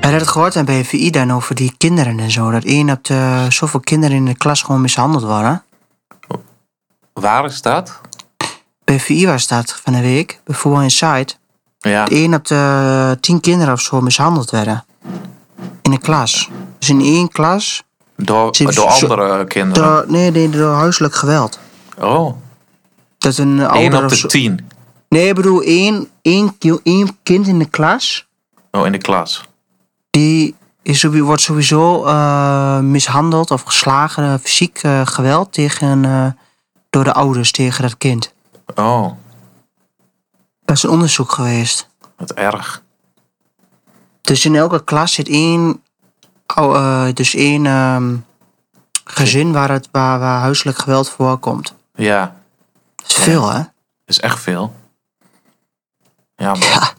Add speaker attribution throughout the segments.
Speaker 1: had het gehoord aan BVI dan over die kinderen en zo. Dat één op de zoveel kinderen in de klas gewoon mishandeld worden.
Speaker 2: Waar is dat?
Speaker 1: BVI was dat van de week, bijvoorbeeld Inside.
Speaker 2: Ja.
Speaker 1: Dat één op de tien kinderen of zo mishandeld werden. In de klas. Dus in één klas.
Speaker 2: Door,
Speaker 1: Ze-
Speaker 2: door
Speaker 1: ze-
Speaker 2: andere kinderen.
Speaker 1: Door, nee, nee, door huiselijk geweld.
Speaker 2: Oh,
Speaker 1: Dat een ouder
Speaker 2: 1 op
Speaker 1: of
Speaker 2: de
Speaker 1: zo-
Speaker 2: 10.
Speaker 1: Nee, ik bedoel, één, één, ki- één kind in de klas.
Speaker 2: Oh, in de klas.
Speaker 1: Die is, sowie- wordt sowieso eh, mishandeld of geslagen, eh, fysiek eh, geweld tegen, eh, door de ouders tegen dat kind.
Speaker 2: Oh,
Speaker 1: Dat is een onderzoek geweest.
Speaker 2: wat erg.
Speaker 1: Dus in elke klas zit één, ou- eh, dus één ehm, gezin waar, het, waar, waar huiselijk geweld voorkomt.
Speaker 2: Ja,
Speaker 1: Dat is veel, hè?
Speaker 2: is echt veel. Ja, maar-
Speaker 1: Ja.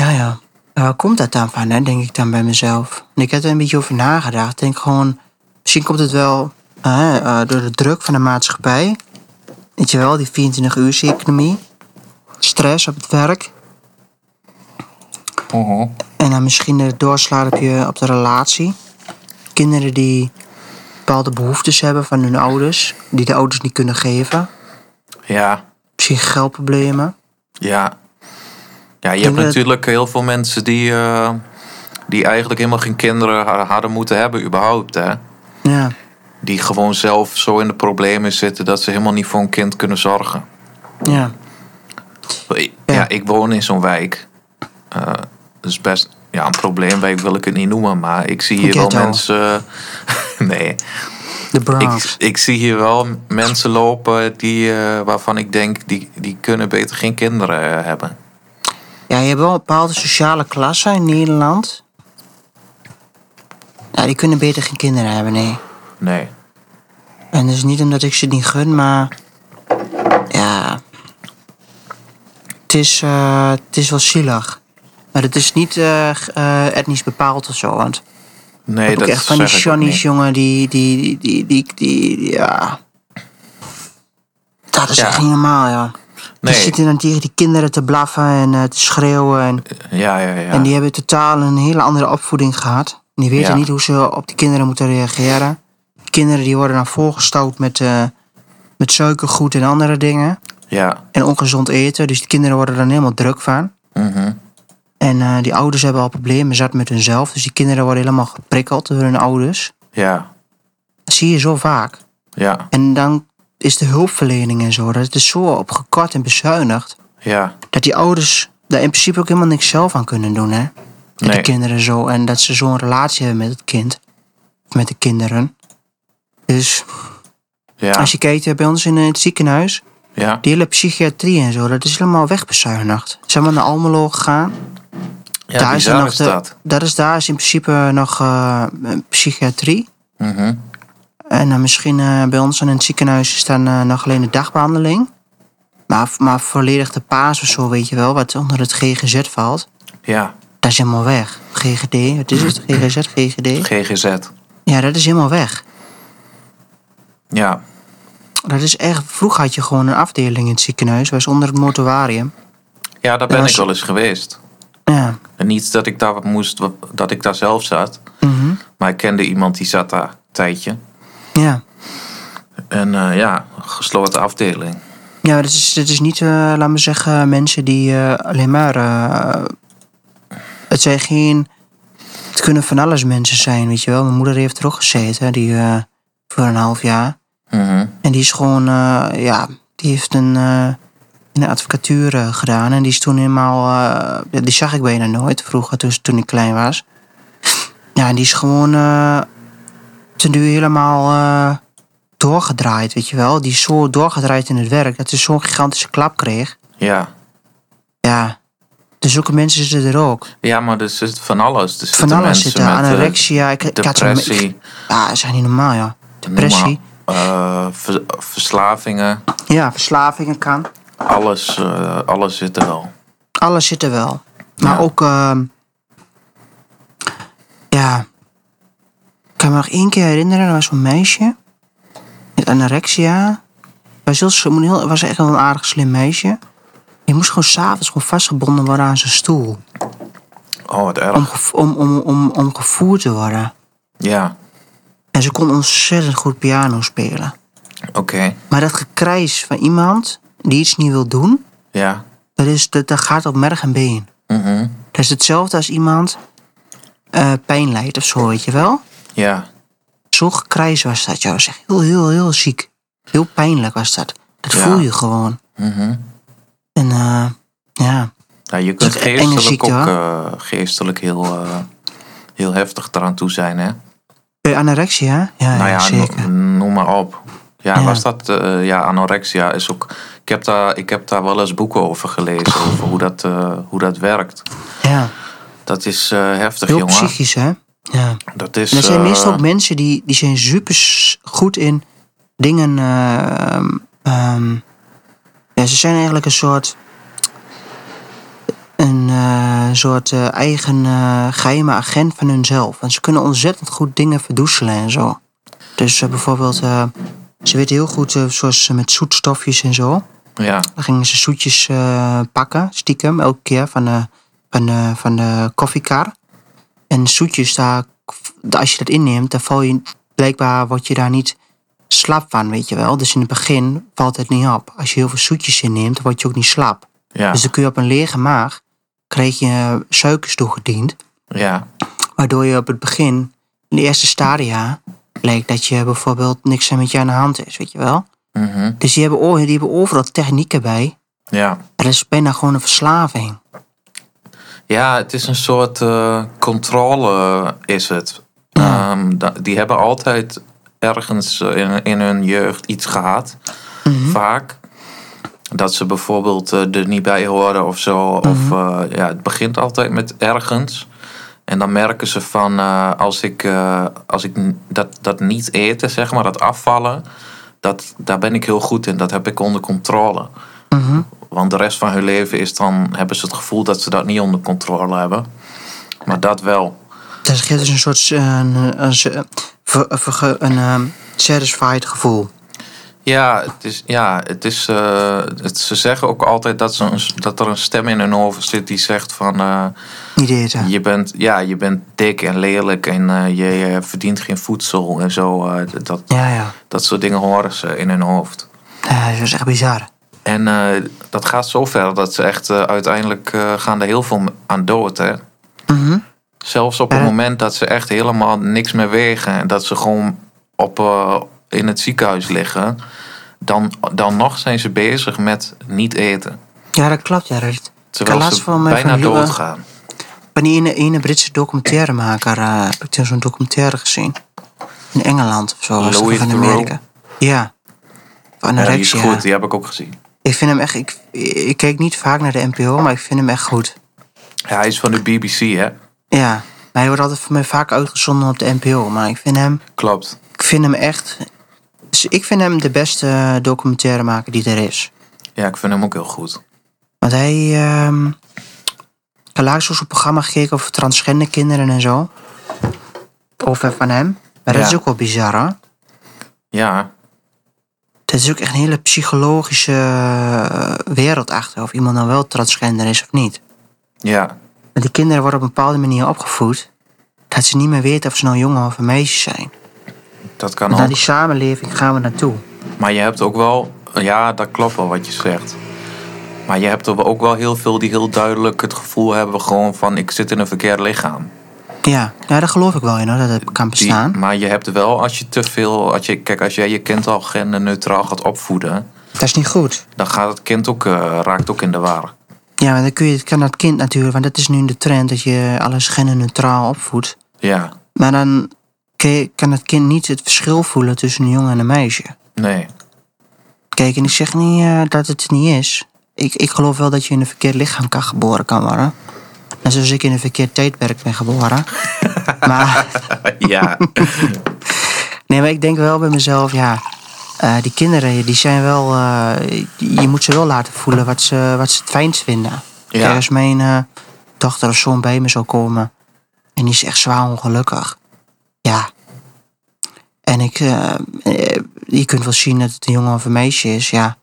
Speaker 1: Ja, ja. Maar Waar komt dat dan van, hè? denk ik dan bij mezelf. En ik heb er een beetje over nagedacht. Ik denk gewoon, misschien komt het wel hè, eh, door de druk van de maatschappij. Weet je wel, die 24-uurs-economie. Stress op het werk.
Speaker 2: Mhm.
Speaker 1: En dan misschien het doorslaat op, je, op de relatie. Kinderen die bepaalde behoeftes hebben van hun ouders, die de ouders niet kunnen geven.
Speaker 2: ja,
Speaker 1: Misschien geldproblemen.
Speaker 2: ja. Ja, je
Speaker 1: denk
Speaker 2: hebt
Speaker 1: dat-
Speaker 2: natuurlijk heel veel mensen die, eh, die eigenlijk helemaal geen kinderen ha- hadden moeten hebben überhaupt, hè.
Speaker 1: Ja,
Speaker 2: Die gewoon zelf zo in de problemen zitten dat ze helemaal niet voor een kind kunnen zorgen.
Speaker 1: ja.
Speaker 2: Ja,
Speaker 1: Ja.
Speaker 2: ik woon in zo'n wijk. Eh, dat is best ja, een probleemwijk, wil ik het niet noemen. Maar ik zie hier wel
Speaker 1: Ghetto. Ah.
Speaker 2: mensen... eh, nee,
Speaker 1: De Bronx.
Speaker 2: ik, ik zie hier wel mensen lopen die, eh, waarvan ik denk... Die, die kunnen beter geen kinderen eh, hebben.
Speaker 1: Ja, je hebt wel een bepaalde sociale klasse in Nederland. Ja, die kunnen beter geen kinderen hebben, nee.
Speaker 2: Nee.
Speaker 1: En dat is niet omdat ik ze het niet gun, maar... Ja... Het is, eh, het is wel zielig. Maar het is niet eh, g- eh, etnisch bepaald of zo. Want
Speaker 2: Nee,
Speaker 1: ook
Speaker 2: dat
Speaker 1: echt van die
Speaker 2: zeg ik ook
Speaker 1: Johnny's,
Speaker 2: niet.
Speaker 1: jongen, die, die, die, die, die, die- die- ja... Dat is
Speaker 2: Ja.
Speaker 1: echt niet normaal, ja. Die
Speaker 2: Nee,
Speaker 1: zitten dan tegen die kinderen te blaffen en eh, te schreeuwen en...
Speaker 2: ja, ja, ja.
Speaker 1: En die hebben totaal een hele andere opvoeding gehad. Die weten
Speaker 2: Ja.
Speaker 1: niet hoe ze op die kinderen moeten reageren. Die kinderen die worden dan volgestouwd met, eh, met suikergoed en andere dingen.
Speaker 2: Ja,
Speaker 1: En ongezond eten. Dus die kinderen worden er dan helemaal druk van.
Speaker 2: mhm.
Speaker 1: En eh, die ouders hebben al problemen zat met hunzelf. Dus die kinderen worden helemaal geprikkeld door hun ouders.
Speaker 2: ja,
Speaker 1: Dat zie je zo vaak.
Speaker 2: ja,
Speaker 1: En dan is de hulpverlening en zo. Dat is zo opgekort en bezuinigd.
Speaker 2: ja.
Speaker 1: Dat die ouders daar in principe ook helemaal niks zelf aan kunnen doen. Hè? Dat
Speaker 2: Nee.
Speaker 1: de kinderen zo. En dat ze zo'n relatie hebben met het kind. Of met de kinderen. Dus
Speaker 2: Ja,
Speaker 1: als je kijkt eh, bij ons in eh, het ziekenhuis.
Speaker 2: ja,
Speaker 1: Die hele psychiatrie en zo. Dat is helemaal wegbezuinigd. Ze zijn maar naar Almelo gegaan.
Speaker 2: ja
Speaker 1: is er
Speaker 2: bizar
Speaker 1: nog
Speaker 2: is
Speaker 1: de-
Speaker 2: dat.
Speaker 1: dat is daar is in principe nog eh, psychiatrie.
Speaker 2: Mhm.
Speaker 1: En dan misschien eh, bij ons in het ziekenhuis is dan eh, nog alleen de dagbehandeling. Maar, maar volledig de paas of zo, weet je wel. Wat onder het GGZ valt.
Speaker 2: Ja,
Speaker 1: Dat is helemaal weg. GGD, wat is het? GGZ, GGD.
Speaker 2: GGZ.
Speaker 1: Ja, dat is helemaal weg.
Speaker 2: Ja,
Speaker 1: Dat is echt. Vroeger had je gewoon een afdeling in het ziekenhuis, was onder het mortuarium.
Speaker 2: ja daar ben
Speaker 1: Ja,
Speaker 2: ik
Speaker 1: ze-
Speaker 2: wel eens geweest.
Speaker 1: Ja.
Speaker 2: En niet dat ik daar wat moest, wat- dat ik daar zelf zat.
Speaker 1: Mhm.
Speaker 2: Maar ik kende iemand die zat daar een tijdje.
Speaker 1: Ja.
Speaker 2: En eh, ja, gesloten afdeling.
Speaker 1: Ja, dat is, dat is niet, eh laat maar zeggen, mensen die eh, alleen maar. eh, het zijn geen. Het kunnen van alles mensen zijn, weet je wel. Mijn moeder heeft er ook gezeten, die. eh, voor een half jaar.
Speaker 2: Mhm.
Speaker 1: En die is gewoon. eh, ja, die heeft een. eh, een advocatuur eh, gedaan. En die is toen helemaal. eh, die zag ik bijna nooit vroeger, toen, toen ik klein was. Ja, en die is gewoon. eh ten duur helemaal. eh, doorgedraaid, weet je wel. Die is zo doorgedraaid in het werk dat ze zo'n gigantische klap kreeg.
Speaker 2: Ja.
Speaker 1: Ja. Dus zulke mensen zitten er ook.
Speaker 2: ja, maar er zit van alles. Er
Speaker 1: Van
Speaker 2: zitten
Speaker 1: alles
Speaker 2: mensen
Speaker 1: zitten.
Speaker 2: met eh,
Speaker 1: Anorexia. ik, ik had zo'n- ik-
Speaker 2: depressie,
Speaker 1: Ja, dat is echt niet normaal, ja.
Speaker 2: noem maar,
Speaker 1: Depressie.
Speaker 2: eh, ver- verslavingen.
Speaker 1: Ja, verslavingen kan.
Speaker 2: Alles, eh, alles zit er wel.
Speaker 1: Alles zit er wel. Maar
Speaker 2: Ja.
Speaker 1: ook, ehm, ja. Ik kan me nog één keer herinneren, er was een meisje met anorexia. Was, heel, slim- heel- was echt wel een aardig slim meisje. Die moest gewoon s'avonds gewoon vastgebonden worden aan zijn stoel.
Speaker 2: Oh, wat erg.
Speaker 1: om, gev- om, om, om, om gevoerd te worden.
Speaker 2: Ja,
Speaker 1: En ze kon ontzettend goed piano spelen.
Speaker 2: oké.
Speaker 1: Maar dat gekrijs van iemand die iets niet wil doen,
Speaker 2: Ja.
Speaker 1: dat, is, dat, dat gaat op merg en been.
Speaker 2: Mhm.
Speaker 1: Dat is hetzelfde als iemand eh, pijn lijdt of zo, weet je wel.
Speaker 2: Ja.
Speaker 1: Zo gekrijs was dat, joh. Dat is echt heel, heel, heel ziek. Heel pijnlijk was dat. Dat
Speaker 2: Ja.
Speaker 1: voel je gewoon.
Speaker 2: Mhm.
Speaker 1: En eh, ja,
Speaker 2: Ja, je
Speaker 1: Dat
Speaker 2: kunt
Speaker 1: is e- een enge
Speaker 2: geestelijk
Speaker 1: ziekte,
Speaker 2: ook
Speaker 1: hoor.
Speaker 2: eh, geestelijk heel, eh, heel heftig eraan toe zijn, hè?
Speaker 1: Bij anorexia? Ja,
Speaker 2: nou
Speaker 1: ja,
Speaker 2: ja,
Speaker 1: zeker.
Speaker 2: no- noem maar op. Ja,
Speaker 1: Ja.
Speaker 2: was dat, eh, ja, anorexia is ook. Ik heb, daar, ik heb daar wel eens boeken over gelezen, over hoe dat, eh, hoe dat werkt.
Speaker 1: ja.
Speaker 2: Dat is eh, heftig,
Speaker 1: Heel
Speaker 2: jongen.
Speaker 1: psychisch, hè? Ja.
Speaker 2: Dat is.
Speaker 1: En dat zijn
Speaker 2: eh,
Speaker 1: meestal ook mensen die, die zijn super s- goed in dingen. eh, ehm, ehm, ja, ze zijn eigenlijk een soort. Een eh, soort eh, eigen eh, geheime agent van hunzelf. En ze kunnen ontzettend goed dingen verdoezelen en zo. Dus eh, bijvoorbeeld, eh, ze weten heel goed, eh, zoals ze met zoetstofjes en zo.
Speaker 2: ja,
Speaker 1: Dan gingen ze zoetjes eh, pakken, stiekem, elke keer van de, van de, van de koffiekar. En zoetjes, daar, als je dat inneemt, dan val je, blijkbaar word je daar niet slap van, weet je wel. Dus in het begin valt het niet op. Als je heel veel zoetjes inneemt, dan word je ook niet slap.
Speaker 2: ja,
Speaker 1: Dus dan kun je op een lege maag, krijg je eh, suikers toegediend.
Speaker 2: ja,
Speaker 1: Waardoor je op het begin, in de eerste stadia, lijkt dat je bijvoorbeeld niks met je aan de hand is, weet je wel.
Speaker 2: mhm,
Speaker 1: Dus die hebben, o- die hebben overal technieken bij.
Speaker 2: ja.
Speaker 1: Er is bijna nou gewoon een verslaving.
Speaker 2: Ja, het is een soort eh, controle, eh, is het.
Speaker 1: Ja.
Speaker 2: Ehm, da- die hebben altijd ergens eh, in, in hun jeugd iets gehad, vaak. Dat ze bijvoorbeeld eh, er niet bij horen of zo. Of, eh, ja, het begint altijd met ergens. En dan merken ze van, eh, als ik, eh, als ik n- dat, dat niet eten, zeg maar, dat afvallen, dat, daar ben ik heel goed in. Dat heb ik onder controle.
Speaker 1: Mhm.
Speaker 2: Want de rest van hun leven is dan, hebben ze het gevoel dat ze dat niet onder controle hebben. Maar dat wel.
Speaker 1: Dat geeft dus een soort eh, een, een, een, ver- verge- een, ehm, satisfied gevoel.
Speaker 2: Ja, het is, ja het is, eh, het, ze zeggen ook altijd dat, ze een- dat er een stem in hun oren zit die zegt van... eh,
Speaker 1: Niet eten.
Speaker 2: je, bent, ja, je bent dik en lelijk en eh, je, je verdient geen voedsel en zo. eh, dat,
Speaker 1: Ja, ja.
Speaker 2: dat soort dingen horen ze in hun hoofd.
Speaker 1: Ja, dat is echt bizar.
Speaker 2: En eh, dat gaat zo ver dat ze echt eh, uiteindelijk eh, gaan er heel veel aan dood, hè.
Speaker 1: Mhm.
Speaker 2: Zelfs op het
Speaker 1: Ja.
Speaker 2: moment dat ze echt helemaal niks meer wegen. En dat ze gewoon op, eh, in het ziekenhuis liggen. Dan, dan nog zijn ze bezig met niet eten.
Speaker 1: Ja, dat klopt. Ja. Dat, ik had
Speaker 2: Terwijl
Speaker 1: laatst
Speaker 2: ze
Speaker 1: van mij
Speaker 2: bijna
Speaker 1: van Lua-
Speaker 2: doodgaan.
Speaker 1: Van die ene, ene Britse documentairemaker eh, heb ik toen zo'n documentaire gezien. In Engeland of zo. Was het, of
Speaker 2: Louis
Speaker 1: in
Speaker 2: Theroux.
Speaker 1: Amerika. Ja. Van
Speaker 2: Ja, die is
Speaker 1: anorexia.
Speaker 2: goed, die heb ik ook gezien.
Speaker 1: Ik vind hem echt... Ik, ik keek niet vaak naar de NPO, maar ik vind hem echt goed.
Speaker 2: Ja, hij is van de BBC, hè?
Speaker 1: Ja. Maar hij wordt altijd voor mij vaak uitgezonden op de NPO. Maar ik vind hem...
Speaker 2: Klopt.
Speaker 1: Ik vind hem echt. Dus ik vind hem de beste eh, documentairemaker die er is.
Speaker 2: Ja, ik vind hem ook heel goed.
Speaker 1: Want hij. ehm ik heb laatst ook zo'n programma gekeken over transgender kinderen en zo. Over van hem. Maar dat
Speaker 2: Ja.
Speaker 1: is ook wel bizar hoor.
Speaker 2: Ja,
Speaker 1: Dat is ook echt een hele psychologische eh, wereld achter. Of iemand nou wel transgender is of niet.
Speaker 2: ja,
Speaker 1: Want die kinderen worden op een bepaalde manier opgevoed. Dat ze niet meer weten of ze nou jongen of een meisje zijn.
Speaker 2: dat kan
Speaker 1: Want naar die
Speaker 2: ook.
Speaker 1: samenleving gaan we naartoe.
Speaker 2: Maar je hebt ook wel... Ja, dat klopt wel wat je zegt. Maar je hebt er ook wel heel veel die heel duidelijk het gevoel hebben... gewoon van, ik zit in een verkeerd lichaam.
Speaker 1: Ja, ja daar geloof ik wel in hoor, dat het kan
Speaker 2: Die- Mm.
Speaker 1: bestaan.
Speaker 2: maar je hebt wel, als je te veel. Als je, kijk, als jij je kind al genderneutraal gaat opvoeden.
Speaker 1: Dat is niet goed.
Speaker 2: dan gaat het kind ook, eh, raakt ook in de war.
Speaker 1: Ja, maar dan kun je, kan dat kind natuurlijk, want dat is nu de trend dat je alles genderneutraal opvoedt.
Speaker 2: Ja,
Speaker 1: Maar dan kun je- kan het kind niet het verschil voelen tussen een jongen en een meisje.
Speaker 2: nee.
Speaker 1: Kijk, en ik zeg niet eh, dat het niet is. Ik, ik geloof wel dat je in een verkeerd lichaam kan geboren kan worden. Net zoals ik in een verkeerd tijdperk ben geboren. maar,
Speaker 2: ja,
Speaker 1: nee, maar ik denk wel bij mezelf, ja. eh, die kinderen, die zijn wel. eh, je moet ze wel laten voelen wat ze, wat ze het fijnst vinden. Kijk,
Speaker 2: ja,
Speaker 1: als mijn eh, dochter of zoon bij me zou komen en die is echt zwaar ongelukkig. Ja. En ik, eh, eh, je kunt wel zien dat het een jongen of een meisje is, ja.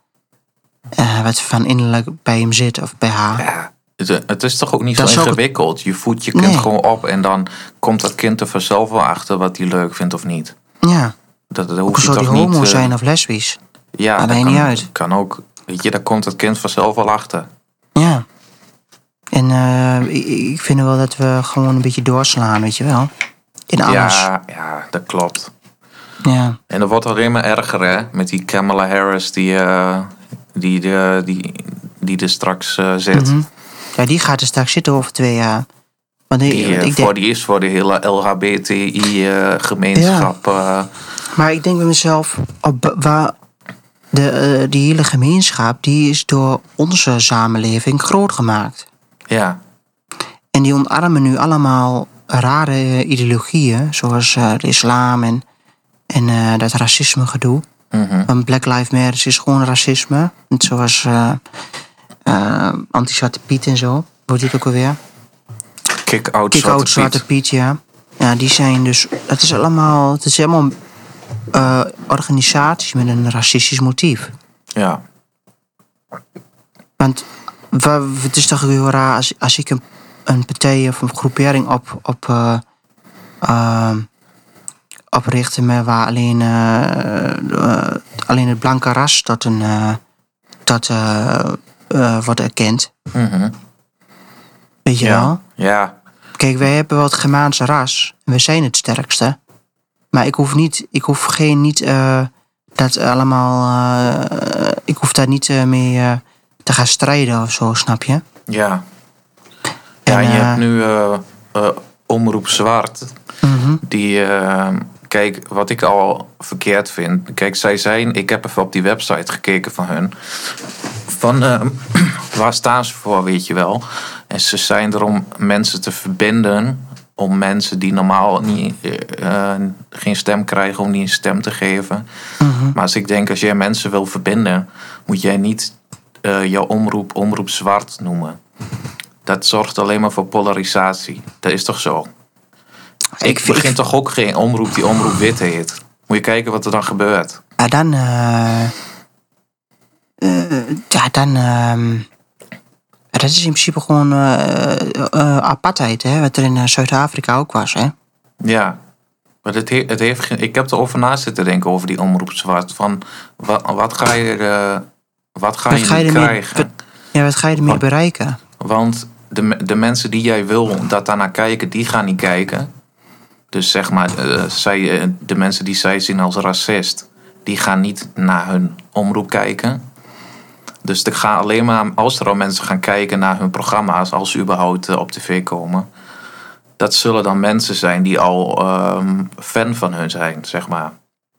Speaker 1: Eh, wat van innerlijk bij hem zit of bij haar.
Speaker 2: ja. het, het is toch ook niet
Speaker 1: Dat is
Speaker 2: zo
Speaker 1: ook het-
Speaker 2: ingewikkeld. Je voedt je kind
Speaker 1: Nee.
Speaker 2: gewoon op en dan komt dat kind er vanzelf wel achter wat hij leuk vindt of niet.
Speaker 1: Ja,
Speaker 2: Dat, dat hoef
Speaker 1: of
Speaker 2: je
Speaker 1: zo
Speaker 2: toch
Speaker 1: die
Speaker 2: niet...
Speaker 1: homo
Speaker 2: eh,
Speaker 1: zijn of lesbisch.
Speaker 2: ja,
Speaker 1: maakt
Speaker 2: dat
Speaker 1: mij
Speaker 2: kan,
Speaker 1: niet uit.
Speaker 2: kan ook. Weet je, daar komt het kind vanzelf wel achter.
Speaker 1: Ja. En eh, ik, ik vind wel dat we gewoon een beetje doorslaan, weet je wel. In alles. Ja.
Speaker 2: Ja, ja, dat klopt. En dat wordt alleen maar erger, hè? Met die Kamala Harris die, eh, die, de die, die er straks eh, zit.
Speaker 1: Mhm. Ja, die gaat er straks zitten over twee jaar. Want ik-
Speaker 2: Die, eh,
Speaker 1: ik denk,
Speaker 2: voor, die is voor de hele eh, LHBTI-gemeenschap.
Speaker 1: Maar ik denk bij mezelf, op, ba- waar de, eh, die hele gemeenschap, die is door onze samenleving groot gemaakt.
Speaker 2: ja,
Speaker 1: En die ontarmen nu allemaal rare eh, ideologieën, zoals eh, de islam en, en eh, dat racisme gedoe.
Speaker 2: Mhm.
Speaker 1: Want Black Lives Matter is gewoon racisme. Net zoals eh eh, anti-zwarte Piet en zo, wordt dit ook alweer.
Speaker 2: kick-out
Speaker 1: Kick-out,
Speaker 2: Zwarte
Speaker 1: Zwarte
Speaker 2: Piet.
Speaker 1: Piet, ja. Ja, die zijn dus... Het is allemaal... Het is helemaal eh, organisaties met een racistisch motief.
Speaker 2: Ja.
Speaker 1: Want wa- het is toch heel raar als, als ik een, een partij of een groepering op, op, eh, ehm, opricht... met waar alleen, eh, eh, alleen het blanke ras tot een... eh, tot, eh, eh, wordt erkend.
Speaker 2: Mhm.
Speaker 1: Weet je wel?
Speaker 2: ja.
Speaker 1: Kijk, wij hebben wel het Germaanse ras. We zijn het sterkste. Maar ik hoef niet, ik hoef geen niet eh, dat allemaal, eh, ik hoef daar niet eh, mee eh, te gaan strijden of zo, snap je?
Speaker 2: Ja.
Speaker 1: En,
Speaker 2: Ja, en je
Speaker 1: eh,
Speaker 2: hebt nu eh, eh, Omroep Zwart.
Speaker 1: mhm.
Speaker 2: Die, eh, kijk, wat ik al verkeerd vind. Kijk, zij zijn, ik heb even op die website gekeken van hun. Van eh, waar staan ze voor, weet je wel. En ze zijn er om mensen te verbinden. Om mensen die normaal niet, eh, eh, geen stem krijgen, om die een stem te geven.
Speaker 1: Mhm.
Speaker 2: Maar als ik denk, als jij mensen wil verbinden, moet jij niet eh, jouw omroep omroep zwart noemen. Dat zorgt alleen maar voor polarisatie. Dat is toch zo? Ik,
Speaker 1: vind-
Speaker 2: begin toch ook geen omroep die omroep wit heet. Moet je kijken wat er dan gebeurt.
Speaker 1: Ja, ah, dan, eh, eh, ja, dan, ehm, ja, dat is in principe gewoon eh, eh, apartheid, hè? Wat er in eh, Zuid-Afrika ook was, hè?
Speaker 2: Ja. Maar het he- het heeft geen- ik heb erover na zitten denken over die omroep zwart. Van wat, wat ga je, eh, wat ga
Speaker 1: Wat
Speaker 2: je,
Speaker 1: ga je
Speaker 2: nu
Speaker 1: ermee-
Speaker 2: krijgen?
Speaker 1: wat- Ja, wat ga je ermee
Speaker 2: Wat-
Speaker 1: bereiken?
Speaker 2: Want de, me- de mensen die jij wil dat daarnaar kijken, die gaan niet kijken. Dus zeg maar, eh, zij, eh, de mensen die zij zien als racist, die gaan niet naar hun omroep kijken. Dus er gaan alleen maar, als er al mensen gaan kijken naar hun programma's, als ze überhaupt eh, op tv komen. Dat zullen dan mensen zijn die al ehm, fan van hun zijn, zeg maar.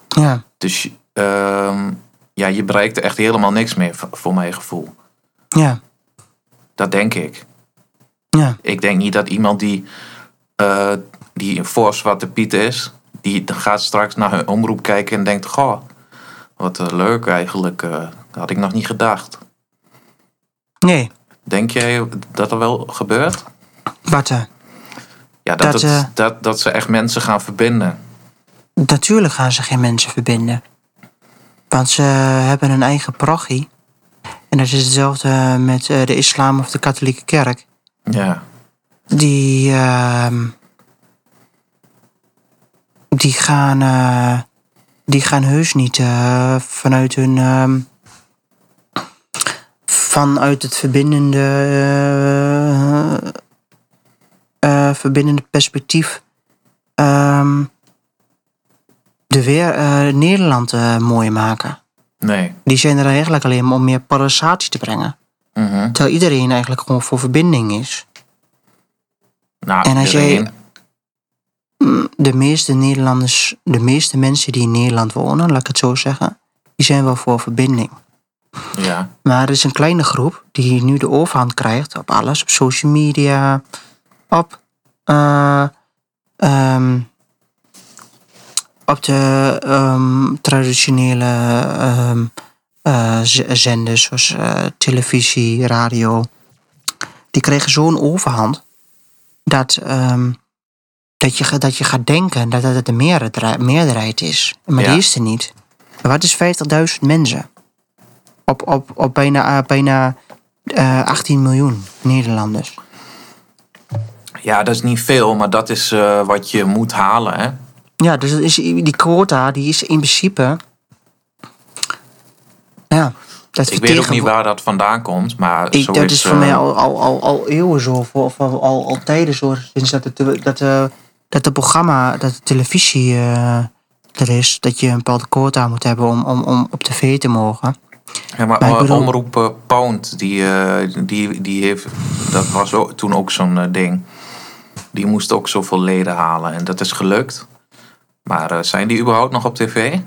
Speaker 1: Ja,
Speaker 2: Dus ehm, ja, je bereikt echt helemaal niks meer, v- voor mijn gevoel.
Speaker 1: ja,
Speaker 2: Dat denk ik.
Speaker 1: ja.
Speaker 2: Ik denk niet dat iemand die, eh die voor Zwarte Piet is, die gaat straks naar hun omroep kijken en denkt: Goh, wat eh, leuk eigenlijk. eh, dat had ik nog niet gedacht.
Speaker 1: Nee,
Speaker 2: Denk jij dat er wel gebeurt?
Speaker 1: wat eh,
Speaker 2: Ja, dat,
Speaker 1: Dat,
Speaker 2: het-
Speaker 1: eh,
Speaker 2: dat, dat ze echt mensen gaan verbinden.
Speaker 1: Natuurlijk gaan ze geen mensen verbinden. Want ze hebben hun eigen parochie. En dat is hetzelfde met eh, de islam of de katholieke kerk.
Speaker 2: Ja,
Speaker 1: Die. ehm, die gaan. eh, die gaan heus niet eh, vanuit hun. ehm, vanuit het verbindende. eh, eh, verbindende perspectief. ehm, de weer eh, Nederland eh, mooi maken.
Speaker 2: nee.
Speaker 1: Die zijn er eigenlijk alleen maar om meer polarisatie te brengen.
Speaker 2: Mhm.
Speaker 1: Terwijl iedereen eigenlijk gewoon voor verbinding is.
Speaker 2: Nou,
Speaker 1: En als jij-
Speaker 2: iedereen-
Speaker 1: de meeste Nederlanders, de meeste mensen die in Nederland wonen, laat ik het zo zeggen, die zijn wel voor verbinding.
Speaker 2: Ja,
Speaker 1: Maar er is een kleine groep die nu de overhand krijgt op alles, op social media, op, eh, ehm, op de ehm, traditionele ehm, eh, z- zenders zoals eh, televisie, radio. Die kregen zo'n overhand dat, ehm, dat, je, ga- dat je gaat denken dat dat het de meerdere- meerderheid is. Maar
Speaker 2: Ja.
Speaker 1: die is er niet. Wat is 50.000 mensen? Op, op, op bijna, eh, bijna eh, 18 miljoen Nederlanders.
Speaker 2: Ja, dat is niet veel, maar dat is eh, wat je moet halen. Hè?
Speaker 1: Ja, dus dat is, die quota die is in principe. Ja, dat
Speaker 2: Ik weet ook niet
Speaker 1: vertegenwo-
Speaker 2: waar dat vandaan komt, maar
Speaker 1: Ik,
Speaker 2: zo
Speaker 1: dat is voor
Speaker 2: eh,
Speaker 1: mij al, al, al, al eeuwen zo, of, of al, al, al tijden zo, sinds dat het, dat, eh, dat de programma, dat de televisie eh, er is, dat je een bepaalde quota moet hebben om, om, om op tv te mogen.
Speaker 2: Ja, maar,
Speaker 1: Maar ik
Speaker 2: eh,
Speaker 1: bedoel-
Speaker 2: omroep eh, Pound, die, eh, die, die heeft, dat was ook, toen ook zo'n eh, ding. Die moest ook zoveel leden halen en dat is gelukt. Maar eh, zijn die überhaupt nog op tv?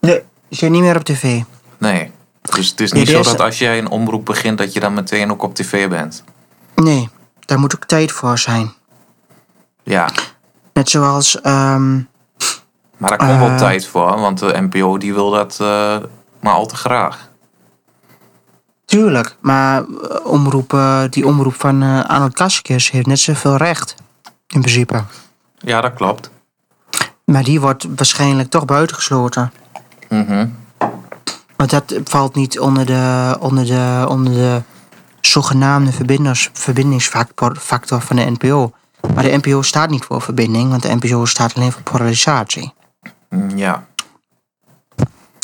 Speaker 1: Nee. Ze zijn niet meer op tv.
Speaker 2: Nee. Dus het is
Speaker 1: Nee,
Speaker 2: niet
Speaker 1: er
Speaker 2: zo
Speaker 1: is-
Speaker 2: dat als jij een omroep begint, dat je dan meteen ook op tv bent.
Speaker 1: Nee, daar moet ook tijd voor zijn.
Speaker 2: Ja,
Speaker 1: Net zoals, ehm,
Speaker 2: maar daar komt
Speaker 1: Eh.
Speaker 2: wel tijd voor, want de NPO die wil dat eh, maar al te graag.
Speaker 1: tuurlijk, maar eh, omroep, eh, die omroep van eh Arnold Kaskers heeft net zoveel recht, in principe.
Speaker 2: Ja, dat klopt.
Speaker 1: Maar die wordt waarschijnlijk toch buitengesloten.
Speaker 2: Mhm.
Speaker 1: Want dat valt niet onder de, onder de, onder de zogenaamde verbinders, verbindingsfactor van de NPO. Maar de NPO staat niet voor verbinding, want de NPO staat alleen voor polarisatie.
Speaker 2: Mm, Ja.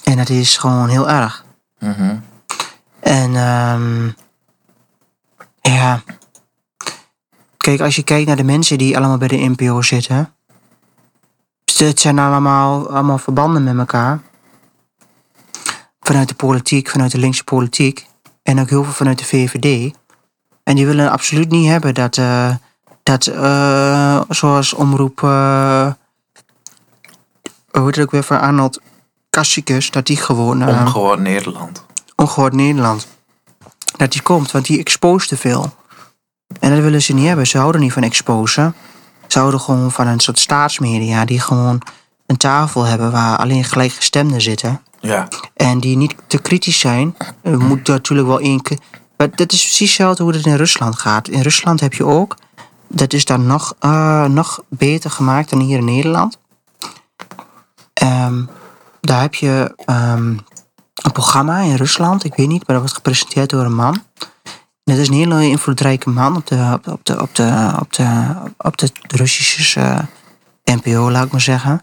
Speaker 1: En dat is gewoon heel erg.
Speaker 2: Mhm.
Speaker 1: En ehm ja. Kijk, als je kijkt naar de mensen die allemaal bij de NPO zitten. dus Het zijn nou allemaal, allemaal verbanden met elkaar. Vanuit de politiek, vanuit de linkse politiek. En ook heel veel vanuit de VVD. En die willen absoluut niet hebben dat, eh, dat eh, zoals omroep, eh hoe heet het ook weer van Arnold Kassikus, dat die gewoon... eh,
Speaker 2: Omgehoord Nederland.
Speaker 1: ongehoord Nederland. Dat die komt, want die expose te veel. En dat willen ze niet hebben. Ze houden niet van exposen. Ze houden gewoon van een soort staatsmedia die gewoon een tafel hebben waar alleen gelijkgestemden zitten.
Speaker 2: Ja.
Speaker 1: En die niet te kritisch zijn. Er moet natuurlijk wel één keer. Maar dat is precies hetzelfde hoe het in Rusland gaat. In Rusland heb je ook. Dat is dan nog, eh, nog beter gemaakt dan hier in Nederland. Ehm, daar heb je ehm, een programma in Rusland. Ik weet niet, maar dat wordt gepresenteerd door een man. En dat is een hele invloedrijke man op de, op de, op de, op de, op de, op de Russische eh, NPO, laat ik maar zeggen.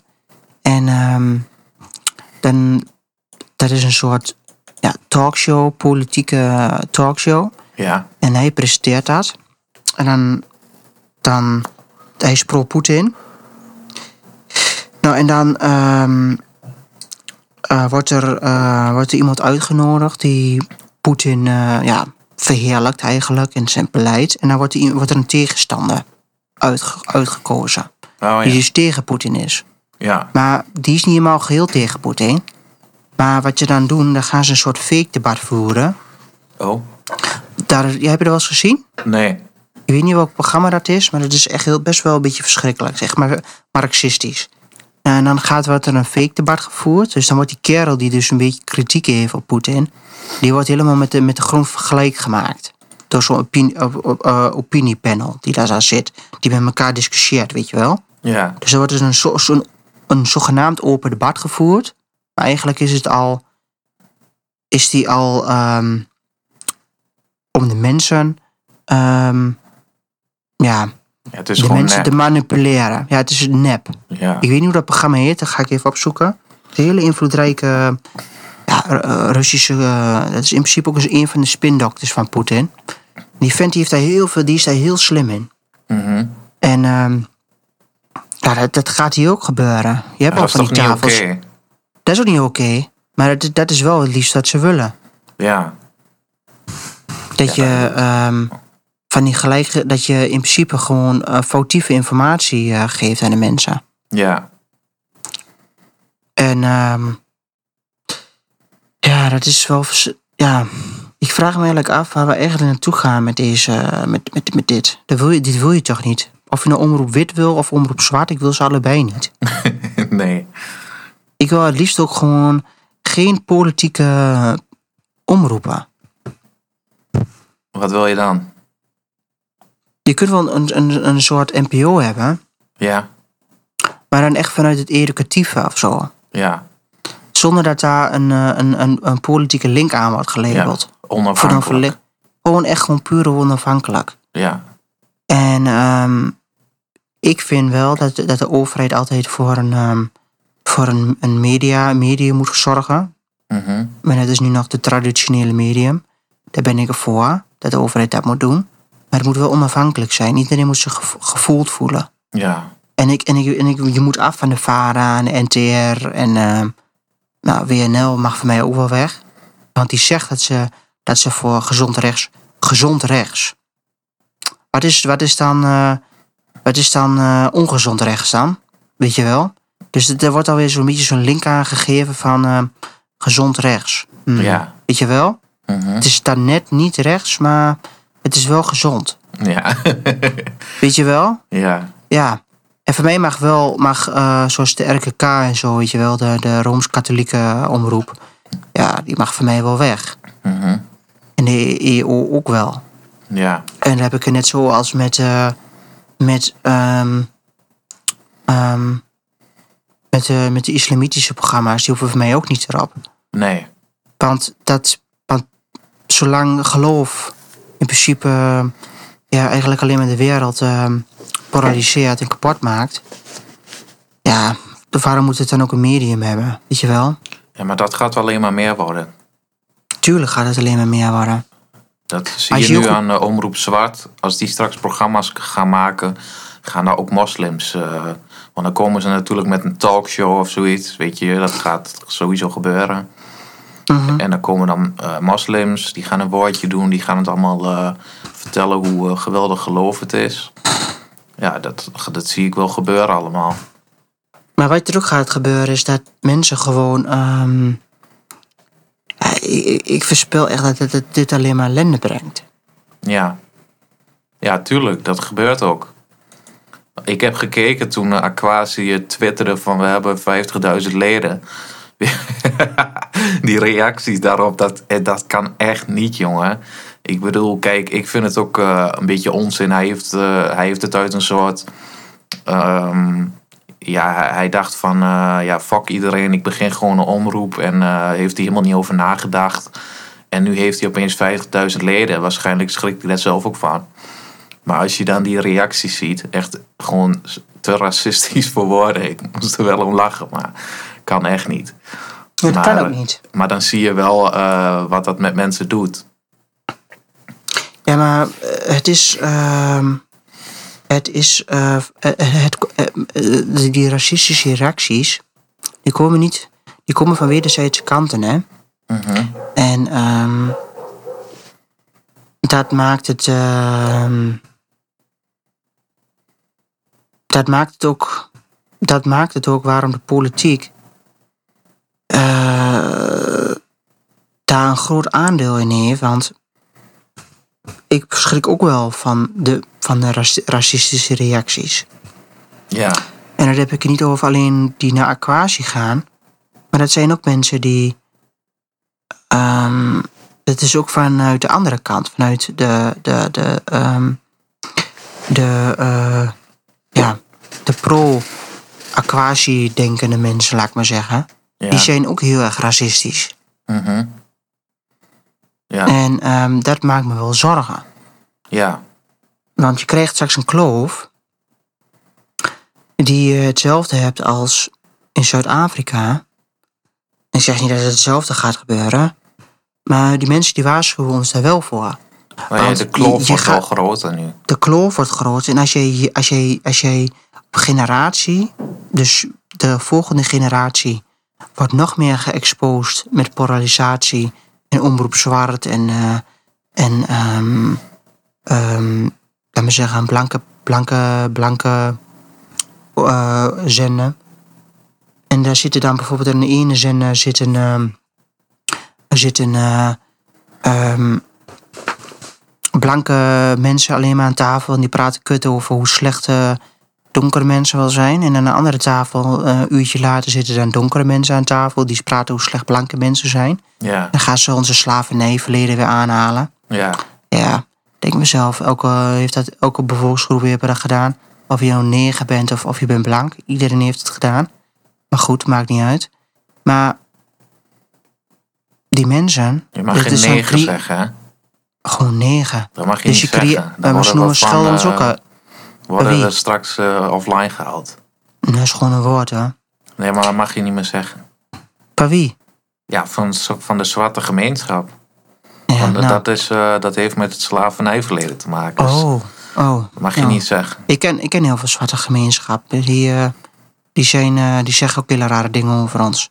Speaker 1: En ehm, dan, dat is een soort ja, talkshow, politieke eh, talkshow.
Speaker 2: Ja.
Speaker 1: En hij presenteert dat. En dan, dan hij is pro-Poetin. Nou, en dan ehm, eh, wordt, er, eh, wordt er iemand uitgenodigd die Poetin eh, ja, verheerlijkt eigenlijk in zijn beleid. En dan wordt, er i- wordt er een tegenstander uitge- uitgekozen.
Speaker 2: Oh,
Speaker 1: Die
Speaker 2: ja.
Speaker 1: dus tegen Poetin is.
Speaker 2: ja.
Speaker 1: Maar die is niet helemaal geheel tegen Poetin. Maar wat je dan doet, dan gaan ze een soort fake debat voeren.
Speaker 2: Oh.
Speaker 1: Daar, jij hebt er wel eens gezien?
Speaker 2: Nee.
Speaker 1: Ik weet niet welk programma dat is, maar dat is echt heel, best wel een beetje verschrikkelijk. Zeg maar marxistisch. En dan gaat wordt er een fake debat gevoerd. Dus dan wordt die kerel die dus een beetje kritiek heeft op Poetin... die wordt helemaal met de, met de grond vergelijk gemaakt. Door zo'n opinie, op- op- eh, opiniepanel die daar aan zit. Die met elkaar discussieert, weet je wel.
Speaker 2: Ja.
Speaker 1: Dus er wordt dus een, zo, zo'n- een zogenaamd open debat gevoerd. Maar eigenlijk is het al. Is die al. ehm, om de mensen. ehm, ja,
Speaker 2: Ja, het is
Speaker 1: de
Speaker 2: gewoon
Speaker 1: mensen
Speaker 2: nep.
Speaker 1: te manipuleren. Ja, het is nep.
Speaker 2: Ja.
Speaker 1: Ik weet niet hoe dat programma heet, dat ga ik even opzoeken. Het is een hele invloedrijke. eh, Ja, Ru- eh, Russische. eh, dat is in principe ook eens een van de spindokters van Poetin. Die vent die heeft daar heel veel. Die is daar heel slim in.
Speaker 2: Mhm.
Speaker 1: En ehm, ja, dat, dat gaat hier ook gebeuren. Je hebt al
Speaker 2: Ja, dat is
Speaker 1: van
Speaker 2: toch
Speaker 1: die
Speaker 2: niet oké?
Speaker 1: tafels. Dat is ook niet oké. Maar dat, dat is wel het liefst wat ze willen.
Speaker 2: Ja.
Speaker 1: Dat je ehm, van die gelijke, dat je in principe gewoon eh, foutieve informatie eh, geeft aan de mensen.
Speaker 2: Ja.
Speaker 1: En ehm, ja, dat is wel. vers- Ja, ik vraag me eigenlijk af waar we eigenlijk naartoe gaan met, deze, met, met, met dit. Dat wil je, dit wil je toch niet? Of je nou omroep wit wil of omroep zwart, ik wil ze allebei niet.
Speaker 2: nee.
Speaker 1: Ik wil het liefst ook gewoon geen politieke eh, omroepen.
Speaker 2: Wat wil je dan?
Speaker 1: Je kunt wel een, een, een soort NPO hebben,
Speaker 2: Ja.
Speaker 1: maar dan echt vanuit het educatieve of zo.
Speaker 2: Ja.
Speaker 1: Zonder dat daar een, eh, een, een, een politieke link aan wordt gelabeld.
Speaker 2: ja. Onafhankelijk.
Speaker 1: Voor dan verle- Gewoon echt gewoon puur onafhankelijk.
Speaker 2: ja.
Speaker 1: En ehm, ik vind wel dat, dat de overheid altijd voor een, ehm, voor een, een media, medium moet zorgen.
Speaker 2: Mhm.
Speaker 1: Maar dat is nu nog de traditionele medium. Daar ben ik voor dat de overheid dat moet doen. Maar het moet wel onafhankelijk zijn. Iedereen moet zich gevo- gevoeld voelen.
Speaker 2: ja.
Speaker 1: En, ik, en, ik, en ik, je moet af van de VARA en de NTR en ehm, nou, WNL mag voor mij ook wel weg. Want die zegt dat ze, dat ze voor gezond rechts... Gezond rechts. Wat is, wat is dan, eh, wat is dan eh, ongezond rechts dan? Weet je wel? Dus het- er wordt alweer zo'n beetje zo'n link aangegeven van ehm, gezond rechts. Hmm.
Speaker 2: Ja.
Speaker 1: Weet je wel?
Speaker 2: Mhm.
Speaker 1: Het is dan net niet rechts, maar het is wel gezond.
Speaker 2: Ja.
Speaker 1: Weet je wel?
Speaker 2: ja.
Speaker 1: Ja. En voor mij mag wel, mag, eh, zoals de RKK en zo, weet je wel, de, de Rooms-Katholieke omroep. Ja, die mag voor mij wel weg.
Speaker 2: Mhm.
Speaker 1: En de EO ook wel.
Speaker 2: Ja.
Speaker 1: En dan heb ik het net zo als met, eh, met, ehm, ehm, met, eh, met de islamitische programma's. Die hoeven voor mij ook niet erop.
Speaker 2: Nee.
Speaker 1: Want, dat, want zolang geloof in principe eh, ja, eigenlijk alleen maar de wereld eh, polariseert en kapot maakt. Ja, de waarom moet het dan ook een medium hebben? Weet je wel?
Speaker 2: Ja, maar dat gaat alleen maar meer worden.
Speaker 1: Tuurlijk gaat het alleen maar meer worden.
Speaker 2: Dat zie
Speaker 1: Als
Speaker 2: je
Speaker 1: je
Speaker 2: nu
Speaker 1: heel goed-
Speaker 2: aan eh, Omroep Zwart. Als die straks programma's k- gaan maken, gaan daar ook moslims. eh, want dan komen ze natuurlijk met een talkshow of zoiets. Weet je, dat gaat sowieso gebeuren.
Speaker 1: Mhm.
Speaker 2: En dan komen dan eh, moslims, die gaan een woordje doen. Die gaan het allemaal eh, vertellen hoe eh, geweldig geloof het is. Ja, dat, dat zie ik wel gebeuren allemaal.
Speaker 1: Maar wat er ook gaat gebeuren is dat mensen gewoon. ehm, ja, ik, ik- ik voorspel echt dat dit, dit alleen maar ellende brengt.
Speaker 2: Ja. Ja, tuurlijk. Dat gebeurt ook. Ik heb gekeken toen eh, Aquasi eh, twitterde van we hebben 50.000 leden. Die reacties daarop, dat, eh, dat kan echt niet, jongen. Ik bedoel, kijk, ik vind het ook eh, een beetje onzin. Hij heeft, eh, hij heeft het uit een soort... ehm, ja, hij- hij dacht van, eh, ja, fuck iedereen, ik begin gewoon een omroep. En eh, heeft hij helemaal niet over nagedacht. En nu heeft hij opeens 50.000 leden. Waarschijnlijk schrikt hij daar zelf ook van. Maar als je dan die reacties ziet, echt gewoon te racistisch voor woorden. Ik moest er wel om lachen, maar kan echt niet.
Speaker 1: Ja, dat kan
Speaker 2: Maar- eh,
Speaker 1: ook niet.
Speaker 2: Maar dan zie je wel eh, wat dat met mensen doet.
Speaker 1: Ja, maar eh, het is. ehm, het is. eh, eh, het, eh, eh, die- die racistische reacties. die komen niet. die komen van wederzijdse kanten, hè? Mhm. En. ehm, dat maakt het. ehm, dat maakt het ook. dat maakt het ook waarom de politiek. eh, daar een groot aandeel in heeft. Want ik schrik ook wel van de, van de raci- racistische reacties.
Speaker 2: Ja,
Speaker 1: En dat heb ik het niet over alleen die naar Aquasi gaan. Maar dat zijn ook mensen die. ehm dat is ook vanuit de andere kant. Vanuit de. de, de, ehm, de eh, ja, de pro-Aquasi-denkende mensen, laat ik maar zeggen.
Speaker 2: ja.
Speaker 1: Die zijn ook heel erg racistisch.
Speaker 2: Mhm. Ja.
Speaker 1: En ehm, dat maakt me wel zorgen.
Speaker 2: ja,
Speaker 1: Want je krijgt straks een kloof die je hetzelfde hebt als in Zuid-Afrika. Ik zeg niet dat het hetzelfde gaat gebeuren, maar die mensen die waarschuwen ons daar wel voor.
Speaker 2: maar ja,
Speaker 1: Want
Speaker 2: de kloof
Speaker 1: je- je
Speaker 2: wordt wel
Speaker 1: gaat-
Speaker 2: groter nu.
Speaker 1: De kloof wordt groot en als je, als je, als je op generatie, dus de volgende generatie, wordt nog meer geëxposed met polarisatie en omroep zwart en, eh, en ehm, ehm, laat me zeggen, blanke, blanke, blanke eh, zenden. En daar zitten dan bijvoorbeeld in de ene zender zit een, ehm, er zitten eh, ehm, blanke mensen alleen maar aan tafel en die praten kut over hoe slecht eh, donkere mensen wel zijn. En aan de andere tafel, eh, een uurtje later, zitten dan donkere mensen aan tafel die praten hoe slecht blanke mensen zijn.
Speaker 2: Ja,
Speaker 1: Dan gaan ze onze slavernijverleden weer aanhalen.
Speaker 2: ja,
Speaker 1: Ja, ik denk mezelf, elke, heeft dat, elke bevolkingsgroep heeft dat gedaan. Of je nou neger bent of, of je bent blank. Iedereen heeft het gedaan. Maar goed, maakt niet uit. Maar die mensen...
Speaker 2: je mag
Speaker 1: dat
Speaker 2: geen
Speaker 1: is zo'n
Speaker 2: negen
Speaker 1: drie-
Speaker 2: zeggen, hè?
Speaker 1: Gewoon negen.
Speaker 2: Dat mag je
Speaker 1: Dus je
Speaker 2: niet
Speaker 1: creëert-
Speaker 2: zeggen.
Speaker 1: maar
Speaker 2: Dan
Speaker 1: ze noemen
Speaker 2: we van,
Speaker 1: schelden ons
Speaker 2: eh,
Speaker 1: ook, eh,
Speaker 2: Worden
Speaker 1: wie?
Speaker 2: we straks eh, offline gehaald.
Speaker 1: Dat is gewoon een woord, hè.
Speaker 2: Nee, maar dat mag je niet meer zeggen.
Speaker 1: Bij wie?
Speaker 2: Ja, van, zo- van de zwarte gemeenschap.
Speaker 1: Ja,
Speaker 2: Want
Speaker 1: nou.
Speaker 2: dat, is, eh, dat heeft met het slavernijverleden te maken. Dus
Speaker 1: Oh, oh.
Speaker 2: dat mag je
Speaker 1: nou.
Speaker 2: niet zeggen.
Speaker 1: Ik ken, ik ken heel veel zwarte gemeenschappen. Die, eh, die, zijn, eh, die zeggen ook hele rare dingen over ons.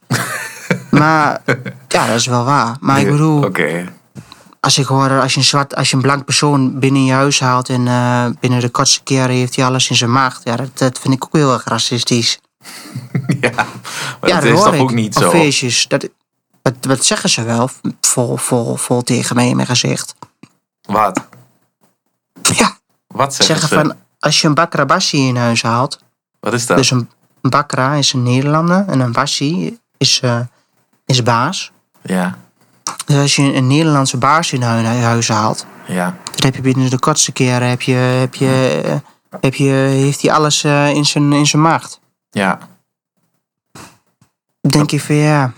Speaker 1: maar ja, dat is wel waar. Maar ik
Speaker 2: Ja,
Speaker 1: bedoel,
Speaker 2: Oké.
Speaker 1: als ik hoor, als je een, zwart, als je een blank persoon binnen je huis haalt en eh, binnen de kortste keren heeft hij alles in zijn maag. Ja, dat, dat vind ik ook heel erg racistisch.
Speaker 2: ja, maar
Speaker 1: ja,
Speaker 2: dat is
Speaker 1: hoor
Speaker 2: toch
Speaker 1: ik.
Speaker 2: ook niet
Speaker 1: Op
Speaker 2: zo?
Speaker 1: feestjes. Dat, dat, dat zeggen ze wel, vol, vol, vol tegen mij in mijn gezicht.
Speaker 2: Wat?
Speaker 1: Ja,
Speaker 2: Wat zeggen,
Speaker 1: zeggen
Speaker 2: ze?
Speaker 1: van, als je een bakrabassi in huis haalt,
Speaker 2: Wat is dat?
Speaker 1: Dus een een bakra is een Nederlander en een bassi is, eh, is baas.
Speaker 2: Ja,
Speaker 1: Dus als je een, een Nederlandse baas in hu- huis haalt,
Speaker 2: ja.
Speaker 1: dan heb je binnen de kortste keren heb je, heb je, eh, heb je, heeft hij alles eh, in, zijn, in zijn macht.
Speaker 2: Ja,
Speaker 1: Dan denk je van ja.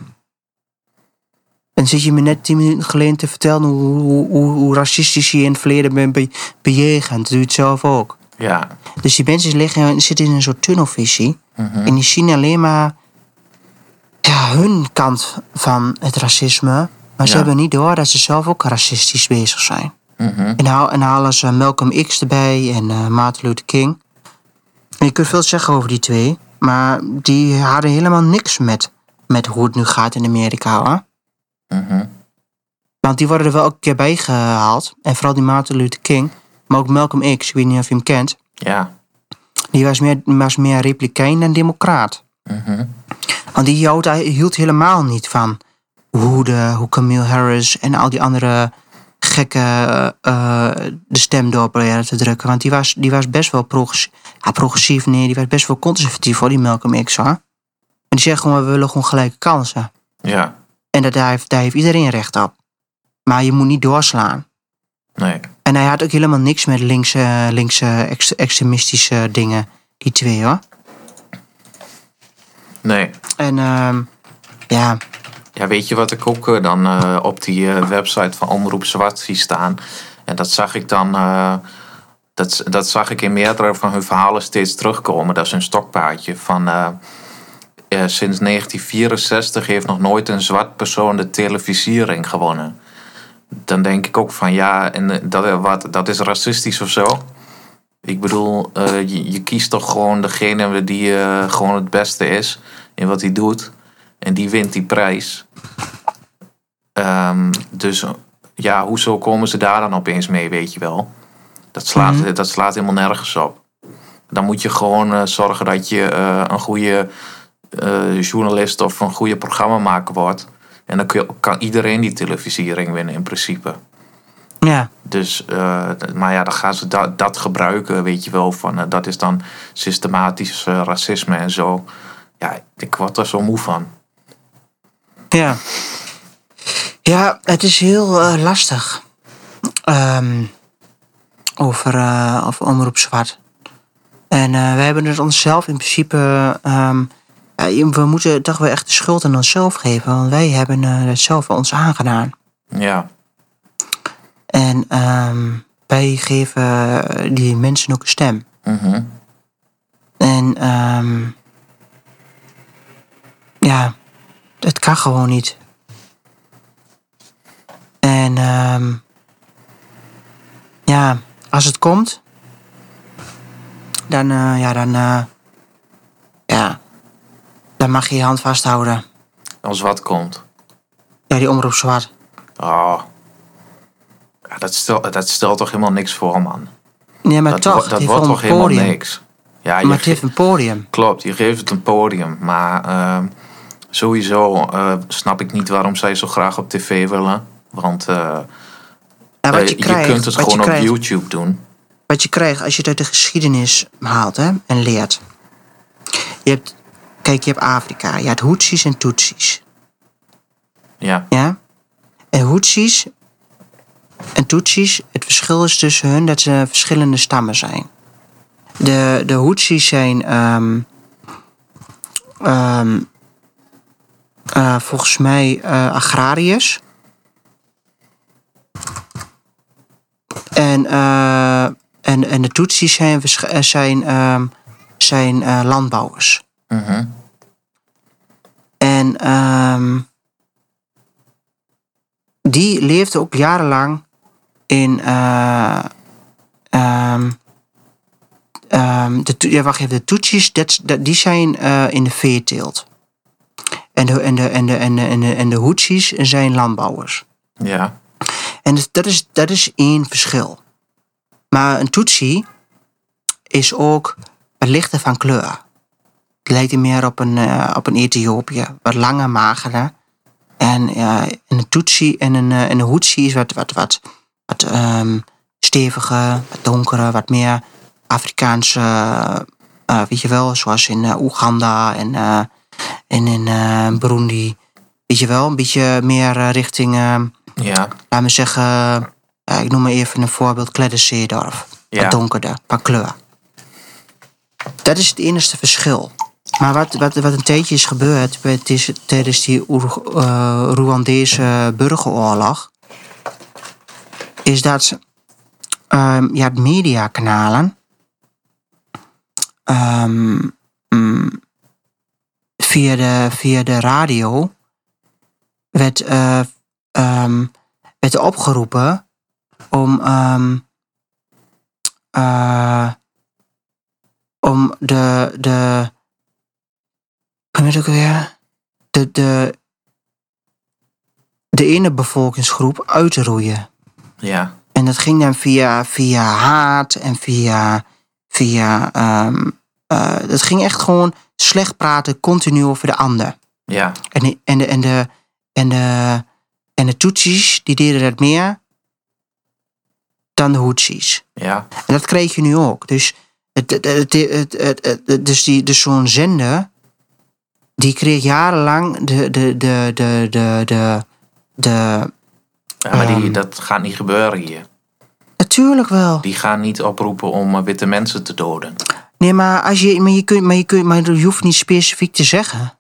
Speaker 1: Dan zit je me net tien minuten geleden te vertellen hoe, hoe, hoe, hoe racistisch je in het verleden bent be- bejegend. Dat doe je het zelf ook.
Speaker 2: ja.
Speaker 1: Dus die mensen liggen, zitten in een soort tunnelvisie.
Speaker 2: Mhm.
Speaker 1: En die zien alleen maar ja, hun kant van het racisme. Maar ze
Speaker 2: Ja.
Speaker 1: hebben niet door dat ze zelf ook racistisch bezig zijn.
Speaker 2: Mhm.
Speaker 1: En, haal- en halen ze Malcolm X erbij en eh, Martin Luther King. En je kunt veel zeggen over die twee. Maar die hadden helemaal niks met, met hoe het nu gaat in Amerika. Hoor.
Speaker 2: Mhm.
Speaker 1: Want die worden er wel elke keer bij gehaald. En vooral die Martin Luther King. Maar ook Malcolm X, ik weet niet of je hem kent.
Speaker 2: Ja.
Speaker 1: Die was meer, was meer republikein dan democraat.
Speaker 2: Mhm.
Speaker 1: Want die hield, hij hield helemaal niet van hoe, de, hoe Camille Harris en al die andere gekken eh, de stem door proberen te drukken. Want die was, die was best wel progressief. Ja, progressief, nee, die was best wel conservatief hoor, die Malcolm X hoor. Maar die zegt gewoon, we willen gewoon gelijke kansen.
Speaker 2: Ja.
Speaker 1: En dat, daar, heeft, daar heeft iedereen recht op. Maar je moet niet doorslaan.
Speaker 2: Nee.
Speaker 1: En hij had ook helemaal niks met linkse, linkse ex- extremistische dingen, die twee hoor.
Speaker 2: Nee.
Speaker 1: En ehm, ja,
Speaker 2: Ja, weet je wat ik ook eh, dan eh, op die eh, website van Omroep Zwart zie staan? En dat zag ik dan. eh, dat, dat zag ik in meerdere van hun verhalen steeds terugkomen. Dat is een stokpaardje van. eh, eh, sinds 1964 heeft nog nooit een zwart persoon de televisiering gewonnen. Dan denk ik ook van ja, en eh, dat, eh, wat, dat is racistisch of zo. Ik bedoel, eh, je, je kiest toch gewoon degene die eh, gewoon het beste is in wat hij doet. En die wint die prijs. Ehm, dus ja, hoezo komen ze daar dan opeens mee, weet je wel? Dat slaat, dat slaat helemaal nergens op. Dan moet je gewoon eh, zorgen dat je eh, een goede eh, journalist of een goede programmamaker wordt. En dan kun je- kan iedereen die televisiering winnen in principe.
Speaker 1: ja.
Speaker 2: Dus, eh, maar ja, dan gaan ze da- dat gebruiken, weet je wel. Van, eh, dat is dan systematisch eh, racisme en zo. Ja, ik word er zo moe van.
Speaker 1: Ja. Ja, het is heel eh, lastig. Ehm, over, eh over omroep zwart. En eh, wij hebben het onszelf in principe. ehm, ja, je- we moeten toch wel echt de schuld aan onszelf geven. Want wij hebben eh, het zelf ons aangedaan.
Speaker 2: Ja,
Speaker 1: En ehm, wij geven eh, die mensen ook een stem.
Speaker 2: mhm.
Speaker 1: En ehm, ja, het kan gewoon niet. En ehm, ja, als het komt, dan, eh, ja, dan, eh, ja, dan mag je je hand vasthouden.
Speaker 2: als wat komt.
Speaker 1: Ja, die omroep zwart.
Speaker 2: Oh. Ja, dat, stelt, dat stelt toch helemaal niks voor, man.
Speaker 1: Nee, maar
Speaker 2: dat
Speaker 1: toch,
Speaker 2: wo-
Speaker 1: het
Speaker 2: dat
Speaker 1: heeft
Speaker 2: wordt
Speaker 1: wel
Speaker 2: toch
Speaker 1: een
Speaker 2: helemaal
Speaker 1: podium.
Speaker 2: niks. Ja, je
Speaker 1: Maar het
Speaker 2: ge-
Speaker 1: heeft een podium.
Speaker 2: klopt, je geeft het een podium. Maar ehm, sowieso eh, snap ik niet waarom zij zo graag op tv willen. Want eh,
Speaker 1: En wat
Speaker 2: eh,
Speaker 1: je,
Speaker 2: je,
Speaker 1: krijgt,
Speaker 2: kunt het
Speaker 1: wat
Speaker 2: gewoon
Speaker 1: je
Speaker 2: op
Speaker 1: krijgt,
Speaker 2: YouTube doen.
Speaker 1: wat je krijgt als je het uit de geschiedenis haalt hè, en leert. Je hebt, kijk, je hebt Afrika. Je hebt Hutsis en Tutsis.
Speaker 2: Ja,
Speaker 1: Ja? En Hutsis en Tutsis, het verschil is tussen hun dat ze verschillende stammen zijn. De, de Hutsis zijn ehm, ehm, eh, volgens mij eh, agrariërs. En, eh, en, en de Tutsis zijn, waarsch- eh, zijn, ehm, zijn eh, landbouwers.
Speaker 2: Mhm.
Speaker 1: En ehm, die leefde ook jarenlang in. eh, ehm, ehm, de, Tu- ja, wacht even, de Tutsis, dat, dat- die zijn eh, in de veeteelt. En de, en de, en de, en de, en de, en de Hutsis zijn landbouwers.
Speaker 2: Ja.
Speaker 1: En dus dat is, dat is één verschil. Maar een Tutsi is ook het lichter van kleur. Het lijkt hier meer op een, eh, op een Ethiopië. Wat langer, magerder. En eh, en een Tutsi en een, eh, en een Hutsi is wat, wat, wat, wat ehm, steviger, wat donkere, wat meer Afrikaanse. eh, weet je wel, zoals in eh, Oeganda en, eh, en in eh, Burundi. Weet je wel, een beetje meer eh, richting. ehm,
Speaker 2: Ja.
Speaker 1: laat me zeggen, eh, ik noem maar even een voorbeeld, Kledderseerdorf.
Speaker 2: Ja.
Speaker 1: Wat donkerder, qua kleur. Dat is het enige verschil. Maar wat, wat, wat een tijdje is gebeurd bij- tis- tijdens die Oer- eh, Rwandese burgeroorlog, is dat ehm ja, mediakanalen ehm, mm, via, de, via de radio werd eh, ehm, werd opgeroepen om, ehm, eh, om de, de, hoe heet het ook weer? De, de, de ene bevolkingsgroep uit te roeien.
Speaker 2: Ja.
Speaker 1: En dat ging dan via, via haat en via, via ehm, eh, dat ging echt gewoon slecht praten, continu over de ander.
Speaker 2: Ja.
Speaker 1: En de, en de, en de, en de, en de Tutsis, die deden dat meer dan de Hutsis.
Speaker 2: Ja.
Speaker 1: En dat kreeg je nu ook. Dus, het, het, het, het, het- het- het- dus, die, dus zo'n zender, die kreeg jarenlang de, de, de, de, de, de, de
Speaker 2: Ja, maar die,
Speaker 1: Ehm.
Speaker 2: dat gaat niet gebeuren hier.
Speaker 1: natuurlijk wel.
Speaker 2: Die gaan niet oproepen om eh, witte mensen te doden.
Speaker 1: Nee, maar, als je, maar, je, kunt, maar, je, kunt, maar je hoeft niet specifiek te zeggen.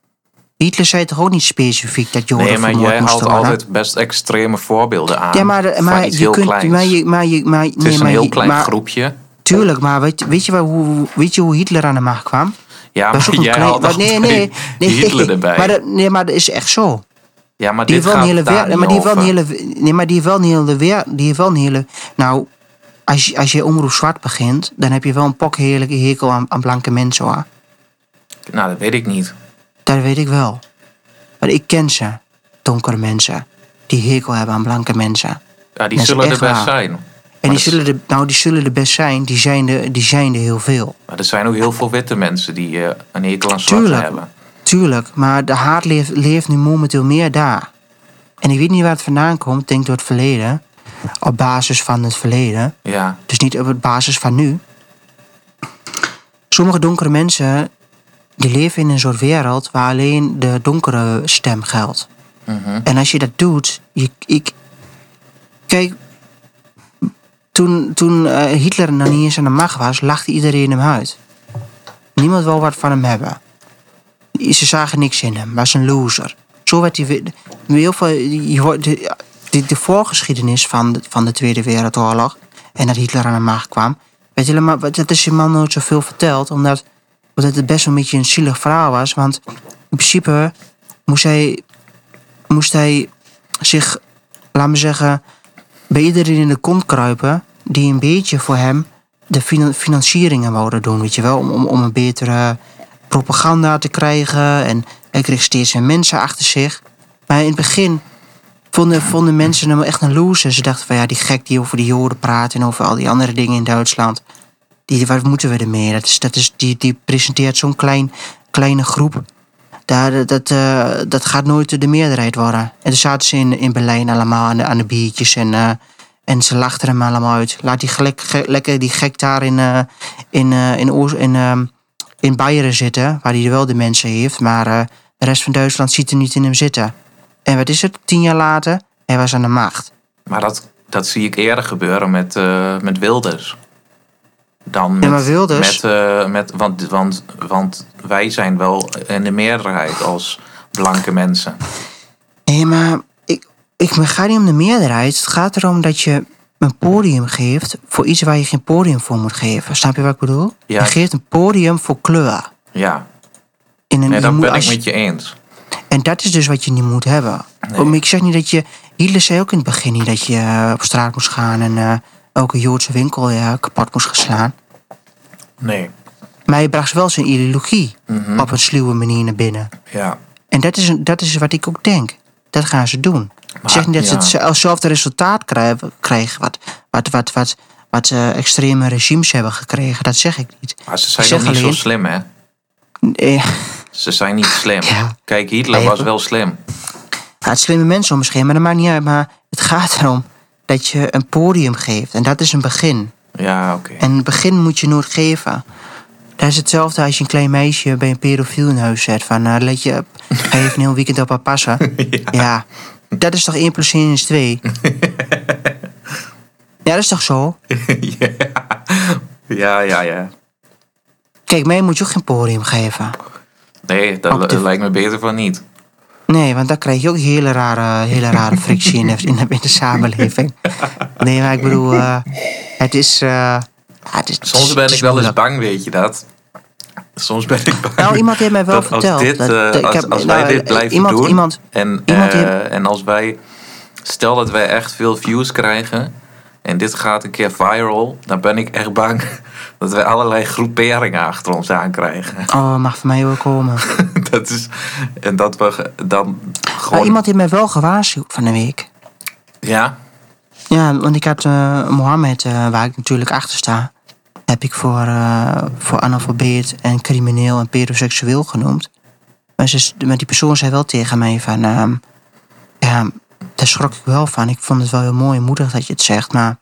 Speaker 1: Hitler zei toch ook niet specifiek Oh, dat Joden
Speaker 2: Nee, maar
Speaker 1: vermoord
Speaker 2: jij
Speaker 1: moesten
Speaker 2: haalt
Speaker 1: worden?
Speaker 2: altijd best extreme voorbeelden aan.
Speaker 1: Ja, maar,
Speaker 2: van
Speaker 1: maar
Speaker 2: iets
Speaker 1: je
Speaker 2: heel
Speaker 1: kunt.
Speaker 2: kleins.
Speaker 1: Maar je, maar je, maar,
Speaker 2: het
Speaker 1: nee,
Speaker 2: is
Speaker 1: maar
Speaker 2: een heel
Speaker 1: je-
Speaker 2: klein
Speaker 1: maar-
Speaker 2: groepje.
Speaker 1: Tuurlijk, maar weet, weet, je, waar, hoe, weet je hoe Hitler aan de macht kwam?
Speaker 2: Ja,
Speaker 1: Dat is
Speaker 2: maar
Speaker 1: ook een
Speaker 2: Ah, jij
Speaker 1: klein-
Speaker 2: haalt
Speaker 1: maar
Speaker 2: altijd
Speaker 1: nee, nee, nee,
Speaker 2: Hitler erbij.
Speaker 1: Maar dat, nee, maar dat is echt zo.
Speaker 2: ja, maar
Speaker 1: Die heeft
Speaker 2: dit
Speaker 1: wel
Speaker 2: gaat
Speaker 1: een hele
Speaker 2: daar
Speaker 1: wereld.
Speaker 2: niet
Speaker 1: Maar die heeft wel een
Speaker 2: over.
Speaker 1: hele. Nee, maar die heeft wel een hele wereld. Die heeft wel een hele. Nou, als je, als je omroep zwart begint, dan heb je wel een pokheerlijke hekel aan, aan blanke mensen hoor.
Speaker 2: Nou, dat weet ik niet.
Speaker 1: Dat weet ik wel. Maar ik ken ze, donkere mensen, die hekel hebben aan blanke mensen.
Speaker 2: Ja, die
Speaker 1: Dat is
Speaker 2: zullen er
Speaker 1: echt
Speaker 2: best
Speaker 1: waar.
Speaker 2: zijn.
Speaker 1: En die
Speaker 2: dat is-
Speaker 1: zullen, er, nou, die zullen er best zijn, die zijn er, die zijn er heel veel.
Speaker 2: Maar er zijn ook heel veel witte mensen die eh, een hekel aan zwart
Speaker 1: Tuurlijk.
Speaker 2: hebben.
Speaker 1: Tuurlijk, maar de haat leeft, leeft nu momenteel meer daar. En ik weet niet waar het vandaan komt, ik denk door het verleden. Op basis van het verleden,
Speaker 2: Ja,
Speaker 1: dus niet op basis van nu. Sommige donkere mensen, die leven in een soort wereld waar alleen de donkere stem geldt.
Speaker 2: mhm.
Speaker 1: En als je dat doet, je, ik... Kijk, toen, toen eh, Hitler nog niet eens aan de macht was, lachte iedereen hem uit. Niemand wil wat van hem hebben. Ze zagen niks in hem, was een loser. Zo werd hij... weer- Heel veel, je, hoort- de, de, de voorgeschiedenis van de, van de Tweede Wereldoorlog... en dat Hitler aan de macht kwam... Weet je, helemaal- dat is je man nooit zoveel verteld... omdat, omdat het best wel een beetje een zielig verhaal was. Want in principe moest hij moest hij zich, laat me zeggen, bij iedereen in de kont kruipen die een beetje voor hem de finan- financieringen wouden doen, weet je wel, om, om, om een betere propaganda te krijgen. En hij kreeg steeds meer mensen achter zich. Maar in het begin vonden, vonden mensen hem echt een loser. Ze dachten van ja, die gek die over de Joden praat en over al die andere dingen in Duitsland. Die, wat moeten we ermee? Dat is, dat is, die, die presenteert zo'n klein, kleine groep. Daar, dat, eh, dat gaat nooit de meerderheid worden. En toen zaten ze in, in Berlijn allemaal aan de, aan de biertjes en, eh, en ze lachten hem allemaal uit. Laat die gek, ge- lekker die gek daar in, eh, in, eh, in, Oos- in, ehm, in Beieren zitten, waar hij wel de mensen heeft, maar eh, de rest van Duitsland ziet er niet in hem zitten. En wat is het? Tien jaar later, hij was aan de macht.
Speaker 2: maar dat, dat zie ik eerder gebeuren met, eh, met Wilders. Dan met,
Speaker 1: maar Wilders-
Speaker 2: Met, eh, met, want, want, want wij zijn wel in de meerderheid als blanke mensen.
Speaker 1: Nee, maar ik, ik, het gaat niet om de meerderheid. Het gaat erom dat je een podium geeft voor iets waar je geen podium voor moet geven. Snap je wat ik bedoel?
Speaker 2: Ja.
Speaker 1: Je geeft een podium voor kleur.
Speaker 2: Ja,
Speaker 1: In een,
Speaker 2: nee,
Speaker 1: je
Speaker 2: dat
Speaker 1: moet
Speaker 2: ben
Speaker 1: als
Speaker 2: ik
Speaker 1: je-
Speaker 2: met je eens.
Speaker 1: En dat is dus wat je niet moet hebben. Om- Ik zeg niet dat je... Hitler zei ook in het begin niet dat je eh, op straat moest gaan... en eh, elke Joodse winkel eh, kapot moest gaan slaan.
Speaker 2: Nee,
Speaker 1: Maar hij bracht wel zijn ideologie
Speaker 2: Mhm.
Speaker 1: op een sluwe manier naar binnen.
Speaker 2: ja.
Speaker 1: En dat is, een- dat is wat ik ook denk. Dat gaan ze doen. ik
Speaker 2: Maar,
Speaker 1: zeg niet dat
Speaker 2: ja.
Speaker 1: ze hetzelfde resultaat krijgen... krijgen wat, wat, wat, wat, wat eh, extreme regimes hebben gekregen. Dat zeg ik niet.
Speaker 2: Maar ze zijn
Speaker 1: Ik zeg
Speaker 2: nog niet zo
Speaker 1: alleen-
Speaker 2: slim, hè?
Speaker 1: Eh,
Speaker 2: Ze zijn niet slim.
Speaker 1: Ja.
Speaker 2: Kijk, Hitler was
Speaker 1: Even.
Speaker 2: wel slim.
Speaker 1: Ja, het slimme mensen om misschien, maar dat maakt niet uit. Maar het gaat erom dat je een podium geeft. En dat is een begin.
Speaker 2: Ja, oké.
Speaker 1: En een begin moet je nooit geven. Dat is hetzelfde als je een klein meisje bij een pedofiel in huis zet. Van, eh, let je op, hij heeft een heel weekend op haar passen. ja. dat is toch 1 plus 1 is 2? ja, dat is toch zo?
Speaker 2: Ja, ja, ja.
Speaker 1: Kijk, mij moet je ook geen podium geven.
Speaker 2: Nee, dat
Speaker 1: Actief.
Speaker 2: li- lijkt me beter van niet.
Speaker 1: Nee, want dan krijg je ook hele rare, hele rare frictie in de, in, de, in de samenleving. Nee, maar ik bedoel, eh, het is. eh, ja, het is
Speaker 2: Soms ben
Speaker 1: het is
Speaker 2: ik wel eens
Speaker 1: moeilijk.
Speaker 2: bang, weet je dat? Soms ben ik bang.
Speaker 1: Nou, iemand heeft mij wel
Speaker 2: dat
Speaker 1: verteld
Speaker 2: Als, dit,
Speaker 1: dat-
Speaker 2: eh,
Speaker 1: dat ik
Speaker 2: als,
Speaker 1: heb-
Speaker 2: als
Speaker 1: nou,
Speaker 2: wij dit
Speaker 1: eh,
Speaker 2: blijven
Speaker 1: iemand-
Speaker 2: doen.
Speaker 1: iemand-
Speaker 2: en,
Speaker 1: iemand
Speaker 2: eh,
Speaker 1: heeft-
Speaker 2: en als wij. Stel dat wij echt veel views krijgen. En dit gaat een keer viral. Dan ben ik echt bang dat wij allerlei groeperingen achter ons aankrijgen.
Speaker 1: Oh, mag van mij wel komen.
Speaker 2: Dat is. En dat we ge- dan gewoon.
Speaker 1: Maar Oh, iemand heeft mij wel gewaarschuwd van de week.
Speaker 2: Ja?
Speaker 1: Ja, want ik had eh, Mohammed, eh, waar ik natuurlijk achter sta, heb ik voor, eh, voor analfabeet en crimineel en pedoseksueel genoemd. Maar, ze, maar die persoon zei wel tegen mij van, ehm, ja, daar schrok ik wel van. Ik vond het wel heel mooi en moedig dat je het zegt, maar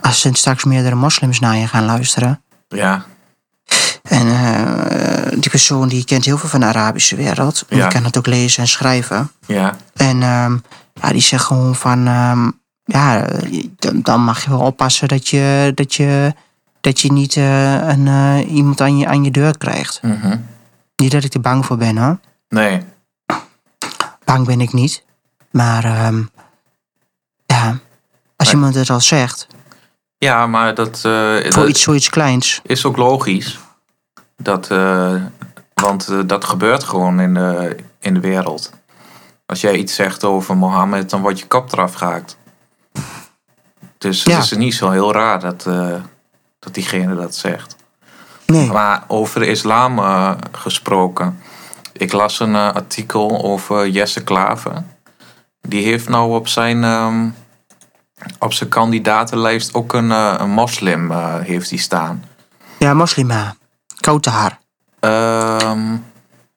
Speaker 1: als er straks meerdere moslims naar je gaan luisteren,
Speaker 2: Ja.
Speaker 1: En eh, die persoon die kent heel veel van de Arabische wereld.
Speaker 2: Ja.
Speaker 1: Die kan het ook lezen en schrijven.
Speaker 2: Ja.
Speaker 1: En ehm, ja, die zegt gewoon van... ehm, ja, je- dan, dan mag je wel oppassen dat je, dat je, dat je niet eh, een, eh, iemand aan je, aan je deur krijgt.
Speaker 2: mhm.
Speaker 1: Niet dat ik er bang voor ben, hoor.
Speaker 2: Nee.
Speaker 1: Bang ben ik niet. Maar ehm, ja, als
Speaker 2: Maar-
Speaker 1: iemand het al zegt,
Speaker 2: Ja, maar dat. eh,
Speaker 1: voor
Speaker 2: dat-
Speaker 1: iets, zoiets kleins...
Speaker 2: is ook logisch. Dat, eh, want eh, dat gebeurt gewoon in de, in de wereld. Als jij iets zegt over Mohammed, dan wordt je kap eraf gehaakt. Dus
Speaker 1: Ja.
Speaker 2: het is niet zo heel raar dat, eh, dat diegene dat zegt.
Speaker 1: Nee,
Speaker 2: Maar over de islam eh, gesproken. Ik las een eh, artikel over Jesse Klaver. Die heeft nou op zijn, ehm, op zijn kandidatenlijst ook een, eh, een moslim eh, heeft die staan.
Speaker 1: ja, moslima. Koud haar.
Speaker 2: Ehm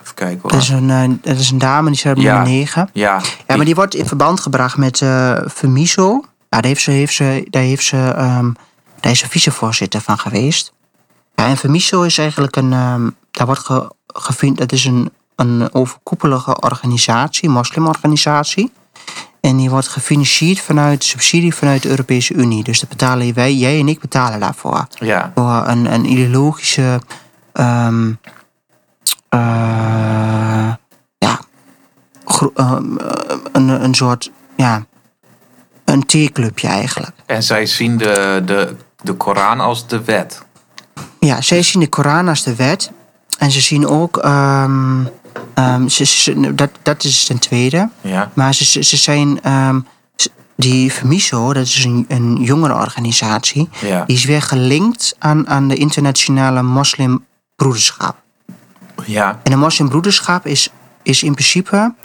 Speaker 2: even kijken hoor.
Speaker 1: Dat is een, eh, dat is een dame, die staat op
Speaker 2: Ja.
Speaker 1: nummer 9.
Speaker 2: ja,
Speaker 1: Ja,
Speaker 2: die-
Speaker 1: maar die wordt in verband gebracht met eh Vermiso. Ja, daar heeft ze, heeft ze, daar heeft ze, ehm, daar is ze vicevoorzitter van geweest. Ja, en Vermiso is eigenlijk een, ehm, daar wordt ge, gevind, dat is een, een overkoepelige organisatie, moslimorganisatie. En die wordt gefinancierd vanuit subsidie vanuit de Europese Unie. Dus dat betalen wij, jij en ik betalen daarvoor.
Speaker 2: ja,
Speaker 1: Voor een, een ideologische, ehm, eh, ja, gro- ehm, eh, een, een soort, ja, een theeclubje eigenlijk.
Speaker 2: en zij zien de, de, de Koran als de wet.
Speaker 1: Ja, zij zien de Koran als de wet. En ze zien ook, ehm, ehm, ze, ze- ze- dat, dat is ten tweede.
Speaker 2: Ja,
Speaker 1: Maar ze, ze, ze zijn, ehm, ze- die FEMISO, dat is een, een jongerenorganisatie,
Speaker 2: ja,
Speaker 1: die is weer gelinkt aan, aan de internationale moslimbroederschap.
Speaker 2: ja,
Speaker 1: En de moslimbroederschap is, is in principe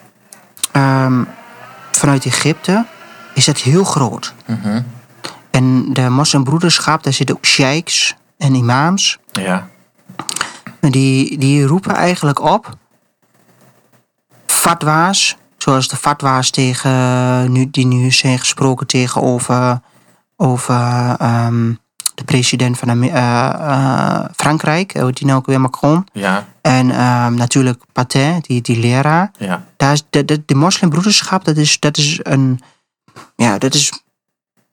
Speaker 1: ehm, vanuit Egypte is dat heel groot.
Speaker 2: mhm,
Speaker 1: En de moslimbroederschap, daar zitten ook sheiks en imams.
Speaker 2: ja,
Speaker 1: En die, die roepen eigenlijk op fatwa's, zoals de fatwa's tegen, nu, die nu zijn gesproken tegenover over, ehm, de president van Ame- eh, eh, Frankrijk, eh, hoe heet die nou ook weer Macron.
Speaker 2: ja,
Speaker 1: En ehm, natuurlijk Patin, die, die leraar.
Speaker 2: ja,
Speaker 1: Daar is de, de, de moslimbroederschap, dat is, dat is een. Ja, dat is.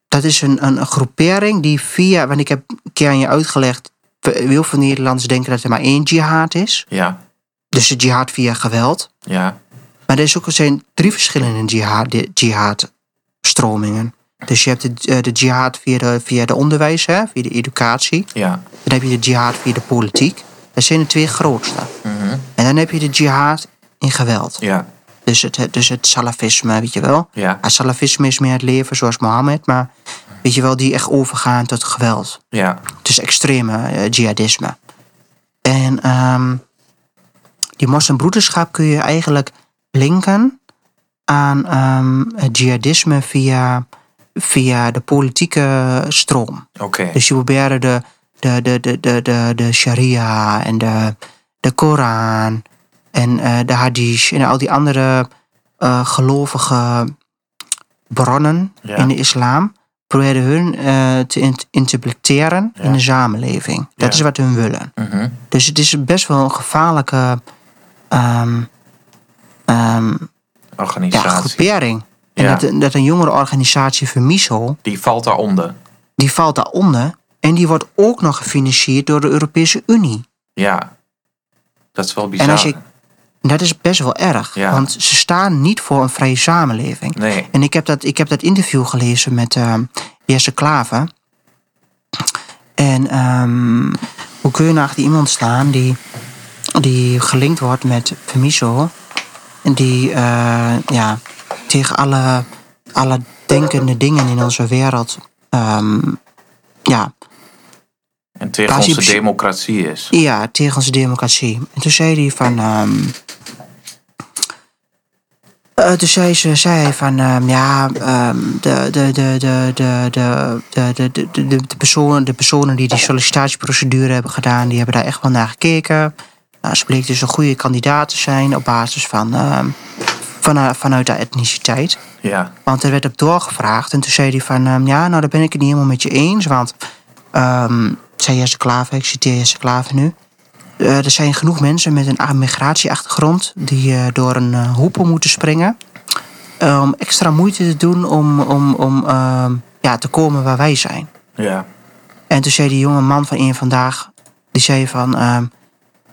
Speaker 1: Dat is een, een, een groepering die via. Want ik heb een keer aan je uitgelegd. Heel veel Nederlanders denken dat er maar één jihad is.
Speaker 2: ja,
Speaker 1: Dus de jihad via geweld.
Speaker 2: ja,
Speaker 1: Maar er, is ook, er zijn drie verschillende jihad, jihadstromingen. Dus je hebt de, eh, de jihad via de, via de onderwijs, hè, via de educatie.
Speaker 2: Ja.
Speaker 1: Dan heb je de jihad via de politiek. Dat zijn de twee grootste. En dan heb je de jihad in geweld.
Speaker 2: Ja.
Speaker 1: Dus het, het- dus het salafisme, weet je wel.
Speaker 2: Ja.
Speaker 1: Het salafisme is meer het leven zoals Mohammed, maar weet je wel, die echt overgaan tot geweld.
Speaker 2: Ja.
Speaker 1: Het is extreme eh, jihadisme. En ehm, die moslimbroederschap kun je eigenlijk linken aan ehm, het jihadisme via, via de politieke stroom.
Speaker 2: Oké.
Speaker 1: Dus je proberen de, de, de, de, de, de, de sharia en de, de Koran en eh, de hadith en al die andere eh, gelovige bronnen
Speaker 2: Ja.
Speaker 1: in de islam, proberen hun eh, te in- interpreteren
Speaker 2: Ja.
Speaker 1: in de samenleving. Dat
Speaker 2: Ja.
Speaker 1: is wat hun willen.
Speaker 2: Mhm.
Speaker 1: Dus het is best wel een gevaarlijke ehm, ehm, ja,
Speaker 2: Organisatie.
Speaker 1: groepering. En
Speaker 2: Ja.
Speaker 1: dat, dat een jongere organisatie, Vermiso,
Speaker 2: Die valt daaronder.
Speaker 1: die valt daaronder en die wordt ook nog gefinancierd door de Europese Unie.
Speaker 2: Ja. Dat is wel bizar.
Speaker 1: En als je- En dat is best wel erg,
Speaker 2: Ja.
Speaker 1: want ze staan niet voor een vrije samenleving.
Speaker 2: Nee.
Speaker 1: En ik heb dat, ik heb dat interview gelezen met ehm, Jesse Klaver. En ehm, hoe kun je nou achter iemand staan die, die gelinkt wordt met Femiso? En die eh, ja, tegen alle, alle denkende dingen in onze wereld ehm, ja,
Speaker 2: En tegen
Speaker 1: Als je
Speaker 2: onze
Speaker 1: psy-
Speaker 2: democratie is.
Speaker 1: Ja, tegen onze democratie. En toen zei hij van. ehm, eh, toen zei, ze, zei hij van, ehm, ja, ehm, de, de, de, de, de, de, de, de, de, de, de, personen, de personen die die sollicitatieprocedure hebben gedaan, die hebben daar echt wel naar gekeken. Nou, ze bleek dus een goede kandidaat te zijn op basis van, ehm, van, haar- vanuit haar etniciteit.
Speaker 2: Ja.
Speaker 1: Want er werd op doorgevraagd. En toen zei hij van, ehm, ja, nou, daar ben ik het niet helemaal met je eens. Want, ehm zei Jesse Klaver, ik citeer Jesse Klaver nu. eh, er zijn genoeg mensen met een a- migratieachtergrond... die eh, door een eh, hoepel moeten springen. eh, om extra moeite te doen om, om, om ehm, ja, te komen waar wij zijn.
Speaker 2: Ja.
Speaker 1: En toen zei die jonge man van één vandaag, die zei van, ehm, "Nou,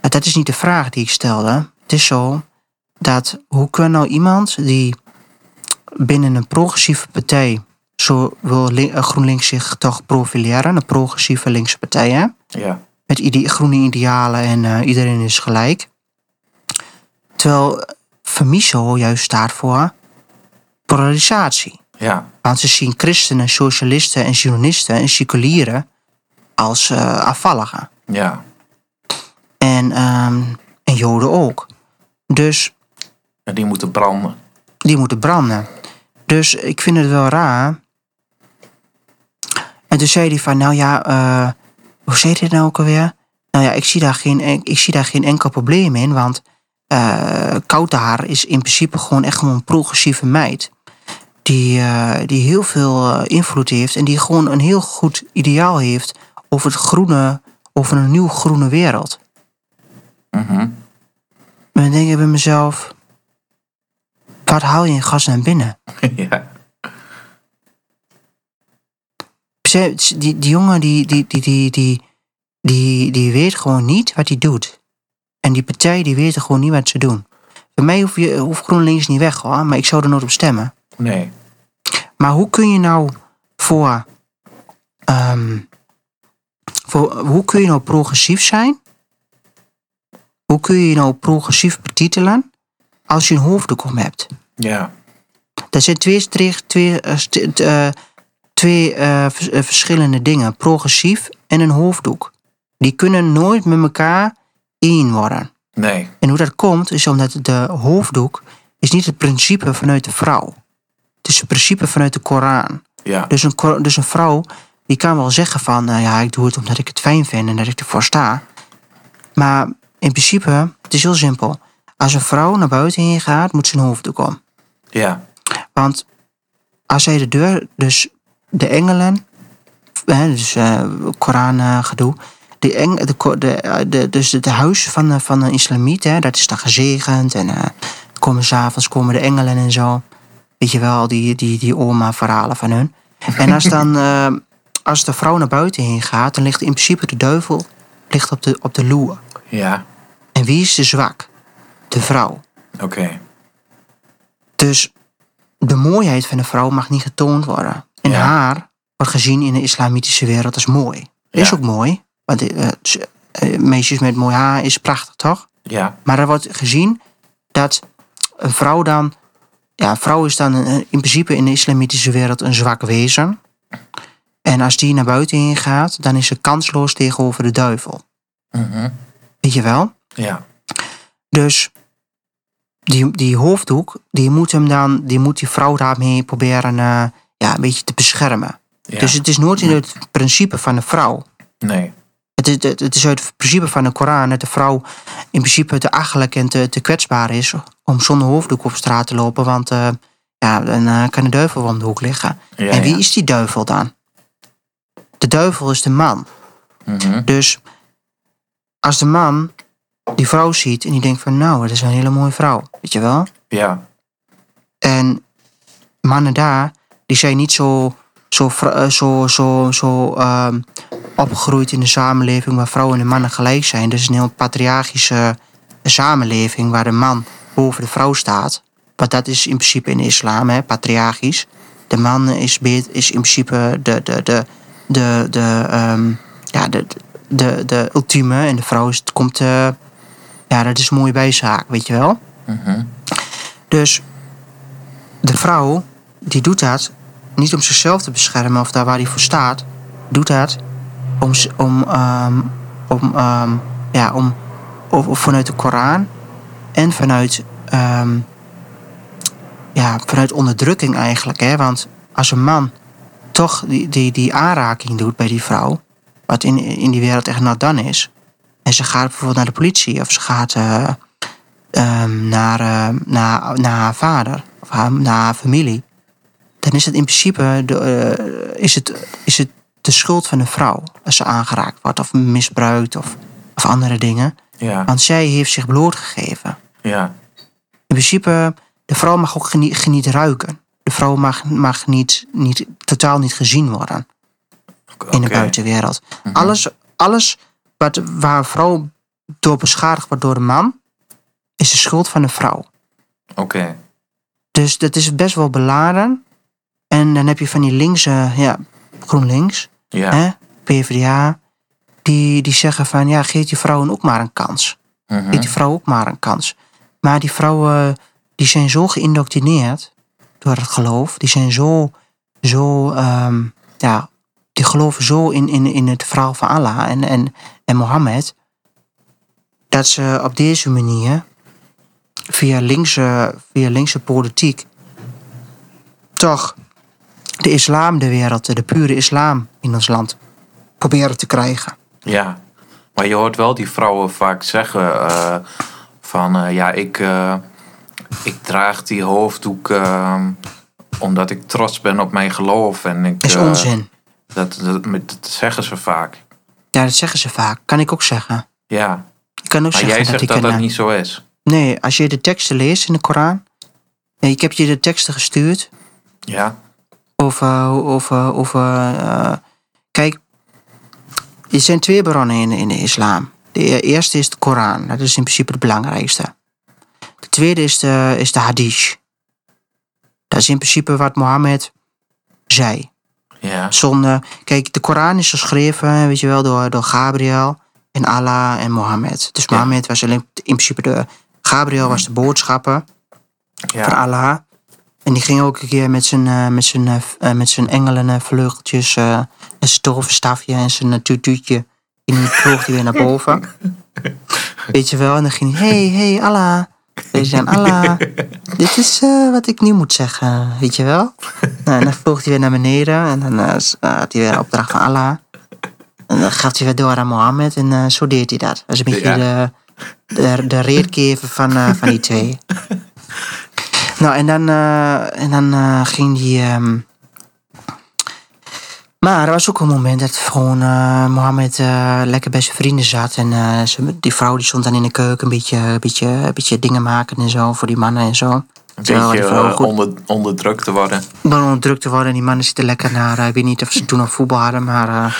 Speaker 1: dat is niet de vraag die ik stelde. Het is zo dat hoe kan nou iemand die binnen een progressieve partij, zo wil Lin- eh, GroenLinks zich toch profileren, een progressieve linkse partij, hè?
Speaker 2: Ja.
Speaker 1: met ide- groene idealen en eh, iedereen is gelijk. Terwijl Femiso juist staat voor polarisatie.
Speaker 2: Ja.
Speaker 1: Want ze zien christenen, socialisten en journalisten en seculieren als eh afvalligen.
Speaker 2: Ja.
Speaker 1: En, ehm, en joden ook. Dus
Speaker 2: En die moeten branden.
Speaker 1: die moeten branden. Dus ik vind het wel raar. En toen zei hij van, nou ja, eh, hoe zei dit nou ook alweer? Nou ja, ik zie daar geen, en- ik zie daar geen enkel probleem in, want eh Kautar is in principe gewoon echt gewoon een progressieve meid. Die, eh, die heel veel eh, invloed heeft en die gewoon een heel goed ideaal heeft over het groene, over een nieuw groene wereld.
Speaker 2: Mhm.
Speaker 1: Maar dan denk ik bij mezelf, wat haal je in godsnaam binnen?
Speaker 2: ja.
Speaker 1: Ze- ze- die, die jongen die, die, die, die, die, die, die weet gewoon niet wat hij doet. En die partij die weet gewoon niet wat ze doen. Bij mij hoeft je, hoeft GroenLinks niet weg hoor, maar ik zou er nooit op stemmen.
Speaker 2: Nee.
Speaker 1: Maar hoe kun je nou voor, ehm, voor hoe kun je nou progressief zijn? Hoe kun je je nou progressief betitelen als je een hoofddoek om hebt?
Speaker 2: Ja.
Speaker 1: Dat zijn twee, streeg- twee, eh, st- t- eh, twee eh, vers- eh, verschillende dingen. Progressief en een hoofddoek. Die kunnen nooit met elkaar één worden.
Speaker 2: Nee.
Speaker 1: En hoe dat komt is omdat de hoofddoek is niet het principe vanuit de vrouw. Het is het principe vanuit de Koran.
Speaker 2: Ja.
Speaker 1: Dus een, ko- dus een vrouw die kan wel zeggen van nou ja, ik doe het omdat ik het fijn vind en dat ik ervoor sta. Maar in principe, het is heel simpel. Als een vrouw naar buiten heen gaat, moet ze een hoofddoek om.
Speaker 2: Ja.
Speaker 1: Want als zij de deur, dus de engelen, hè, dus eh Koran eh, gedoe, de eng, de, ko- de, eh, de, dus het huis van, de- van een islamiet, hè, dat is dan gezegend en eh komen s'avonds komen de engelen en zo. Weet je wel, die, die, die oma-verhalen van hun. En als dan eh, als de vrouw naar buiten heen gaat, dan ligt in principe de duivel ligt op, de, op de loer.
Speaker 2: Ja.
Speaker 1: En wie is de zwak? De vrouw.
Speaker 2: Oké.
Speaker 1: Dus de mooiheid van de vrouw mag niet getoond worden. En
Speaker 2: Ja.
Speaker 1: haar wordt gezien in de islamitische wereld als mooi. Is
Speaker 2: Ja.
Speaker 1: ook mooi. Want eh, ze- eh, meisjes met mooi haar is prachtig, toch?
Speaker 2: Ja,
Speaker 1: Maar er wordt gezien dat een vrouw dan... Ja, een vrouw is dan eh, in principe in de islamitische wereld een zwak wezen. En als die naar buiten heen gaat, dan is ze kansloos tegenover de duivel.
Speaker 2: mhm.
Speaker 1: Weet je wel?
Speaker 2: ja,
Speaker 1: Dus die, die hoofddoek, die moet hem dan, die moet die vrouw daarmee proberen eh, ja, een beetje te beschermen.
Speaker 2: ja.
Speaker 1: Dus het is nooit in het principe van de vrouw.
Speaker 2: nee.
Speaker 1: Het is, het- het is uit het principe van de Koran dat de vrouw in principe te achterlijk en te, te kwetsbaar is om zonder hoofddoek op straat te lopen, want eh, ja, dan eh, kan de duivel om de hoek liggen.
Speaker 2: Ja,
Speaker 1: en wie
Speaker 2: ja.
Speaker 1: is die duivel dan? De duivel is de man.
Speaker 2: Mhm.
Speaker 1: Dus als de man die vrouw ziet en die denkt van nou, dat is een hele mooie vrouw, weet je wel?
Speaker 2: Ja,
Speaker 1: En mannen daar, die zijn niet zo, zo, vr- eh, zo, zo, zo ehm, opgegroeid in de samenleving waar vrouwen en mannen gelijk zijn. Dus een heel patriarchische samenleving waar de man boven de vrouw staat. Want dat is in principe in de islam, hè, patriarchisch. De man is, be- is in principe de, de, de, de, de, ehm, ja, de, de, de ultieme en de vrouw is, komt. eh, ja, dat is een mooie bijzaak, weet je wel.
Speaker 2: mhm.
Speaker 1: Dus de vrouw die doet dat niet om zichzelf te beschermen of daar waar hij voor staat, doet dat om, z- om, ehm, om, ehm, ja, om of, of vanuit de Koran en vanuit, ehm, ja, vanuit onderdrukking eigenlijk. Hè? Want als een man toch die, die, die aanraking doet bij die vrouw, wat in, in die wereld echt nat dan is, en ze gaat bijvoorbeeld naar de politie of ze gaat eh, ehm, naar, ehm, naar, naar haar vader of haar, naar haar familie, dan is het in principe de, eh, is het, is het de schuld van een vrouw als ze aangeraakt wordt of misbruikt of, of andere dingen.
Speaker 2: ja,
Speaker 1: Want zij heeft zich blootgegeven.
Speaker 2: ja,
Speaker 1: In principe, de vrouw mag ook genie- geniet, ruiken. De vrouw mag, mag niet, niet, totaal niet gezien worden
Speaker 2: oké. Mhm.
Speaker 1: in de buitenwereld. Alles, alles wat, waar een vrouw door beschadigd wordt door de man, is de schuld van de vrouw.
Speaker 2: Oké,
Speaker 1: Dus dat is best wel beladen. En dan heb je van die linkse, ja, GroenLinks,
Speaker 2: ja.
Speaker 1: hè, PvdA, die, die zeggen van ja, geef die vrouwen ook maar een kans.
Speaker 2: mhm.
Speaker 1: Geef die vrouwen ook maar een kans. Maar die vrouwen, die zijn zo geïndoctrineerd door het geloof. Die zijn zo, zo ehm, ja, die geloven zo in, in, in het verhaal van Allah en, en, en Mohammed. Dat ze op deze manier, via linkse, via linkse politiek, toch de islam de wereld, de pure islam in ons land, proberen te krijgen.
Speaker 2: Ja, maar je hoort wel die vrouwen vaak zeggen eh, van eh, ja, ik, eh, ik draag die hoofddoek eh, omdat ik trots ben op mijn geloof. En ik,
Speaker 1: Dat is
Speaker 2: eh,
Speaker 1: onzin.
Speaker 2: Dat, dat, met- dat zeggen ze vaak.
Speaker 1: Ja, dat zeggen ze vaak. Kan ik ook zeggen.
Speaker 2: Ja,
Speaker 1: Ik kan ook
Speaker 2: maar
Speaker 1: zeggen
Speaker 2: jij
Speaker 1: dat
Speaker 2: zegt
Speaker 1: ik
Speaker 2: dat
Speaker 1: een,
Speaker 2: dat
Speaker 1: eh,
Speaker 2: niet zo is.
Speaker 1: Nee, als je de teksten leest in de Koran. Nee, ik heb je de teksten gestuurd.
Speaker 2: Ja,
Speaker 1: Of, eh, of, eh, of eh, eh, kijk, er zijn twee bronnen in, in de islam. De e- eerste is de Koran, dat is in principe het belangrijkste. De tweede is de, is de hadith. Dat is in principe wat Mohammed zei.
Speaker 2: ja,
Speaker 1: Zonder, kijk, de Koran is geschreven, weet je wel, door, door Gabriel en Allah en Mohammed. Dus
Speaker 2: Ja.
Speaker 1: Mohammed was alleen in principe de. Gabriel was de boodschapper van
Speaker 2: ja,
Speaker 1: Allah. En die ging ook een keer met zijn, eh, met zijn, eh, v- eh, met zijn engelen eh, vleugeltjes eh, en zijn toverstafje en zijn eh, tutuutje. En die vloog die weer naar boven. Weet je wel, en dan ging hij, hey, hey, Allah. Weet je dan, Allah, dit is eh, wat ik nu moet zeggen, weet je wel. Nou, en dan vloog hij weer naar beneden en dan eh, s- eh, had hij weer een opdracht van Allah. En dan gaf hij weer door aan Mohammed en eh, zo deed hij dat. Dat is een beetje
Speaker 2: Ja.
Speaker 1: de, de, de reerkever van, eh, van die twee. Nou, en dan, eh, en dan eh, ging die. ehm, maar er was ook een moment dat gewoon eh, Mohammed eh, lekker bij zijn vrienden zat. En eh, ze- die vrouw die stond dan in de keuken een beetje, een beetje, een beetje dingen maken en zo voor die mannen en zo.
Speaker 2: een
Speaker 1: Terwijl die
Speaker 2: beetje
Speaker 1: vrouw
Speaker 2: eh,
Speaker 1: goed-
Speaker 2: onder, onderdrukt te worden.
Speaker 1: dan onderdrukt te worden. En die mannen zitten lekker naar. eh, Ik weet niet of ze toen nog voetbal hadden, maar. eh,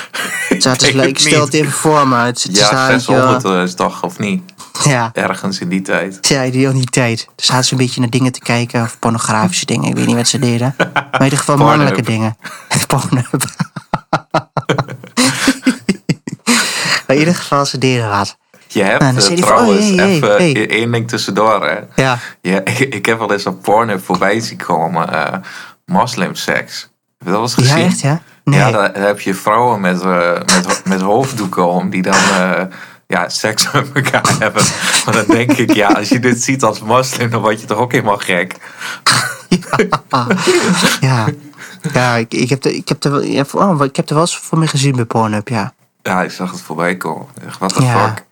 Speaker 1: het zaten ze
Speaker 2: denk
Speaker 1: le-
Speaker 2: het
Speaker 1: ik stel het
Speaker 2: niet.
Speaker 1: even voor me. Het, het is
Speaker 2: Ja,
Speaker 1: daar, weet je wel.
Speaker 2: 600 is toch, of niet?
Speaker 1: Ja.
Speaker 2: Ergens in die tijd.
Speaker 1: Ja, die in die tijd. Dus zaten ze een beetje naar dingen te kijken. Of pornografische dingen. Ik weet niet wat ze deden. Maar in ieder geval
Speaker 2: Pornhub.
Speaker 1: mannelijke dingen. Pornhub. maar in ieder geval ze deden wat.
Speaker 2: Je hebt
Speaker 1: Nou, dan
Speaker 2: eh,
Speaker 1: zei hij van, oh,
Speaker 2: trouwens,
Speaker 1: hey, hey,
Speaker 2: even
Speaker 1: hey.
Speaker 2: e- één ding tussendoor. Hè.
Speaker 1: Ja.
Speaker 2: Ja, ik, ik heb wel eens op Pornhub voorbij zien komen. eh moslimseks. Heb je dat wel eens
Speaker 1: Ja,
Speaker 2: gezien?
Speaker 1: echt ja? Nee.
Speaker 2: Ja, daar heb je vrouwen met, eh, met, ho- met hoofddoeken om die dan eh, ja, seks met elkaar hebben. Maar dan denk ik, ja, als je dit ziet als moslim, dan word je toch ook helemaal gek.
Speaker 1: Ja, ja ik, ik, heb de, ik, heb de, ja, voor- oh, ik heb er wel eens voor me gezien bij Pornhub, ja.
Speaker 2: Ja, ik zag het voorbij komen. Echt, What the
Speaker 1: Ja.
Speaker 2: fuck?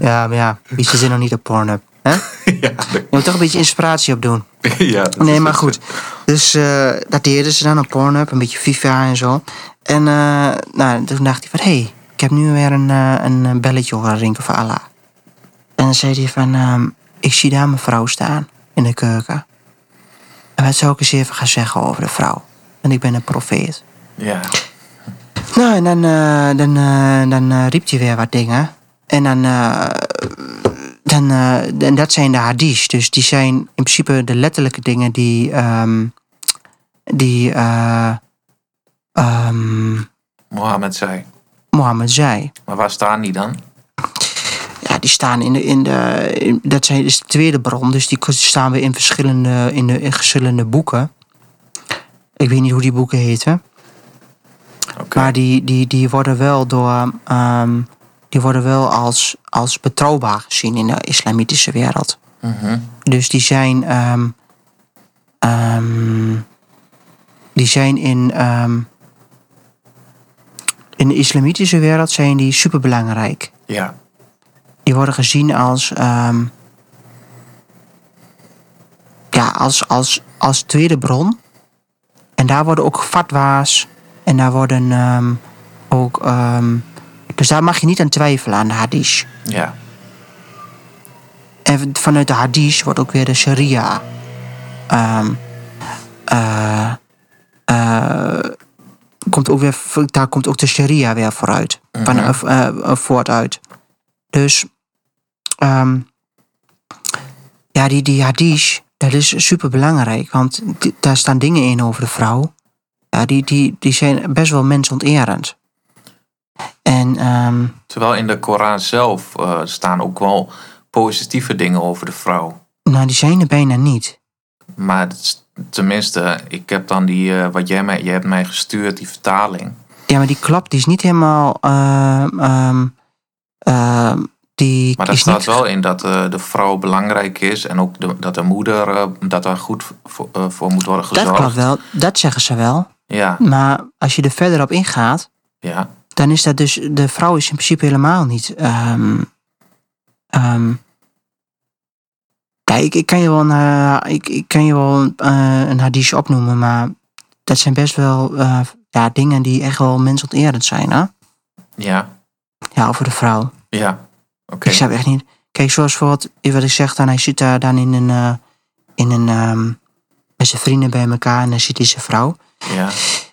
Speaker 1: Ja, maar ja, wie is er zin nog niet op Pornhub? Hè? Je
Speaker 2: ja,
Speaker 1: moet toch een beetje inspiratie opdoen.
Speaker 2: ja, dat
Speaker 1: Nee,
Speaker 2: is
Speaker 1: maar
Speaker 2: het.
Speaker 1: goed. Dus eh dat deden ze dan op Pornhub, een beetje FIFA en zo. En eh, nou, toen dacht hij van, hé, hey, ik heb nu weer een, eh, een eh, belletje horen rinken van Allah. En dan zei hij van, ehm, ik zie daar mijn vrouw staan in de keuken. En wat zou ik eens even gaan zeggen over de vrouw? Want ik ben een profeet.
Speaker 2: Ja.
Speaker 1: Nou, en dan, eh, dan, eh, dan eh, riep hij weer wat dingen. En dan, eh, dan, eh, en dat zijn de hadiths. Dus die zijn in principe de letterlijke dingen die, ehm, die eh, ehm,
Speaker 2: Mohammed zei.
Speaker 1: Mohammed zei.
Speaker 2: Maar waar staan die dan?
Speaker 1: Ja, die staan in de, in de in- dat zijn, is de tweede bron. Dus die staan weer in verschillende, in de, in verschillende boeken. Ik weet niet hoe die boeken heten.
Speaker 2: Oké.
Speaker 1: Maar die, die, die worden wel door. ehm, die worden wel als, als betrouwbaar gezien in de islamitische wereld.
Speaker 2: Mhm.
Speaker 1: Dus die zijn. ehm, ehm, die zijn in. ehm, in de islamitische wereld zijn die superbelangrijk.
Speaker 2: Ja.
Speaker 1: Die worden gezien als. ehm, ja, als, als, als tweede bron. En daar worden ook fatwa's. En daar worden ehm, ook. ehm, dus daar mag je niet aan twijfelen aan de hadith.
Speaker 2: Ja.
Speaker 1: En vanuit de hadith wordt ook weer de sharia. ehm, eh, eh, komt ook weer, daar komt ook de sharia weer vooruit. Van, eh, eh, voort uit. Dus ehm, ja, die, die hadith, dat is super belangrijk. Want di- daar staan dingen in over de vrouw. Ja, die, die, die zijn best wel mensonterend. En ehm,
Speaker 2: Terwijl in de Koran zelf eh, staan ook wel positieve dingen over de vrouw.
Speaker 1: nou, die zijn er bijna niet.
Speaker 2: Maar het is- tenminste, ik heb dan die, eh, wat jij mij, jij hebt mij gestuurd, die vertaling.
Speaker 1: Ja, maar die klap die is niet helemaal. ehm, ehm, ehm, die
Speaker 2: Maar daar
Speaker 1: is
Speaker 2: staat
Speaker 1: niet.
Speaker 2: wel in dat eh, de vrouw belangrijk is en ook de- dat de moeder eh, dat daar goed voor, eh, voor moet worden gezorgd.
Speaker 1: dat klopt wel, dat zeggen ze wel.
Speaker 2: Ja,
Speaker 1: Maar als je er verder op ingaat,
Speaker 2: ja,
Speaker 1: dan is dat dus. De vrouw is in principe helemaal niet. ehm, ehm, ja, ik, ik kan je wel een, eh, ik, ik kan je wel een, eh, een hadith opnoemen, maar dat zijn best wel eh, ja, dingen die echt wel mensonterend zijn, hè?
Speaker 2: ja,
Speaker 1: Ja, voor de vrouw.
Speaker 2: ja. Oké.
Speaker 1: Ik snap echt niet. Kijk, zoals voor wat, wat ik zeg, dan, hij zit daar dan in een. eh, in een ehm, met zijn vrienden bij elkaar en dan zit hij zijn vrouw.
Speaker 2: Ja,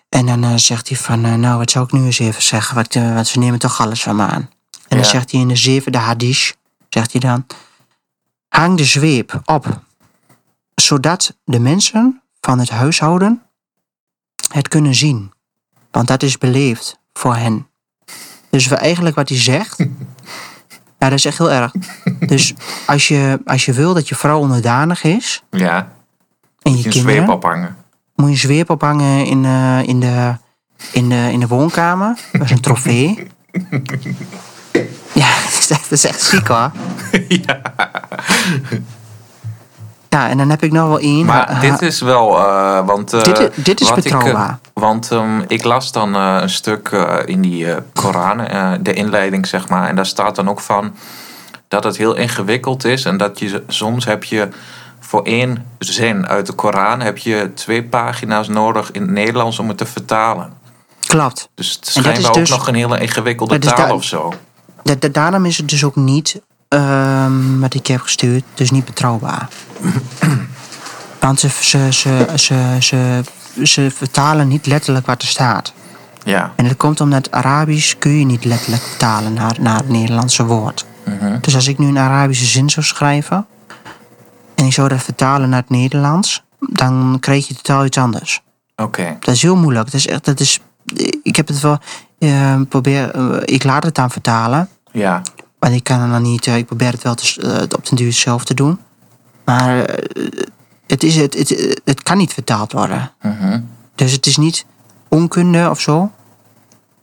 Speaker 1: En dan eh, zegt hij van, eh, nou, wat zou ik nu eens even zeggen? Wat, eh, want ze nemen toch alles van me aan. En dan
Speaker 2: Ja.
Speaker 1: zegt hij in de zevende hadith, zegt hij dan... Hang de zweep op, zodat de mensen van het huishouden het kunnen zien. Want dat is beleefd voor hen. Dus wa- eigenlijk wat hij zegt... ja, dat is echt heel erg. Dus als je, als je wil dat je vrouw onderdanig is...
Speaker 2: ja.
Speaker 1: en je
Speaker 2: Een
Speaker 1: kinderen
Speaker 2: zweep ophangen.
Speaker 1: moet je een zweep ophangen in, eh, in, de, in, de, in de woonkamer. Dat is een trofee. ja, dat is echt ziek hoor.
Speaker 2: ja.
Speaker 1: Ja, en dan heb ik nog wel één.
Speaker 2: Maar
Speaker 1: eh,
Speaker 2: dit is wel, eh, want... eh,
Speaker 1: Dit i- dit is
Speaker 2: wat ik, eh,
Speaker 1: betrouwbaar.
Speaker 2: want ehm, ik las dan eh, een stuk eh, in die eh, Koran, eh, de inleiding zeg maar. En daar staat dan ook van dat het heel ingewikkeld is. En dat je z- soms heb je voor één zin uit de Koran... heb je twee pagina's nodig in het Nederlands om het te vertalen.
Speaker 1: Klopt.
Speaker 2: Dus het
Speaker 1: En dat
Speaker 2: schijnbaar
Speaker 1: is
Speaker 2: ook
Speaker 1: dus-
Speaker 2: nog een hele ingewikkelde
Speaker 1: dat is
Speaker 2: taal
Speaker 1: daar-
Speaker 2: of zo.
Speaker 1: Da- da- daarom is het dus ook niet ehm, wat ik heb gestuurd, dus niet betrouwbaar. Want ze, ze, ze, ze, ze, ze vertalen niet letterlijk wat er staat.
Speaker 2: Ja,
Speaker 1: En dat komt omdat Arabisch kun je niet letterlijk vertalen naar, naar het Nederlandse woord.
Speaker 2: Mhm.
Speaker 1: Dus als ik nu een Arabische zin zou schrijven en ik zou dat vertalen naar het Nederlands, dan krijg je totaal iets anders.
Speaker 2: Oké.
Speaker 1: Dat is heel moeilijk. Dat is echt, dat is, ik heb het wel eh, probeer, eh, ik laat het dan vertalen,
Speaker 2: Ja.
Speaker 1: want ik kan het dan niet. eh, ik probeer het wel te, s- eh, op den duur zelf te doen, maar eh, het, is, het, het, het kan niet vertaald worden.
Speaker 2: Mhm.
Speaker 1: Dus het is niet onkunde of zo.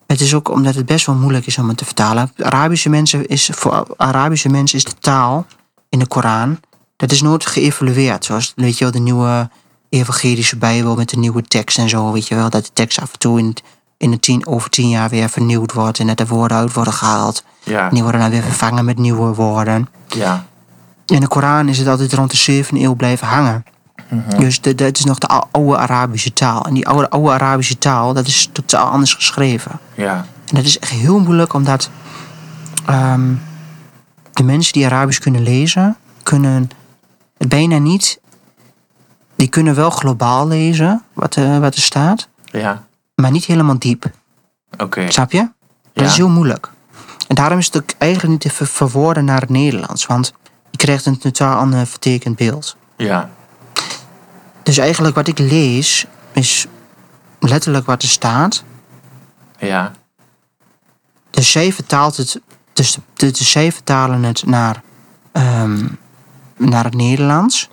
Speaker 1: Het is ook omdat het best wel moeilijk is om het te vertalen. Arabische mensen is, voor Arabische mensen is de taal in de Koran. Dat is nooit geëvalueerd. Zoals weet je wel, de nieuwe evangelische Bijbel met de nieuwe tekst en zo. Weet je wel, dat de tekst af en toe in, in de tien, over tien jaar weer vernieuwd wordt. En dat de woorden uit worden gehaald.
Speaker 2: Ja.
Speaker 1: En die worden dan weer vervangen met nieuwe woorden.
Speaker 2: Ja.
Speaker 1: In de Koran is het altijd rond de 7e eeuw blijven hangen. Dus de- dat is nog de ou- oude Arabische taal. En die oude, oude Arabische taal, dat is totaal anders geschreven.
Speaker 2: Ja.
Speaker 1: En dat is echt heel moeilijk, omdat ehm, de mensen die Arabisch kunnen lezen, kunnen het bijna niet... Die kunnen wel globaal lezen, wat, eh, wat er staat,
Speaker 2: Ja.
Speaker 1: maar niet helemaal diep.
Speaker 2: Oké.
Speaker 1: Snap je? Dat
Speaker 2: Ja.
Speaker 1: is heel moeilijk. En daarom is het ook eigenlijk niet te ver- verwoorden naar het Nederlands. Want je krijgt een totaal ander vertekend beeld.
Speaker 2: Ja.
Speaker 1: Dus eigenlijk wat ik lees is letterlijk wat er staat.
Speaker 2: Ja.
Speaker 1: Dus zij vertaalt het. Dus, de- dus zij vertalen het naar, ehm, naar het Nederlands.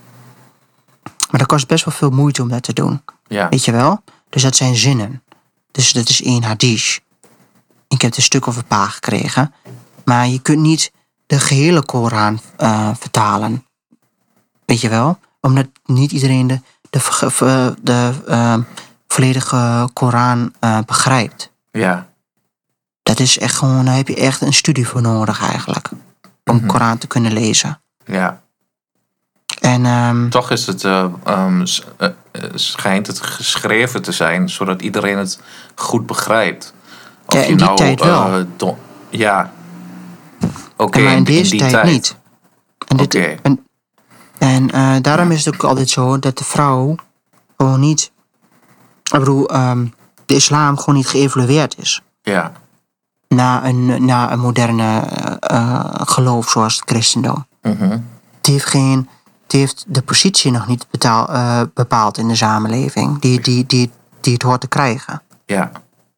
Speaker 1: Maar dat kost best wel veel moeite om dat te doen.
Speaker 2: Ja.
Speaker 1: Weet je wel? Dus dat zijn zinnen. Dus dat is één hadith. Ik heb het een stuk of een paar gekregen. Maar je kunt niet de gehele Koran eh, vertalen. Weet je wel? Omdat niet iedereen de, de, verge- ver- de eh, volledige Koran eh, begrijpt.
Speaker 2: Ja.
Speaker 1: Dat is echt gewoon, daar heb je echt een studie voor nodig eigenlijk. Om
Speaker 2: Mhm.
Speaker 1: Koran te kunnen lezen.
Speaker 2: Ja.
Speaker 1: En ehm,
Speaker 2: Toch is het, eh, ehm, s- eh, eh, schijnt het geschreven te zijn, zodat iedereen het goed begrijpt. Of
Speaker 1: Ja, in die tijd wel.
Speaker 2: eh, don- ja. Oké,
Speaker 1: maar in
Speaker 2: in,
Speaker 1: deze
Speaker 2: die
Speaker 1: tijd,
Speaker 2: tijd,
Speaker 1: niet. En, dit,
Speaker 2: Oké.
Speaker 1: en, en eh, daarom is het ook altijd zo dat de vrouw gewoon niet, ik bedoel, ehm, de islam gewoon niet geëvalueerd is.
Speaker 2: Ja,
Speaker 1: Na een, na een moderne eh, eh, geloof zoals het christendom.
Speaker 2: Mhm.
Speaker 1: Het heeft, geen, het heeft de positie nog niet betaal, eh, bepaald in de samenleving die, die, die, die het hoort te krijgen.
Speaker 2: ja,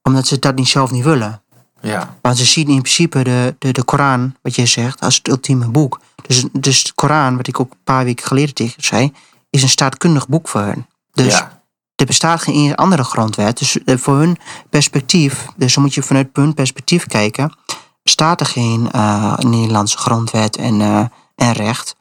Speaker 1: Omdat ze dat niet zelf niet willen.
Speaker 2: ja,
Speaker 1: Want ze zien in principe de, de, de Koran, wat jij zegt, als het ultieme boek. Dus, dus de Koran, wat ik ook een paar weken geleden tegen je zei, is een staatkundig boek voor hun. Dus
Speaker 2: ja,
Speaker 1: er bestaat geen ene andere grondwet. Dus eh, voor hun perspectief, dus dan moet je vanuit hun perspectief kijken, bestaat er geen eh, Nederlandse grondwet en, eh, en recht.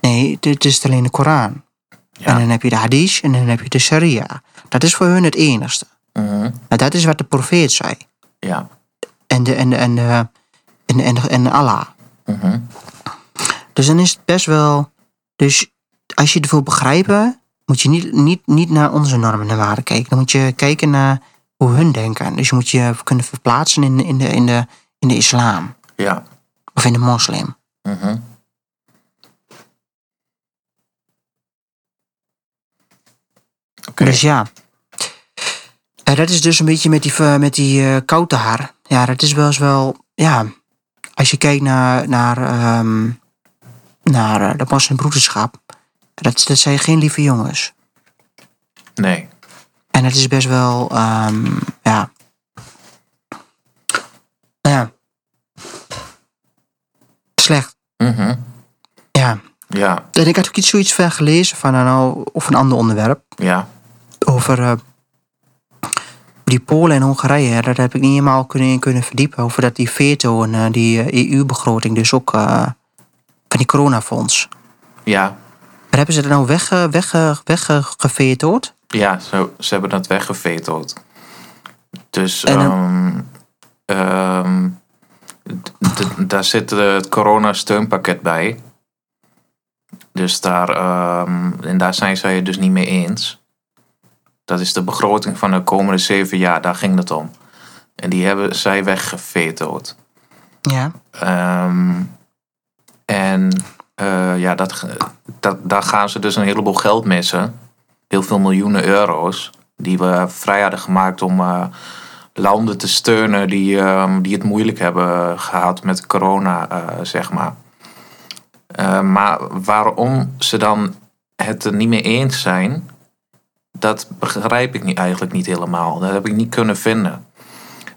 Speaker 1: Nee, dit is alleen de Koran. En
Speaker 2: ja.
Speaker 1: dan heb je de hadith en dan heb je de sharia. Dat is voor hun het enigste.
Speaker 2: Mhm.
Speaker 1: Maar dat is wat de profeet zei.
Speaker 2: ja,
Speaker 1: En, de, en, de- en, de- en, en, en Allah.
Speaker 2: Mhm.
Speaker 1: Dus dan is het best wel. Dus als je het wil begrijpen, moet je niet, niet, niet naar onze normen en waarden kijken. Dan moet je kijken naar hoe hun denken. Dus je moet je kunnen verplaatsen in, in, de, in, de, in de islam
Speaker 2: ja.
Speaker 1: of in de moslim.
Speaker 2: Mhm. Oké,
Speaker 1: Dus ja. En dat is dus een beetje met die, eh, met die eh, koude haar. Ja, dat is wel eens wel. Ja, als je kijkt naar, naar, ehm, naar eh, de moslimbroederschap, dat, dat zijn geen lieve jongens.
Speaker 2: nee,
Speaker 1: En het is best wel, ehm, ja. Nou ja. Slecht,
Speaker 2: Mhm.
Speaker 1: ja.
Speaker 2: ja,
Speaker 1: En ik had ook iets zoiets van gelezen van, nou, of een ander onderwerp.
Speaker 2: ja,
Speaker 1: Over eh, die Polen en Hongarije. hè, Daar heb ik niet helemaal kunnen, in kunnen verdiepen. Over dat die veto en eh, die EU-begroting dus ook eh, van die coronafonds.
Speaker 2: ja,
Speaker 1: Maar hebben ze dat nou wegge, wegge, weggevetoed?
Speaker 2: ja, ze, ze hebben dat weggeveteld. Dus
Speaker 1: En dan-
Speaker 2: ehm, ehm, d- d- daar zit eh, het corona-steunpakket bij. Dus daar, ehm, en daar zijn zij het dus niet mee eens. Dat is de begroting van de komende zeven jaar, daar ging het om. En die hebben zij weggevetood.
Speaker 1: Ja.
Speaker 2: Ehm, en eh, ja, dat, ge- dat, daar gaan ze dus een heleboel geld missen. Heel veel miljoenen euro's. Die we vrij hadden gemaakt om eh, landen te steunen die, ehm, die het moeilijk hebben gehad met corona, eh, zeg maar. Eh, maar waarom ze dan het er niet mee eens zijn, dat begrijp ik niet, eigenlijk niet helemaal. Dat heb ik niet kunnen vinden.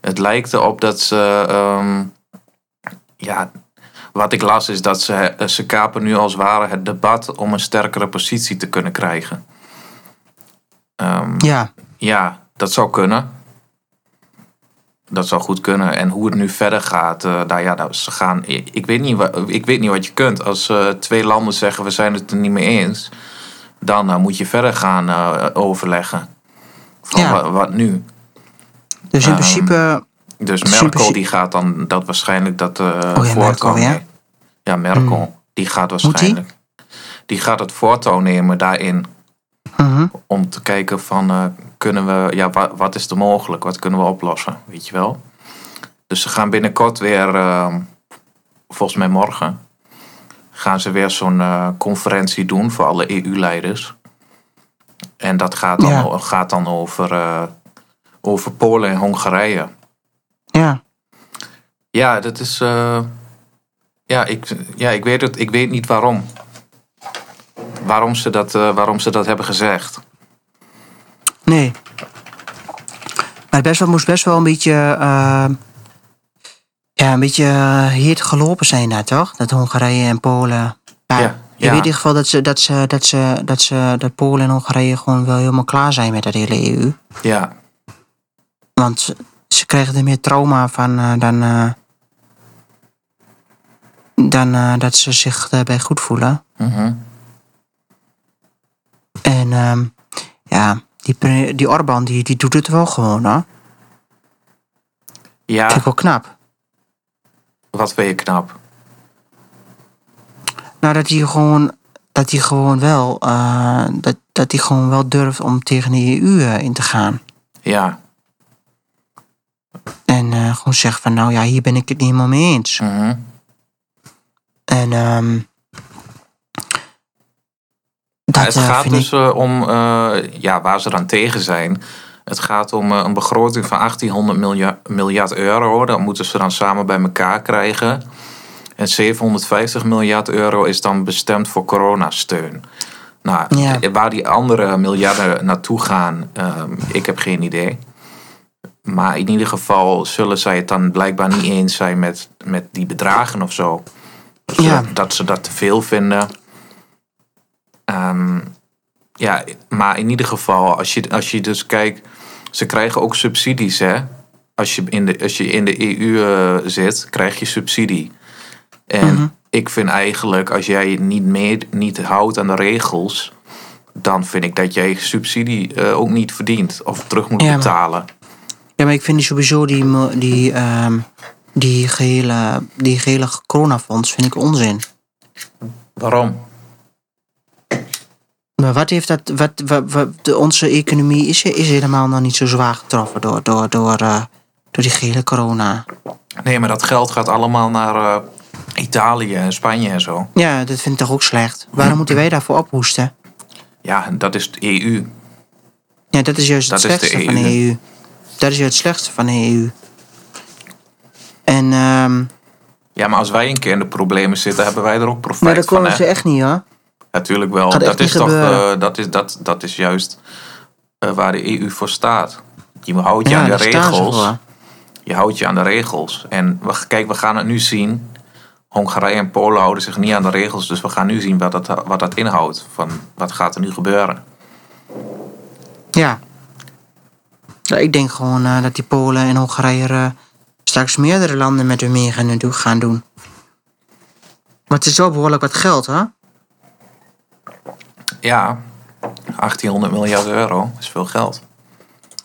Speaker 2: Het lijkt erop dat ze. ehm, ja, wat ik las is dat ze, eh, ze kapen nu als het ware het debat om een sterkere positie te kunnen krijgen. Ehm,
Speaker 1: Ja,
Speaker 2: ja, dat zou kunnen. Dat zou goed kunnen. En hoe het nu verder gaat, eh nou ja, nou, ze gaan, ik, ik weet niet wa- ik weet niet wat je kunt. Als eh, twee landen zeggen we zijn het er niet mee eens, dan eh, moet je verder gaan eh, overleggen. Van
Speaker 1: Ja.
Speaker 2: wa- wat, nu?
Speaker 1: dus in
Speaker 2: Ehm,
Speaker 1: principe...
Speaker 2: Dus
Speaker 1: Super- Oh
Speaker 2: Merkel die gaat dan dat waarschijnlijk dat eh
Speaker 1: Merkel
Speaker 2: voortouw
Speaker 1: weer?
Speaker 2: nemen. Ja, Merkel. Die gaat
Speaker 1: die?
Speaker 2: waarschijnlijk. Die gaat het voortouw nemen daarin.
Speaker 1: mhm.
Speaker 2: Om te kijken van eh, kunnen we, ja, wa- wat is er mogelijk? Wat kunnen we oplossen? Weet je wel. Dus ze gaan binnenkort weer, ehm, volgens mij morgen, gaan ze weer zo'n eh, conferentie doen voor alle EU-leiders. En dat gaat dan,
Speaker 1: Ja.
Speaker 2: o- gaat dan over, eh, over Polen en Hongarije.
Speaker 1: Ja,
Speaker 2: Ja, dat is. eh, ja, ik, ja, ik weet het. Ik weet niet waarom. Waarom ze dat, eh, waarom ze dat hebben gezegd.
Speaker 1: nee. Maar het best wel, moest best wel een beetje... eh, ja, een beetje eh, heet gelopen zijn daar, toch? Dat Hongarije en Polen... Ja,
Speaker 2: Ja,
Speaker 1: je
Speaker 2: ja.
Speaker 1: weet in ieder geval dat, ze, dat, ze, dat, ze, dat, ze, dat Polen en Hongarije gewoon wel helemaal klaar zijn met dat hele EU.
Speaker 2: Ja,
Speaker 1: Want ze- ze kregen er meer trauma van eh, dan, eh, dan eh, dat ze zich daarbij goed voelen.
Speaker 2: mhm,
Speaker 1: En ehm, ja, die, pre- die Orbán die, die doet het wel gewoon hoor.
Speaker 2: ja
Speaker 1: Vind ik wel knap.
Speaker 2: wat ben je knap.
Speaker 1: Nou, dat hij gewoon, dat hij gewoon wel, eh, dat, dat hij gewoon wel durft om tegen de EU eh, in te gaan.
Speaker 2: Ja,
Speaker 1: En eh, gewoon zegt van, nou ja, hier ben ik het niet helemaal mee eens.
Speaker 2: mhm,
Speaker 1: En ehm, dat
Speaker 2: het
Speaker 1: eh,
Speaker 2: gaat
Speaker 1: vind
Speaker 2: dus
Speaker 1: ik...
Speaker 2: eh, om eh, ja, waar ze dan tegen zijn. Het gaat om eh, een begroting van 1800 milja- miljard euro. Dat moeten ze dan samen bij elkaar krijgen. En 750 miljard euro is dan bestemd voor coronasteun. Nou,
Speaker 1: Ja.
Speaker 2: waar die andere miljarden naartoe gaan, ehm, ik heb geen idee. Maar in ieder geval zullen zij het dan blijkbaar niet eens zijn met, met die bedragen of zo. Dus
Speaker 1: Ja.
Speaker 2: dat- Dat ze dat te veel vinden. Ehm, ja, maar in ieder geval, als je, als je dus kijkt, ze krijgen ook subsidies, hè? Als je in de, als je in de EU eh, zit, krijg je subsidie. En
Speaker 1: Mhm.
Speaker 2: ik vind eigenlijk, als jij je niet, mee, niet houdt aan de regels, dan vind ik dat jij subsidie eh, ook niet verdient of terug moet
Speaker 1: Ja, maar-
Speaker 2: betalen.
Speaker 1: Ja, maar ik vind die sowieso die, mo- die, ehm, die gehele, die gehele coronafonds vind ik onzin.
Speaker 2: Waarom?
Speaker 1: Maar wat heeft dat, wat, wat, wat- de, onze economie is, is helemaal nog niet zo zwaar getroffen door, door, door, eh, door die gehele corona.
Speaker 2: Nee, maar dat geld gaat allemaal naar eh, Italië en Spanje en zo.
Speaker 1: Ja, dat vind ik toch ook slecht. Waarom moeten wij daarvoor ophoesten?
Speaker 2: Ja, dat is E de EU.
Speaker 1: Ja, dat is juist het
Speaker 2: Dat is de
Speaker 1: slechtste van de
Speaker 2: EU.
Speaker 1: EU. Dat is juist het slechtste van de EU. En, ehm
Speaker 2: Ja, maar als wij een keer in de problemen zitten, hebben wij er ook profijt
Speaker 1: maar daar
Speaker 2: van.
Speaker 1: komen
Speaker 2: hè?
Speaker 1: ze echt niet hoor.
Speaker 2: Natuurlijk wel.
Speaker 1: Gaat echt
Speaker 2: Dat is,
Speaker 1: niet
Speaker 2: toch,
Speaker 1: gebeuren.
Speaker 2: eh, dat, is, dat, dat is juist eh, waar de EU voor staat. Je houdt je
Speaker 1: Ja,
Speaker 2: aan de
Speaker 1: daar staan ze
Speaker 2: regels.
Speaker 1: voor.
Speaker 2: Je houdt je aan de regels. En we, kijk, we gaan het nu zien. Hongarije en Polen houden zich niet aan de regels. Dus we gaan nu zien wat dat, wat dat inhoudt. Van wat gaat er nu gebeuren?
Speaker 1: Ja. Ja, Ik denk gewoon eh, dat die Polen en Hongarije eh, straks meerdere landen met hun mee gaan doen- gaan doen. Maar het is wel behoorlijk wat geld, hè?
Speaker 2: Ja, 1800 miljard euro is veel geld.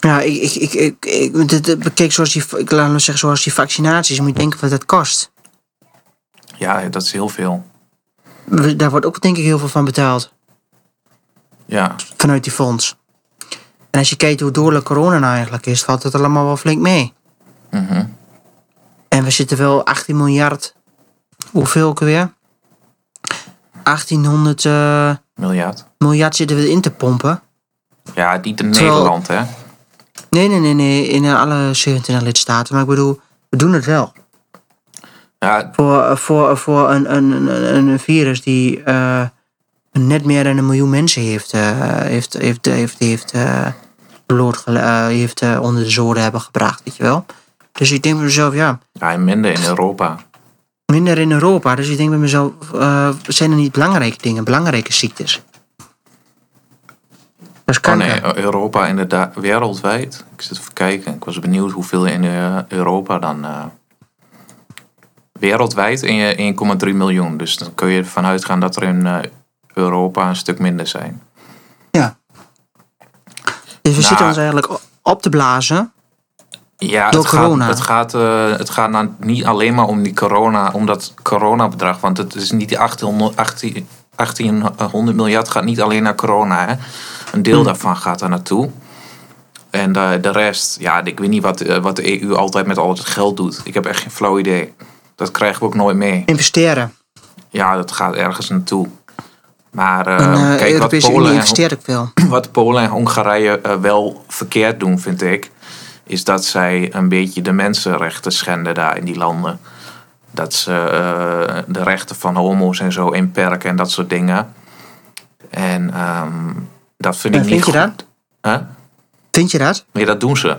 Speaker 1: Ja, ik, ik, ik, ik, ik, dit- dit bekeek zoals die, ik laat maar zeggen, zoals die vaccinaties. Je moet denken wat dat kost.
Speaker 2: Ja, dat is heel veel.
Speaker 1: We- Daar wordt ook denk ik heel veel van betaald.
Speaker 2: Ja,
Speaker 1: Vanuit die fonds. En als je kijkt hoe doorlijk corona nou eigenlijk is, valt het allemaal wel flink mee.
Speaker 2: mhm.
Speaker 1: En we zitten wel 18 miljard. Hoeveel ook weer? 1800. eh,
Speaker 2: miljard.
Speaker 1: miljard zitten we in te pompen.
Speaker 2: Ja, niet in
Speaker 1: Terwijl-
Speaker 2: Nederland, hè?
Speaker 1: Nee, nee, nee, nee. In eh, alle 27 lidstaten. Maar ik bedoel, we doen het wel.
Speaker 2: Ja,
Speaker 1: Voor, voor, voor een, een, een, een virus die eh, net meer dan een miljoen mensen heeft, eh, heeft, heeft, heeft, heeft, eh, blootgele- eh, heeft eh, onder de zoden hebben gebracht, weet je wel. Dus ik denk bij mezelf, ja,
Speaker 2: ja, en minder in Europa.
Speaker 1: minder in Europa. Dus ik denk bij mezelf, eh, zijn er niet belangrijke dingen, belangrijke ziektes? Dat is
Speaker 2: Oh
Speaker 1: kanker.
Speaker 2: nee, Europa inderdaad, wereldwijd. Ik zit even kijken. Ik was benieuwd hoeveel in eh, Europa dan... eh, wereldwijd in eh, je 1,3 miljoen. Dus dan kun je ervan uitgaan dat er in eh, Europa een stuk minder zijn.
Speaker 1: Ja. Dus we
Speaker 2: Nou.
Speaker 1: zitten ons eigenlijk o- op te blazen.
Speaker 2: Ja,
Speaker 1: Door
Speaker 2: het gaat,
Speaker 1: corona.
Speaker 2: Het gaat, eh, het gaat nou niet alleen maar om die corona, om dat coronabedrag. Want het is niet die 800, 18 1800 miljard gaat niet alleen naar corona. Hè. Een deel
Speaker 1: Mm.
Speaker 2: daarvan gaat er naartoe. En eh, de rest, ja, ik weet niet wat, eh, wat de EU altijd met al het geld doet. Ik heb echt geen flauw idee. Dat krijgen we ook nooit mee.
Speaker 1: Investeren.
Speaker 2: Ja, dat gaat ergens naartoe. Maar eh,
Speaker 1: En, eh, de
Speaker 2: kijk, wat
Speaker 1: Europese Unie
Speaker 2: Polen en,
Speaker 1: investeert ook veel.
Speaker 2: wat Polen en Hongarije eh, wel verkeerd doen, vind ik, is dat zij een beetje de mensenrechten schenden daar in die landen. Dat ze eh, de rechten van homo's en zo inperken en dat soort dingen. En ehm, dat vind
Speaker 1: Ja,
Speaker 2: ik niet
Speaker 1: vind je
Speaker 2: goed.
Speaker 1: dat?
Speaker 2: Hè?
Speaker 1: Vind je dat?
Speaker 2: Nee, dat doen ze.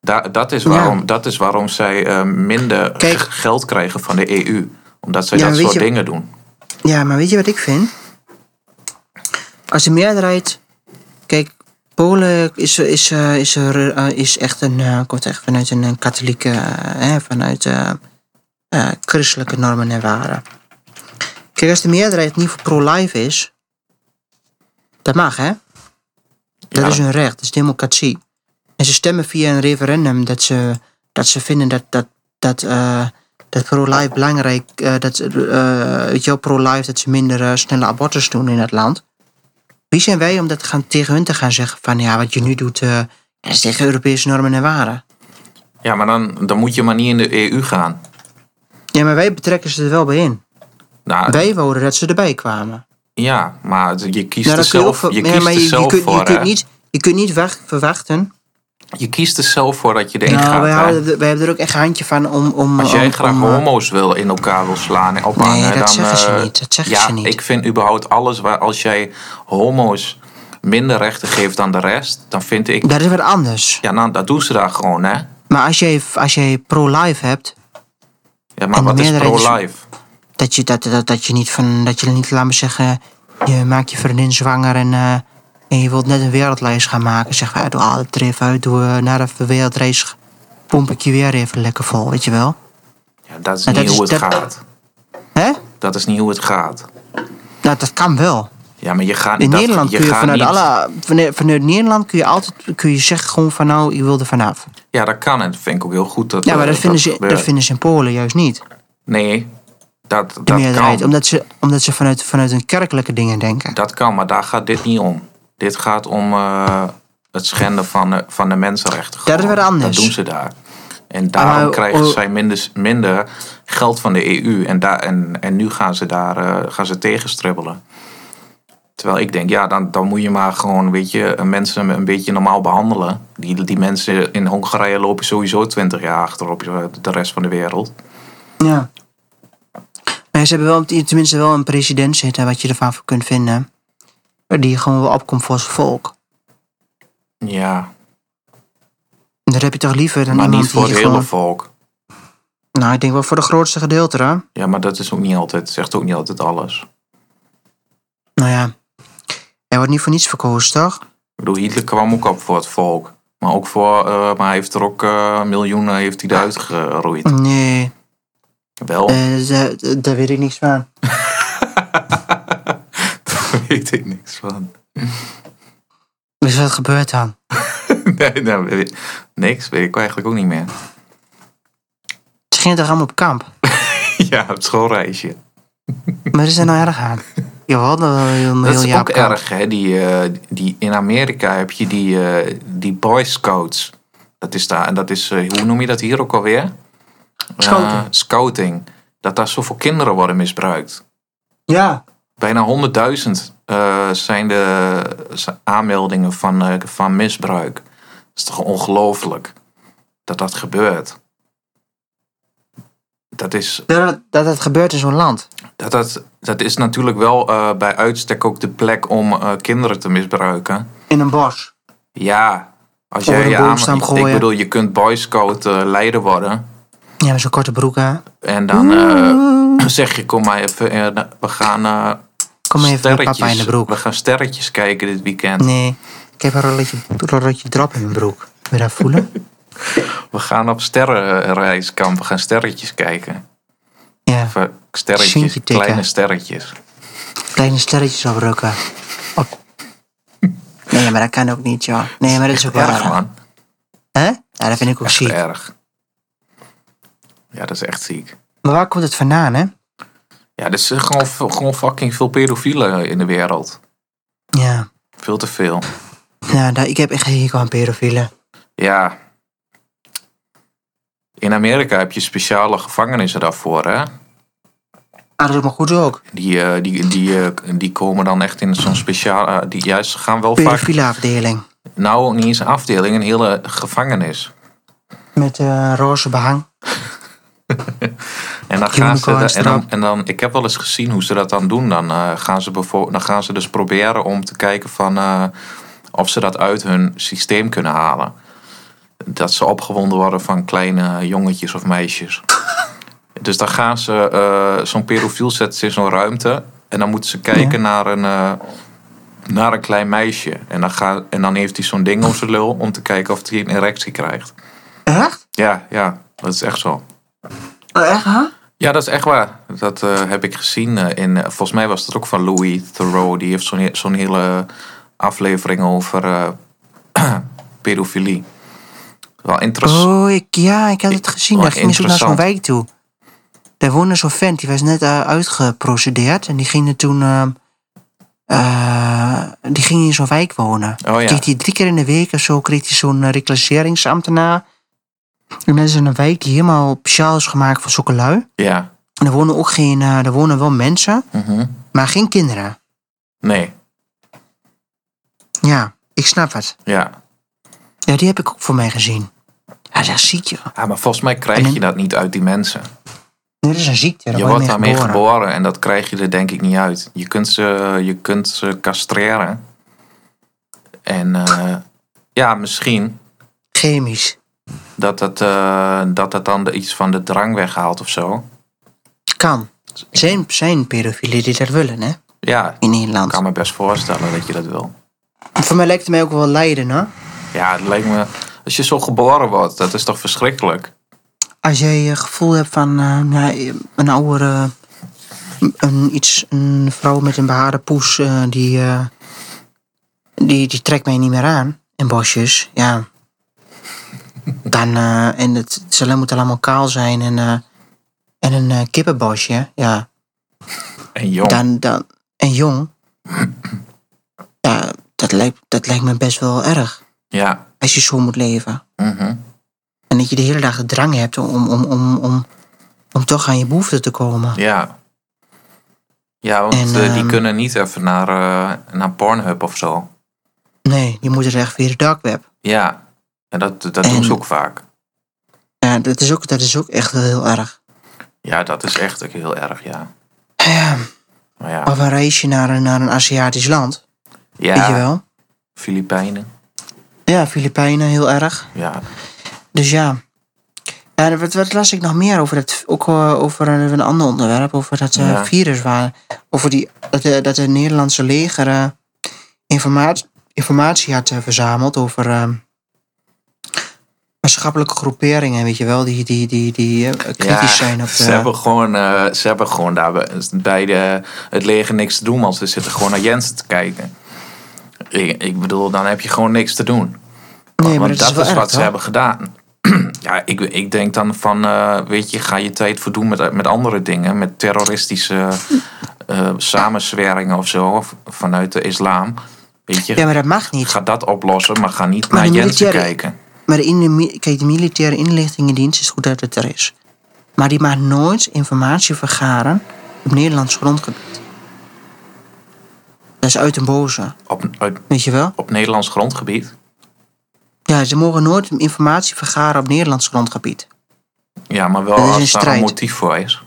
Speaker 2: Da- dat, is
Speaker 1: Ja.
Speaker 2: waarom, dat is waarom zij eh, minder
Speaker 1: Kijk.
Speaker 2: g- geld krijgen van de EU. Omdat zij
Speaker 1: Ja,
Speaker 2: dat
Speaker 1: maar weet
Speaker 2: soort
Speaker 1: je-
Speaker 2: dingen doen.
Speaker 1: Ja, maar weet je wat ik vind? Als de meerderheid. Kijk, Polen is, is, eh, is, er, eh, is echt een. eh, komt echt vanuit een, eh, katholieke. eh, hè, vanuit eh, eh, christelijke normen en waarden. Kijk, als de meerderheid niet voor pro-life is. Dat mag, hè? Dat
Speaker 2: Ja.
Speaker 1: is hun recht, dat is democratie. En ze stemmen via een referendum dat ze, dat ze vinden dat, dat, dat, eh, dat pro-life belangrijk eh dat, eh weet je wel, pro-life dat ze minder eh, snelle abortus doen in het land. Wie zijn wij om dat te gaan, tegen hun te gaan zeggen van ja, wat je nu doet, eh, dat is tegen Europese normen en waarden.
Speaker 2: Ja, maar dan, dan moet je maar niet in de EU gaan.
Speaker 1: Ja, maar wij betrekken ze er wel bij in.
Speaker 2: Nou,
Speaker 1: Wij wouden dat ze erbij kwamen.
Speaker 2: Ja, maar het- je kiest
Speaker 1: Nou,
Speaker 2: er
Speaker 1: dat kun je ook
Speaker 2: zelf,
Speaker 1: ver-
Speaker 2: je
Speaker 1: ja,
Speaker 2: kiest
Speaker 1: maar
Speaker 2: er
Speaker 1: je- je
Speaker 2: zelf
Speaker 1: kunt-
Speaker 2: voor.
Speaker 1: je kunt
Speaker 2: hè?
Speaker 1: niet- Je kunt niet wacht- verwachten
Speaker 2: Je kiest er zelf voor dat je erin
Speaker 1: Nou,
Speaker 2: gaat.
Speaker 1: wij,
Speaker 2: hè?
Speaker 1: houden, er- wij hebben er ook echt een handje van om... om
Speaker 2: Als jij
Speaker 1: om-
Speaker 2: graag
Speaker 1: om, eh,
Speaker 2: homo's wil in elkaar wil slaan en ophangen,
Speaker 1: Nee, dat
Speaker 2: dan,
Speaker 1: zeggen ze
Speaker 2: eh,
Speaker 1: niet, dat zeggen
Speaker 2: ja,
Speaker 1: ze niet.
Speaker 2: ik vind überhaupt alles waar als jij homo's minder rechten geeft dan de rest, dan vind ik,
Speaker 1: Dat is wat anders.
Speaker 2: ja, nou, dat doen ze daar gewoon, hè?
Speaker 1: Maar als jij, als jij pro-life hebt,
Speaker 2: Ja,
Speaker 1: En
Speaker 2: maar wat is
Speaker 1: meerderheid is-
Speaker 2: pro-life?
Speaker 1: dat je, dat, dat, dat je niet van, dat je niet, laat me zeggen, je maakt je vriendin zwanger en, eh, en je wilt net een wereldlijst gaan maken. Zeg van, ja, doe al het er even uit, doe eh, na de wereldreis pomp ik je weer even lekker vol, weet je wel.
Speaker 2: Ja, dat is
Speaker 1: Nou,
Speaker 2: niet
Speaker 1: dat is-
Speaker 2: hoe het
Speaker 1: dat-
Speaker 2: gaat.
Speaker 1: Hè?
Speaker 2: Dat is niet hoe het gaat.
Speaker 1: Nou, dat kan wel.
Speaker 2: Ja, maar je gaat
Speaker 1: In
Speaker 2: dat-
Speaker 1: Nederland
Speaker 2: je
Speaker 1: kun je
Speaker 2: gaat
Speaker 1: vanuit
Speaker 2: niet-
Speaker 1: alle, vanuit, vanuit Nederland kun je altijd, kun je zeggen gewoon van nou, je wil er vanaf.
Speaker 2: Ja, dat kan en dat vind ik ook heel goed. Dat,
Speaker 1: Ja, maar
Speaker 2: eh,
Speaker 1: dat vinden, ze,
Speaker 2: gebeurt.
Speaker 1: dat vinden ze in Polen juist niet.
Speaker 2: Nee, dat, dat
Speaker 1: de meerderheid.
Speaker 2: kan.
Speaker 1: Omdat ze, omdat ze vanuit, vanuit hun kerkelijke dingen denken.
Speaker 2: Dat kan, maar daar gaat dit niet om. Dit gaat om eh, het schenden van de, van de mensenrechten.
Speaker 1: Dat is
Speaker 2: Gewoon.
Speaker 1: wat anders.
Speaker 2: Dat doen ze daar. En daarom
Speaker 1: Maar,
Speaker 2: krijgen
Speaker 1: oh.
Speaker 2: zij minder, minder geld van de EU. En, daar, en, en nu gaan ze daar eh, gaan ze tegenstribbelen. Terwijl ik denk, ja, dan, dan moet je maar gewoon weet je, eh, mensen een beetje normaal behandelen. Die, die mensen in Hongarije lopen sowieso twintig jaar achter op eh, de rest van de wereld.
Speaker 1: Ja. Maar ze hebben wel, tenminste wel een president zitten wat je ervan voor kunt vinden. Die gewoon wel opkomt voor zijn volk.
Speaker 2: Ja,
Speaker 1: En dat heb je toch liever dan
Speaker 2: maar
Speaker 1: iemand
Speaker 2: niet voor
Speaker 1: die
Speaker 2: het hele
Speaker 1: gewoon...
Speaker 2: volk.
Speaker 1: Nou, ik denk wel voor de grootste gedeelte, hè?
Speaker 2: Ja, maar dat is ook niet altijd, zegt ook niet altijd alles.
Speaker 1: Nou ja. Hij wordt niet voor niets verkozen, toch?
Speaker 2: Ik bedoel, Hitler kwam ook op voor het volk. Maar, ook voor, eh, maar hij heeft er ook eh, miljoenen heeft hij eruit geroeid.
Speaker 1: Nee,
Speaker 2: Wel,
Speaker 1: eh, da- da- daar weet ik niks van.
Speaker 2: daar weet ik niks van.
Speaker 1: Dus wat gebeurt dan?
Speaker 2: nee, daar weet ik, niks weet ik eigenlijk ook niet meer.
Speaker 1: Ze gingen toch allemaal op kamp?
Speaker 2: ja, het schoolreisje.
Speaker 1: Maar is er nou erg aan? Je had wel een
Speaker 2: Dat
Speaker 1: heel
Speaker 2: is
Speaker 1: jaar
Speaker 2: ook
Speaker 1: op kamp.
Speaker 2: erg, hè? Die, eh, die, in Amerika heb je die, eh, die Boy Scouts. Dat is daar, en dat is, eh, hoe noem je dat hier ook alweer? Eh,
Speaker 1: Scouting.
Speaker 2: scouting. Dat daar zoveel kinderen worden misbruikt.
Speaker 1: Ja.
Speaker 2: Bijna 100.000 eh, zijn de eh, aanmeldingen van, eh, van misbruik. is toch ongelooflijk dat dat gebeurt. Dat is,
Speaker 1: Dat, dat het gebeurt in zo'n land.
Speaker 2: dat, dat, dat is natuurlijk wel eh, bij uitstek ook de plek om eh, kinderen te misbruiken.
Speaker 1: In een bos.
Speaker 2: Ja, als
Speaker 1: Over
Speaker 2: jij
Speaker 1: een
Speaker 2: je
Speaker 1: boomstam
Speaker 2: aan- Ik
Speaker 1: gooien.
Speaker 2: bedoel, je kunt boyscout eh, leider worden.
Speaker 1: Ja, met zo'n korte broek hè.
Speaker 2: En dan eh, zeg je, kom maar even, eh, we gaan eh
Speaker 1: Kom even met
Speaker 2: sterretjes,
Speaker 1: papa in de
Speaker 2: we
Speaker 1: broek.
Speaker 2: gaan sterretjes kijken dit weekend.
Speaker 1: Nee, ik heb een rolletje, rolletje drop in mijn broek. Wil je dat voelen?
Speaker 2: We gaan op sterrenreiskamp, we gaan sterretjes kijken.
Speaker 1: ja,
Speaker 2: Of, eh, sterretjes,
Speaker 1: Zientje tikken.
Speaker 2: kleine sterretjes.
Speaker 1: kleine sterretjes oprukken. Op. Nee, maar dat kan ook niet, joh. Nee, maar dat is ook wel
Speaker 2: Erg
Speaker 1: raar.
Speaker 2: man,
Speaker 1: Hè? Ja, dat vind ik ook
Speaker 2: echt
Speaker 1: ziek.
Speaker 2: erg. Ja, dat is echt ziek.
Speaker 1: Maar waar komt het vandaan, hè?
Speaker 2: Ja, er zijn gewoon, veel- gewoon fucking veel pedofielen in de wereld.
Speaker 1: Ja.
Speaker 2: Veel te veel.
Speaker 1: Ja, daar, ik heb echt geen hekel aan pedofielen.
Speaker 2: Ja. In Amerika heb je speciale gevangenissen daarvoor, hè?
Speaker 1: Ah, dat is ook maar goed ook.
Speaker 2: Die, eh, die, die, eh, die komen dan echt in zo'n speciaal... eh, die, ja, ze gaan wel vaak...
Speaker 1: Pedofiele afdeling.
Speaker 2: Nou, niet eens een afdeling, een hele gevangenis.
Speaker 1: Met eh, roze behang.
Speaker 2: En dan gaan ze...
Speaker 1: Unicorns
Speaker 2: en, dan,
Speaker 1: erop.
Speaker 2: en dan... Ik heb wel eens gezien hoe ze dat dan doen. Dan, eh, gaan, ze bevo- dan gaan ze dus proberen om te kijken van... eh, of ze dat uit hun systeem kunnen halen. Dat ze opgewonden worden van kleine jongetjes of meisjes. Dus dan gaan ze... eh, zo'n pedofiel zetten ze in zo'n ruimte. En dan moeten ze kijken naar een... eh, naar een klein meisje. En dan, ga, en dan heeft hij zo'n ding om zijn lul om te kijken of hij een erectie krijgt.
Speaker 1: Echt?
Speaker 2: Ja, ja, dat is echt zo.
Speaker 1: Oh, echt, hè?
Speaker 2: Ja, dat is echt waar. Dat eh, heb ik gezien. eh, in, eh, volgens mij was dat ook van Louis Thoreau. Die heeft zo'n he- zo'n hele aflevering over eh, pedofilie. Wel interessant.
Speaker 1: Oh, ik, ja, ik had het gezien.
Speaker 2: Oh,
Speaker 1: Daar gingen ze ook naar zo'n
Speaker 2: interessant.
Speaker 1: wijk toe. Daar woonde zo'n vent, die was net eh, uitgeprocedeerd. En die ging er toen... ehm, eh, die ging in zo'n wijk wonen.
Speaker 2: Oh, ja.
Speaker 1: Kreeg die drie keer in de week of zo kreeg hij zo'n eh, reclasseringsambtenaar. En dat is in een wijk die helemaal speciaal is gemaakt voor zulke lui.
Speaker 2: Ja.
Speaker 1: En er wonen ook geen... eh, er wonen wel mensen,
Speaker 2: Mhm.
Speaker 1: maar geen kinderen.
Speaker 2: Nee,
Speaker 1: Ja, ik snap het.
Speaker 2: ja.
Speaker 1: Ja, die heb ik ook voor mij gezien. Ja, dat is echt ziek, joh.
Speaker 2: Ah, maar volgens mij
Speaker 1: En
Speaker 2: krijg
Speaker 1: in-
Speaker 2: je dat niet uit die mensen.
Speaker 1: Dit is een ziekte. daar
Speaker 2: Je
Speaker 1: word
Speaker 2: wordt daarmee
Speaker 1: geboren.
Speaker 2: geboren en dat krijg je er denk ik niet uit. Je kunt ze, je kunt ze castreren. En eh, ja, misschien.
Speaker 1: Chemisch.
Speaker 2: dat het, eh, dat dat dan de- iets van de drang weghaalt of zo.
Speaker 1: Kan. Zijn, zijn pedofielen die dat willen, hè?
Speaker 2: Ja,
Speaker 1: In
Speaker 2: ik
Speaker 1: Nederland.
Speaker 2: kan me best voorstellen dat je dat wil.
Speaker 1: Voor mij lijkt het mij ook wel lijden, hè?
Speaker 2: Ja, het lijkt me. Als je zo geboren wordt, dat is toch verschrikkelijk?
Speaker 1: Als jij je gevoel hebt van eh, nou, een oudere... Een, iets, een vrouw met een behaarde poes, eh, die, eh, die, die trekt mij niet meer aan. In bosjes, ja. Dan, eh, en het, ze moeten allemaal kaal zijn en, eh, en een eh, kippenbosje, ja.
Speaker 2: En jong.
Speaker 1: Dan, dan, en jong. ja, dat lijkt, dat lijkt me best wel erg.
Speaker 2: Ja.
Speaker 1: Als je zo moet leven.
Speaker 2: mhm.
Speaker 1: En dat je de hele dag de drang hebt om, om, om, om, om toch aan je behoeften te komen.
Speaker 2: Ja. Ja, want
Speaker 1: En,
Speaker 2: eh, die
Speaker 1: ehm,
Speaker 2: kunnen niet even naar, eh, naar Pornhub of zo.
Speaker 1: Nee, je moet er echt weer de dark web.
Speaker 2: Ja. En dat, dat
Speaker 1: En-
Speaker 2: doen ze ook vaak.
Speaker 1: Ja, dat is ook, dat is ook echt wel heel erg.
Speaker 2: Ja, dat is echt ook heel erg, ja.
Speaker 1: Ja,
Speaker 2: Maar ja,
Speaker 1: of een reisje naar een, naar een Aziatisch land. Weet je
Speaker 2: ja
Speaker 1: wel?
Speaker 2: Filipijnen.
Speaker 1: Ja, Filipijnen heel erg.
Speaker 2: Ja.
Speaker 1: Dus ja. ja wat, wat las ik nog meer over dat? Ook eh, over een, een ander onderwerp, over dat eh,
Speaker 2: Ja.
Speaker 1: virus waar. Over die, dat, de, dat de Nederlandse leger eh, informatie, informatie had eh, verzameld over eh, maatschappelijke groeperingen, weet je wel, die, die, die, die eh, kritisch zijn op de.
Speaker 2: Ze hebben gewoon, eh, ze hebben gewoon daar bij- bij de, het leger niks te doen, want ze zitten gewoon naar Jensen te kijken. Ik, ik bedoel, dan heb je gewoon niks te doen.
Speaker 1: nee,
Speaker 2: want
Speaker 1: maar dat is, wel erg,
Speaker 2: wat ze
Speaker 1: hoor.
Speaker 2: hebben gedaan. ja, ik, ik denk dan van, eh, weet je, ga je tijd verdoen met, met andere dingen, met terroristische eh samenzweringen of zo, v- vanuit de islam. Weet je,
Speaker 1: Ja, maar dat mag niet.
Speaker 2: ga dat oplossen, maar ga niet
Speaker 1: Maar
Speaker 2: naar
Speaker 1: de
Speaker 2: Jensen
Speaker 1: militaire-
Speaker 2: kijken.
Speaker 1: Maar in de, mi- kijk, de militaire inlichtingendienst is goed dat het er is. Maar die mag nooit informatie vergaren op Nederlands grondgebied. Dat is uit een boze,
Speaker 2: Op, uit-
Speaker 1: weet je wel?
Speaker 2: op Nederlands grondgebied.
Speaker 1: Ja, ze mogen nooit informatie vergaren op Nederlands grondgebied.
Speaker 2: Ja, maar wel
Speaker 1: Dat is een
Speaker 2: als daar
Speaker 1: strijd.
Speaker 2: een motief voor is.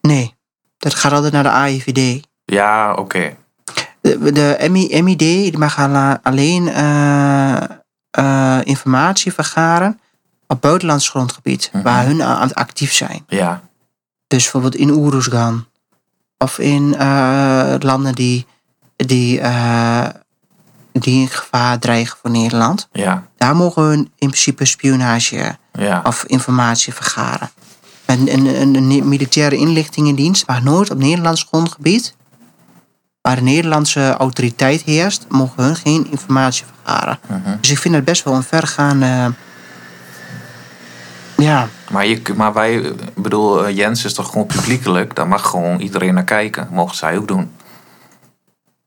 Speaker 1: Nee, dat gaat altijd naar de AIVD.
Speaker 2: Ja, oké.
Speaker 1: De, de MI, MID die mag ala- alleen eh, eh, informatie vergaren op buitenlands grondgebied,
Speaker 2: Mhm.
Speaker 1: waar hun a- aan het actief zijn.
Speaker 2: Ja,
Speaker 1: Dus bijvoorbeeld in Oeruzgan of in eh, landen die, die, eh, die in gevaar dreigen voor Nederland.
Speaker 2: ja,
Speaker 1: Daar mogen hun in principe spionage
Speaker 2: ja.
Speaker 1: of informatie vergaren. Een, een, een, een militaire inlichtingendienst mag nooit op Nederlands grondgebied, waar de Nederlandse autoriteit heerst, mogen hun geen informatie vergaren.
Speaker 2: mhm.
Speaker 1: Dus ik vind het best wel een vergaande. Ja,
Speaker 2: Maar, je, maar wij, ik bedoel, eh, Jens is toch gewoon publiekelijk? Daar mag gewoon iedereen naar kijken. Mogen zij ook doen.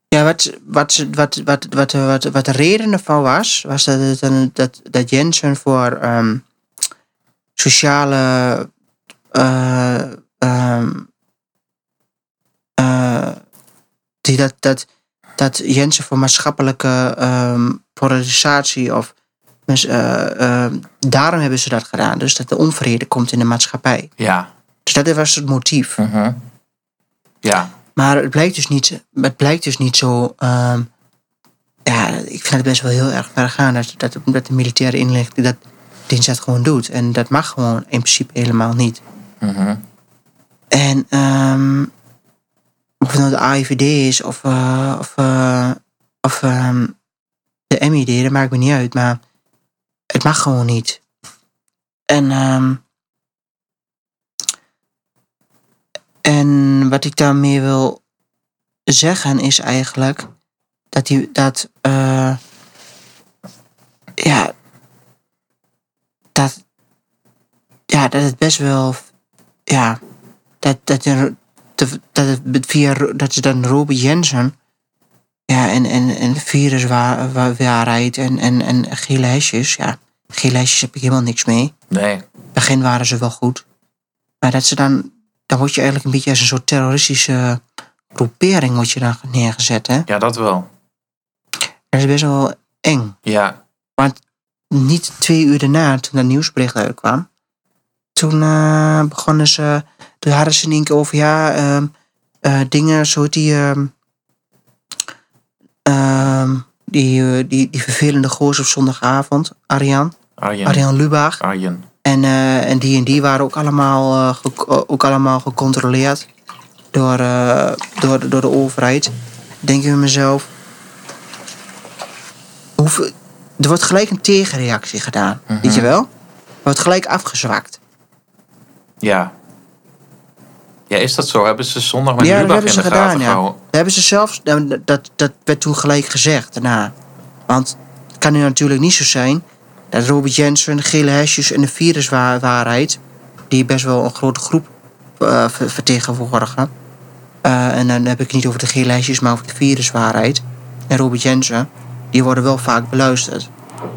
Speaker 1: ja wat, wat, ze- wat, wat, wat, wat, wat de reden ervan was, was dat, het een- dat, dat Jensen voor ehm, sociale. eh, ehm, eh, die dat, dat, dat Jensen voor maatschappelijke ehm, polarisatie of. mens- eh, ehm, daarom hebben ze dat gedaan. Dus dat de onvrede komt in de maatschappij.
Speaker 2: Ja.
Speaker 1: Dus dat was het motief.
Speaker 2: mhm. Ja,
Speaker 1: Maar het blijkt dus niet, het blijkt dus niet zo. ehm, ja, ik vind het best wel heel erg ver gaan dat, dat, dat de militaire inlichting dat dienst dat gewoon doet. En dat mag gewoon in principe helemaal niet.
Speaker 2: mhm.
Speaker 1: En ehm, of het nou de AIVD is of, eh, of, eh, of ehm, de MID, dat maakt me niet uit. Maar het mag gewoon niet. En, ehm, en wat ik daarmee wil zeggen is eigenlijk dat die dat eh, ja dat ja dat het best wel ja dat dat er te- dat het via dat ze dan Robert Jensen ja en en en viruswaarheid en en en gele hesjes ja gele hesjes heb ik helemaal niks mee
Speaker 2: nee.
Speaker 1: in het begin waren ze wel goed. Maar dat ze dan, dan word je eigenlijk een beetje als een soort terroristische groepering word je dan neergezet. Hè?
Speaker 2: Ja, dat wel.
Speaker 1: Dat is best wel eng.
Speaker 2: Ja,
Speaker 1: Niet twee uur daarna, toen dat nieuwsbericht uitkwam, toen eh, begonnen ze, toen hadden ze in één keer over ja, ehm, eh, dingen, zo die, ehm, ehm, die, eh, die, die vervelende goos op zondagavond, Arjan,
Speaker 2: Arjen.
Speaker 1: Arjan Lubach.
Speaker 2: Arjen.
Speaker 1: En, eh, en die en die waren ook allemaal, eh, ge- eh, ook allemaal gecontroleerd door, eh, door, door de overheid. Denk ik bij mezelf. Hoeveel, er wordt gelijk een tegenreactie gedaan,
Speaker 2: Mhm.
Speaker 1: weet je wel? Er wordt gelijk afgezwakt.
Speaker 2: Ja. Ja, is dat zo? Hebben ze zondag met
Speaker 1: Ja, dat
Speaker 2: Lubach in
Speaker 1: hebben
Speaker 2: de
Speaker 1: ze
Speaker 2: gaten
Speaker 1: gedaan, ja.
Speaker 2: gehouden?
Speaker 1: Dat hebben ze zelfs, dat- dat, dat werd toen gelijk gezegd daarna. Want het kan nu natuurlijk niet zo zijn dat Robert Jensen, de gele hesjes en de viruswaarheid, die best wel een grote groep eh, ver- vertegenwoordigen. Eh, en dan heb ik het niet over de gele hesjes, maar over de viruswaarheid. En Robert Jensen, die worden wel vaak beluisterd.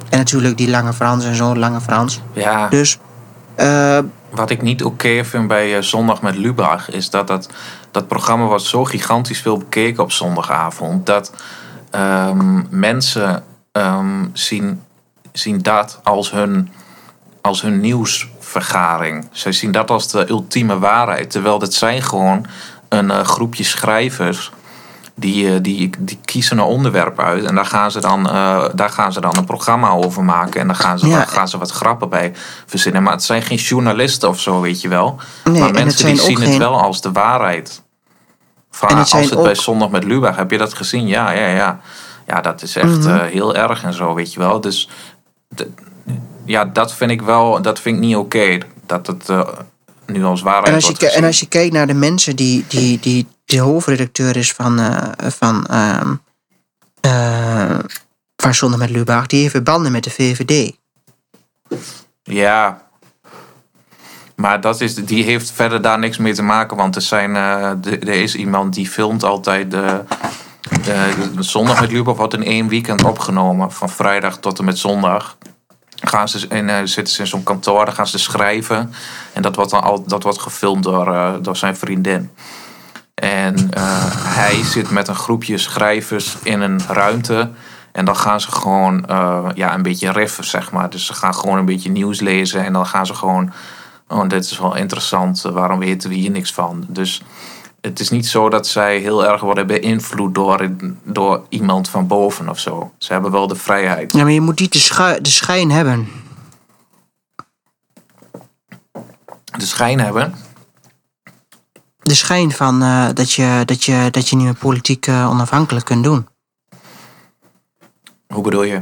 Speaker 1: En natuurlijk die Lange Frans en zo, Lange Frans.
Speaker 2: Ja,
Speaker 1: Dus eh,
Speaker 2: wat ik niet oké vind bij eh, Zondag met Lubach... is dat dat, dat programma was zo gigantisch veel bekeken op zondagavond... dat ehm, mensen ehm, zien, zien dat als hun, als hun nieuwsvergaring. Zij zien dat als de ultieme waarheid. Terwijl dat zijn gewoon een eh, groepje schrijvers... Die, eh, die, die kiezen een onderwerp uit en daar gaan, ze dan, eh, daar gaan ze dan een programma over maken. En daar gaan ze,
Speaker 1: Ja.
Speaker 2: daar gaan ze wat grappen bij verzinnen. Maar het zijn geen journalisten of zo, weet je wel.
Speaker 1: Nee, en
Speaker 2: maar
Speaker 1: het
Speaker 2: mensen
Speaker 1: zijn
Speaker 2: die
Speaker 1: ook
Speaker 2: zien het
Speaker 1: geen-
Speaker 2: wel als de waarheid. Van,
Speaker 1: En het
Speaker 2: als
Speaker 1: zijn
Speaker 2: het bij
Speaker 1: ook-
Speaker 2: Zondag met Lubach, heb je dat gezien? Ja, ja, ja. Ja, dat is echt
Speaker 1: Mhm.
Speaker 2: eh, heel erg en zo, weet je wel. Dus d- ja, dat vind ik wel, dat vind ik niet oké. dat het eh, nu als waarheid
Speaker 1: En als, je,
Speaker 2: wordt
Speaker 1: ki- en
Speaker 2: gezien.
Speaker 1: als je kijkt naar de mensen die, die, die de hoofdredacteur is van, eh van, ehm eh, van Zonder met Lubach, die heeft weer banden met de VVD.
Speaker 2: Ja. Maar dat is, die heeft verder daar niks mee te maken. Want er, zijn, eh, de- er is iemand die filmt altijd. De, de, de zondag met Lubach wordt in één weekend opgenomen. Van vrijdag tot en met zondag. Gaan ze in, eh, zitten ze in zo'n kantoor, dan gaan ze schrijven. En dat wordt, dan al, dat wordt gefilmd door, eh, door zijn vriendin. En eh, hij zit met een groepje schrijvers in een ruimte. En dan gaan ze gewoon eh, ja, een beetje riffen, zeg maar. Dus ze gaan gewoon een beetje nieuws lezen. En dan gaan ze gewoon... Oh, dit is wel interessant. eh, Waarom weten we hier niks van? Dus het is niet zo dat zij heel erg worden beïnvloed door, door iemand van boven of zo. Ze hebben wel de vrijheid.
Speaker 1: Ja, maar je moet niet de, schu- de schijn hebben.
Speaker 2: De schijn hebben.
Speaker 1: De schijn van eh, dat, je, dat, je, dat je nu politiek eh, onafhankelijk kunt doen.
Speaker 2: Hoe bedoel je?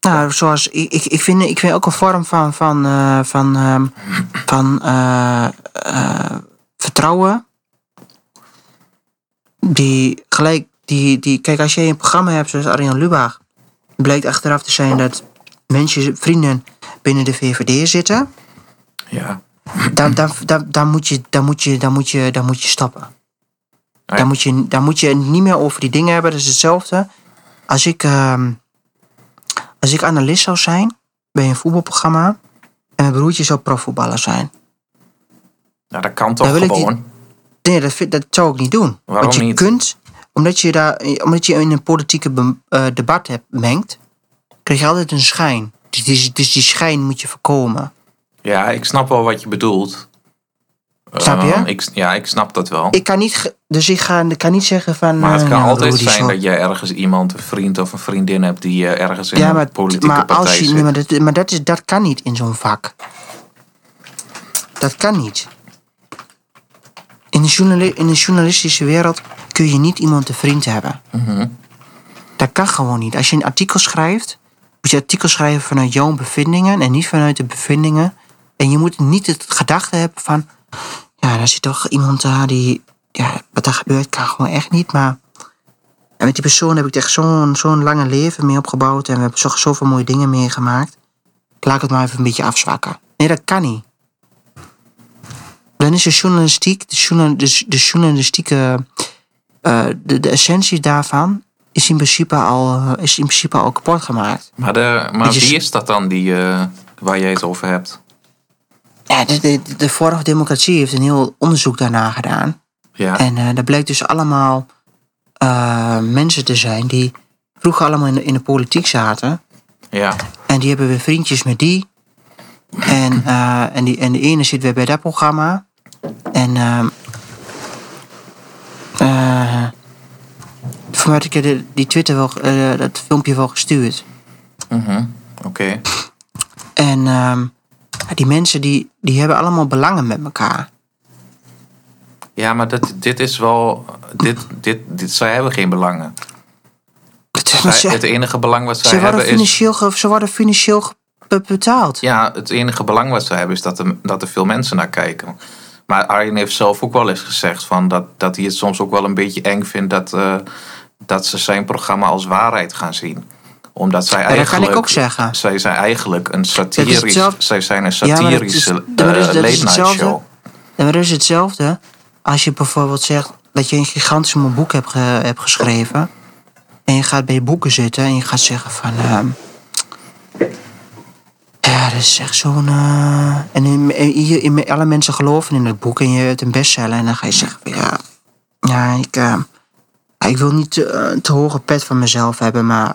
Speaker 1: Nou, zoals ik, ik, ik, vind, ik vind ook een vorm van, van, eh, van, ehm, van eh, eh, vertrouwen. Die gelijk, die, die, kijk, als je een programma hebt zoals Arjan Lubach, blijkt achteraf te zijn dat mensen, vrienden binnen de VVD zitten,
Speaker 2: Ja.
Speaker 1: dan, dan, dan, dan, moet, je, dan, moet, je, dan, moet, je, dan moet je stoppen.
Speaker 2: ja.
Speaker 1: Dan, moet je, dan moet je het niet meer over die dingen hebben. Dat is hetzelfde. Als ik, ehm, als ik analist zou zijn bij een voetbalprogramma. En mijn broertje zou profvoetballer zijn.
Speaker 2: Nou, dat kan toch
Speaker 1: Daar wil ik die-
Speaker 2: gewoon.
Speaker 1: Nee, dat, vind- dat zou ik niet doen.
Speaker 2: Waarom
Speaker 1: Want je
Speaker 2: niet?
Speaker 1: kunt, omdat je, daar, omdat je in een politieke be- eh, debat hebt, mengt, krijg je altijd een schijn. Dus die, dus die schijn moet je voorkomen.
Speaker 2: Ja, ik snap wel wat je bedoelt.
Speaker 1: Snap je?
Speaker 2: Ehm, ik, ja, ik snap dat wel.
Speaker 1: Ik kan niet, ge- dus ik, ga, ik kan niet zeggen van.
Speaker 2: maar het
Speaker 1: eh,
Speaker 2: kan
Speaker 1: nou,
Speaker 2: altijd
Speaker 1: Rudy
Speaker 2: zijn
Speaker 1: Schor-
Speaker 2: dat jij ergens iemand, een vriend of een vriendin hebt die eh, ergens in
Speaker 1: Ja,
Speaker 2: een
Speaker 1: maar,
Speaker 2: politieke
Speaker 1: maar,
Speaker 2: partij
Speaker 1: als je,
Speaker 2: zit.
Speaker 1: nee, maar, dat, maar dat, is, dat kan niet in zo'n vak. Dat kan niet. In de, journali- in de journalistische wereld kun je niet iemand te vriend hebben. Dat kan gewoon niet. Als je een artikel schrijft, moet je artikel schrijven vanuit jouw bevindingen en niet vanuit de bevindingen. En je moet niet het gedachte hebben van, ja, daar zit toch iemand daar die, ja, wat daar gebeurt kan gewoon echt niet, maar en met die persoon heb ik echt zo'n zo'n lange leven mee opgebouwd. En we hebben zo, zoveel mooie dingen meegemaakt. Laat ik het maar even een beetje afzwakken. Nee, dat kan niet. Dan is de journalistiek, de, journa- de, de journalistieke, eh, de, de essentie daarvan is in principe al, eh, is in principe al kapot gemaakt.
Speaker 2: Maar, de, maar
Speaker 1: Dat Dus je-
Speaker 2: wie is dat dan die, eh, waar jij het over hebt?
Speaker 1: Ja, de, de, de vorige democratie heeft een heel onderzoek daarna gedaan.
Speaker 2: Ja,
Speaker 1: En eh dat bleek dus allemaal eh, mensen te zijn die vroeger allemaal in de, in de politiek zaten.
Speaker 2: ja.
Speaker 1: En die hebben weer vriendjes met die. En, eh, en, die, en de ene zit weer bij dat programma. En ehm eh, voor mij had ik je de- die Twitter wel, eh, dat filmpje wel gestuurd.
Speaker 2: mhm, Oké.
Speaker 1: En ehm, die mensen die, die hebben allemaal belangen met elkaar.
Speaker 2: Ja, maar dat, dit is wel. Dit, dit, dit, zij hebben geen belangen.
Speaker 1: Dat is-
Speaker 2: Zij- het enige belang wat zij
Speaker 1: ze, worden
Speaker 2: hebben is.
Speaker 1: financieel, ge- ze worden financieel ge- betaald.
Speaker 2: Ja, het enige belang wat zij hebben is dat er, dat er veel mensen naar kijken. Maar Arjen heeft zelf ook wel eens gezegd van dat, dat hij het soms ook wel een beetje eng vindt dat, eh, dat ze zijn programma als waarheid gaan zien. Omdat zij
Speaker 1: Ja, dat
Speaker 2: eigenlijk.
Speaker 1: kan ik ook zeggen.
Speaker 2: Zij zijn eigenlijk een
Speaker 1: Dat is
Speaker 2: satirisch.
Speaker 1: hetzelfde-
Speaker 2: Zij zijn een
Speaker 1: Ja, maar dat is-
Speaker 2: satirische
Speaker 1: dat is-
Speaker 2: eh,
Speaker 1: dat is
Speaker 2: late night
Speaker 1: hetzelfde.
Speaker 2: show.
Speaker 1: En maar dat is hetzelfde als je bijvoorbeeld zegt dat je een gigantisch mooi boek hebt, ge- hebt geschreven. En je gaat bij boeken zitten en je gaat zeggen van... ehm, ja, dat is echt zo'n... eh, en in, in- hier- in- alle mensen geloven in dat boek en je hebt een bestseller. En dan ga je zeggen van ja, ja ik, eh, ik wil niet eh, een te hoge pet van mezelf hebben. Maar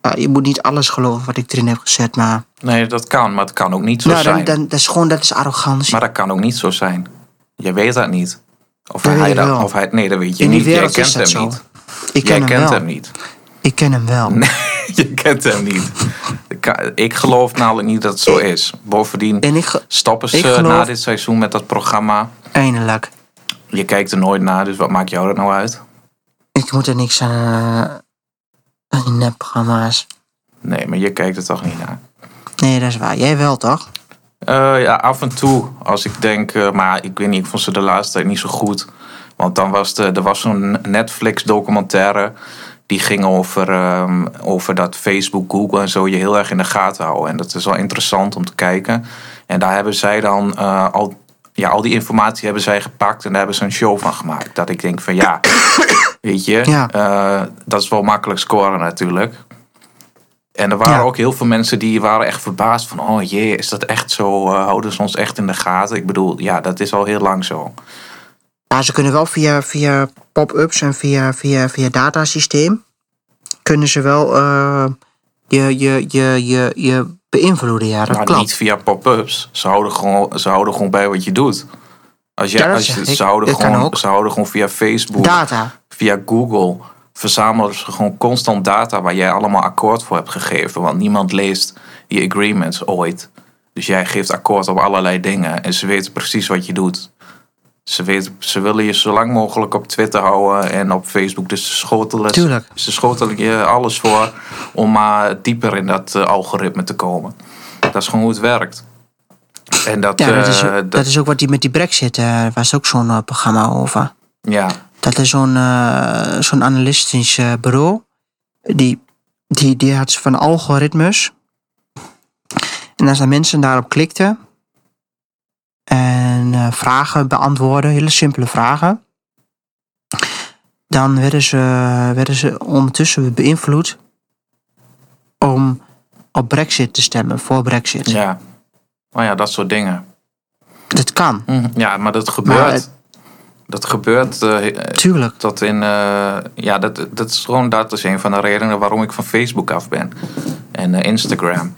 Speaker 1: eh, je moet niet alles geloven wat ik erin heb gezet. Maar
Speaker 2: Nee, dat kan, maar het kan ook niet zo
Speaker 1: nou, dan,
Speaker 2: zijn.
Speaker 1: dan, dat is gewoon dat is arrogantie.
Speaker 2: Maar dat kan ook niet zo zijn. Je weet dat niet. Of
Speaker 1: Dat weet
Speaker 2: hij
Speaker 1: ik
Speaker 2: dat,
Speaker 1: wel.
Speaker 2: of hij, nee, dat weet je
Speaker 1: in die
Speaker 2: niet. Jij
Speaker 1: wereld
Speaker 2: kent
Speaker 1: is dat
Speaker 2: hem
Speaker 1: zo.
Speaker 2: niet.
Speaker 1: Ik
Speaker 2: Jij
Speaker 1: ken hem
Speaker 2: kent
Speaker 1: wel.
Speaker 2: hem niet.
Speaker 1: Ik ken hem wel.
Speaker 2: Nee, je kent hem niet. Ik kan- Ik geloof namelijk niet dat het zo is. Bovendien
Speaker 1: En ik ge-
Speaker 2: stoppen ze
Speaker 1: ik geloof-
Speaker 2: na dit seizoen met dat programma.
Speaker 1: eindelijk.
Speaker 2: Je kijkt er nooit naar, dus wat maakt jou dat nou uit?
Speaker 1: Ik moet er niks aan, eh, aan die nepprogramma's.
Speaker 2: Nee, maar je kijkt er toch niet naar.
Speaker 1: Nee, dat is waar. Jij wel, toch?
Speaker 2: Eh, ja, af en toe. Als ik denk, eh, maar ik weet niet, ik vond ze de laatste tijd niet zo goed. Want dan was de, er was zo'n Netflix-documentaire. Die ging over, ehm, over dat Facebook, Google en zo je heel erg in de gaten houden. En dat is wel interessant om te kijken. En daar hebben zij dan eh, al, ja, al die informatie hebben zij gepakt en daar hebben ze een show van gemaakt. Dat ik denk van ja, weet je,
Speaker 1: Ja.
Speaker 2: eh, dat is wel makkelijk scoren natuurlijk. En er waren
Speaker 1: Ja.
Speaker 2: ook heel veel mensen die waren echt verbaasd van... oh jee, is dat echt zo? Eh, houden ze ons echt in de gaten? Ik bedoel, ja, dat is al heel lang zo.
Speaker 1: Ja, ze kunnen wel via, via pop-ups en via, via, via datasysteem... kunnen ze wel eh, je, je, je, je, je beïnvloeden. Ja, dat
Speaker 2: Maar
Speaker 1: klopt.
Speaker 2: Nou, niet via pop-ups. Ze houden, gewoon, ze houden gewoon bij wat je doet. Als jij,
Speaker 1: Ja, dat
Speaker 2: als je,
Speaker 1: zeg ik.
Speaker 2: ze, houden
Speaker 1: Dat kan
Speaker 2: gewoon,
Speaker 1: ook.
Speaker 2: ze houden gewoon via Facebook,
Speaker 1: Data.
Speaker 2: via Google. Verzamelen ze gewoon constant data waar jij allemaal akkoord voor hebt gegeven. Want niemand leest je agreements ooit. Dus jij geeft akkoord op allerlei dingen. En ze weten precies wat je doet. Ze, weten, ze willen je zo lang mogelijk op Twitter houden en op Facebook. Dus ze schotelen,
Speaker 1: Tuurlijk.
Speaker 2: ze schotelen je alles voor om maar dieper in dat eh, algoritme te komen. Dat is gewoon hoe het werkt. En dat,
Speaker 1: Ja, dat, is,
Speaker 2: eh, dat-
Speaker 1: dat is ook wat die met die brexit... eh was ook zo'n eh, programma over.
Speaker 2: ja,
Speaker 1: Dat is zo'n eh, zo'n analistisch eh, bureau. Die, die, die had van algoritmes. En als de mensen daarop klikten. En eh, vragen beantwoorden, hele simpele vragen. Dan werden ze, werden ze ondertussen beïnvloed om op Brexit te stemmen, voor Brexit.
Speaker 2: ja. Nou ja, dat soort dingen.
Speaker 1: Dat kan,
Speaker 2: Mhm. Ja, maar dat gebeurt.
Speaker 1: Maar het-
Speaker 2: dat gebeurt eh,
Speaker 1: tuurlijk.
Speaker 2: dat in. eh, ja, dat, dat is gewoon dat is een van de redenen waarom ik van Facebook af ben. En eh, Instagram.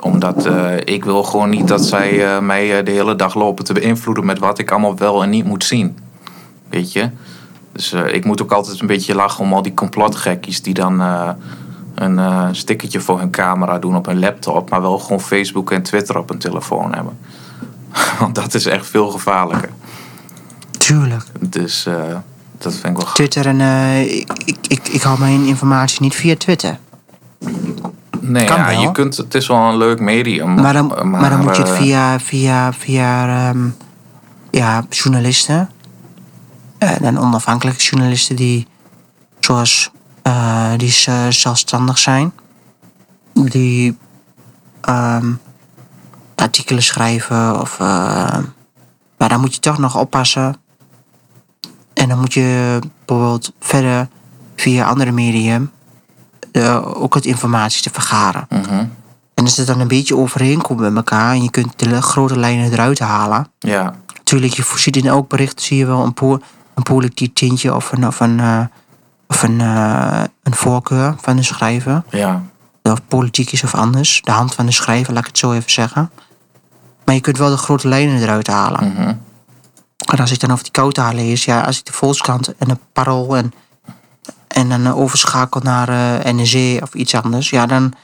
Speaker 2: Omdat eh, ik wil gewoon niet dat zij eh, mij eh, de hele dag lopen te beïnvloeden met wat ik allemaal wel en niet moet zien. Weet je? Dus eh, ik moet ook altijd een beetje lachen om al die complotgekkies die dan eh, een eh stickertje voor hun camera doen op hun laptop, maar wel gewoon Facebook en Twitter op hun telefoon hebben. Want dat is echt veel gevaarlijker.
Speaker 1: Tuurlijk.
Speaker 2: Dus eh, dat vind ik wel grappig.
Speaker 1: Twitter en eh, ik, ik, ik, ik hou mijn informatie niet via Twitter.
Speaker 2: Nee,
Speaker 1: Kan
Speaker 2: ja,
Speaker 1: wel.
Speaker 2: je kunt, het is wel een leuk medium.
Speaker 1: Maar dan, maar, dan moet je het
Speaker 2: eh,
Speaker 1: via, via, via ehm, ja, journalisten. Eh, en onafhankelijke journalisten die, zoals, eh, die ze- zelfstandig zijn. Die ehm, artikelen schrijven. Of, eh, maar dan moet je toch nog oppassen. En dan moet je bijvoorbeeld verder via andere medium eh, ook het informatie te vergaren.
Speaker 2: mhm.
Speaker 1: En als het dan een beetje overeenkomt met elkaar en je kunt de le- grote lijnen eruit halen.
Speaker 2: Ja,
Speaker 1: Natuurlijk, je vo- ziet in elk bericht zie je wel een, po een politiek tintje of een, of een, eh, of een, eh, een voorkeur van de schrijver.
Speaker 2: ja.
Speaker 1: Of politiek is of anders. De hand van de schrijver, laat ik het zo even zeggen. Maar je kunt wel de grote lijnen eruit halen.
Speaker 2: mhm.
Speaker 1: En als ik dan over die kouta lees, ja, als ik de Volkskrant en de Parool en, en dan eh, overschakel naar eh NEC of iets anders, ja, dan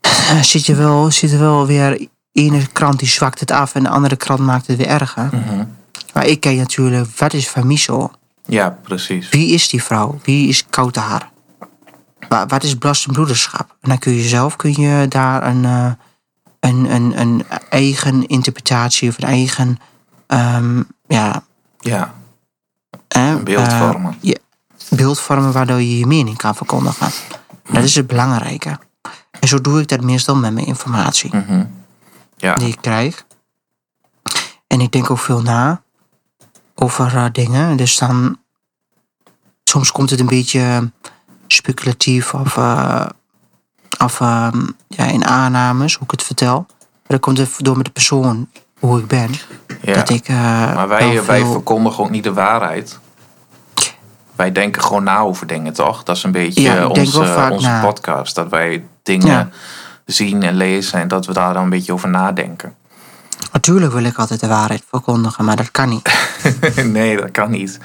Speaker 1: eh, zit, je wel, zit er wel weer ene krant die zwakt het af en de andere krant maakt het weer erger. Maar ik ken natuurlijk, wat is Famiso?
Speaker 2: ja, precies.
Speaker 1: Wie is die vrouw? Wie is Kautar? Wa- Wat is belastingbroederschap? En dan kun je zelf kun je daar een, eh, een, een, een eigen interpretatie of een eigen ehm, ja,
Speaker 2: Ja,
Speaker 1: hè,
Speaker 2: beeld
Speaker 1: eh,
Speaker 2: vormen.
Speaker 1: je beeld vormen waardoor je je mening kan verkondigen.
Speaker 2: Mhm.
Speaker 1: Dat is het belangrijke. En zo doe ik dat meestal met mijn informatie
Speaker 2: mhm. ja.
Speaker 1: die ik krijg. En ik denk ook veel na over eh, dingen. Dus dan. Soms komt het een beetje speculatief of. eh, of eh, ja, in aannames, hoe ik het vertel. Maar dat komt het door met de persoon, hoe ik ben.
Speaker 2: ja.
Speaker 1: Dat ik. eh,
Speaker 2: maar
Speaker 1: wel
Speaker 2: wij, eh, wij
Speaker 1: veel-
Speaker 2: verkondigen ook niet de waarheid. Wij denken gewoon na over dingen, toch? Dat is een beetje
Speaker 1: Ja, ik
Speaker 2: eh,
Speaker 1: denk
Speaker 2: onze,
Speaker 1: wel vaak
Speaker 2: onze
Speaker 1: na.
Speaker 2: podcast. Dat wij dingen
Speaker 1: Ja.
Speaker 2: zien en lezen en dat we daar dan een beetje over nadenken.
Speaker 1: Natuurlijk wil ik altijd de waarheid verkondigen, maar dat kan niet.
Speaker 2: nee, dat kan niet.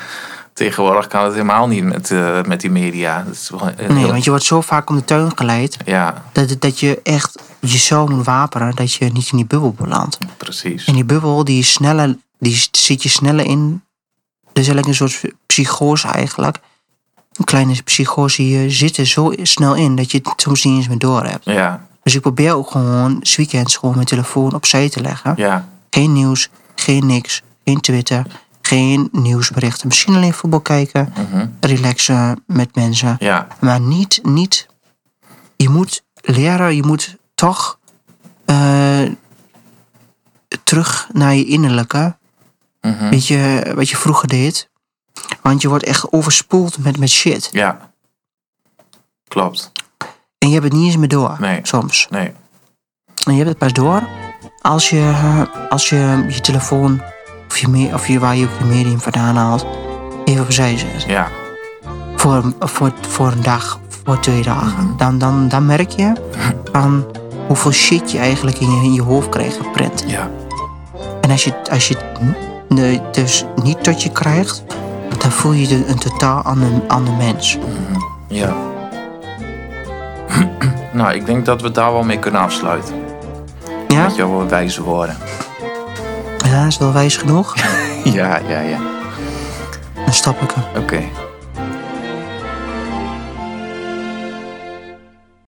Speaker 2: Tegenwoordig kan het helemaal niet met, eh, met die media. Dat is wel-
Speaker 1: Nee, want je wordt zo vaak om de tuin geleid.
Speaker 2: Ja,
Speaker 1: Dat, dat je echt jezelf moet wapenen dat je niet in die bubbel belandt.
Speaker 2: precies.
Speaker 1: En die bubbel, die, is sneller, die zit je sneller in. Dat is eigenlijk een soort psychose eigenlijk. Een kleine psychose, je zit er zo snel in dat je het soms niet eens meer door hebt.
Speaker 2: Ja,
Speaker 1: Dus ik probeer ook gewoon 's weekends gewoon mijn telefoon opzij te leggen.
Speaker 2: ja.
Speaker 1: Geen nieuws, geen niks, geen Twitter, geen nieuwsberichten. Misschien alleen voetbal kijken,
Speaker 2: mhm.
Speaker 1: relaxen met mensen.
Speaker 2: Ja,
Speaker 1: Maar niet, niet. Je moet leren, je moet toch eh, terug naar je innerlijke.
Speaker 2: Mhm.
Speaker 1: Weet je, wat je vroeger deed. Want je wordt echt overspoeld met, met shit.
Speaker 2: ja. Klopt.
Speaker 1: En je hebt het niet eens meer door,
Speaker 2: Nee.
Speaker 1: soms.
Speaker 2: Nee.
Speaker 1: En je hebt het pas door als je eh, als je, je telefoon of, je me- of je, waar je ook je medium vandaan haalt, even opzij zet.
Speaker 2: Ja,
Speaker 1: Voor, voor, voor een dag, voor twee dagen. Dan, dan, dan merk je van hoeveel shit je eigenlijk in je, in je hoofd krijgt gepret.
Speaker 2: ja,
Speaker 1: En als je, als je het n- nee, dus niet tot je krijgt, dan voel je je een totaal ander, ander mens.
Speaker 2: ja. nou, ik denk dat we daar wel mee kunnen afsluiten.
Speaker 1: Ja,
Speaker 2: Met jouw wijze woorden.
Speaker 1: ja is wel wijs genoeg.
Speaker 2: ja, ja, ja.
Speaker 1: Dan stop ik hem.
Speaker 2: Oké.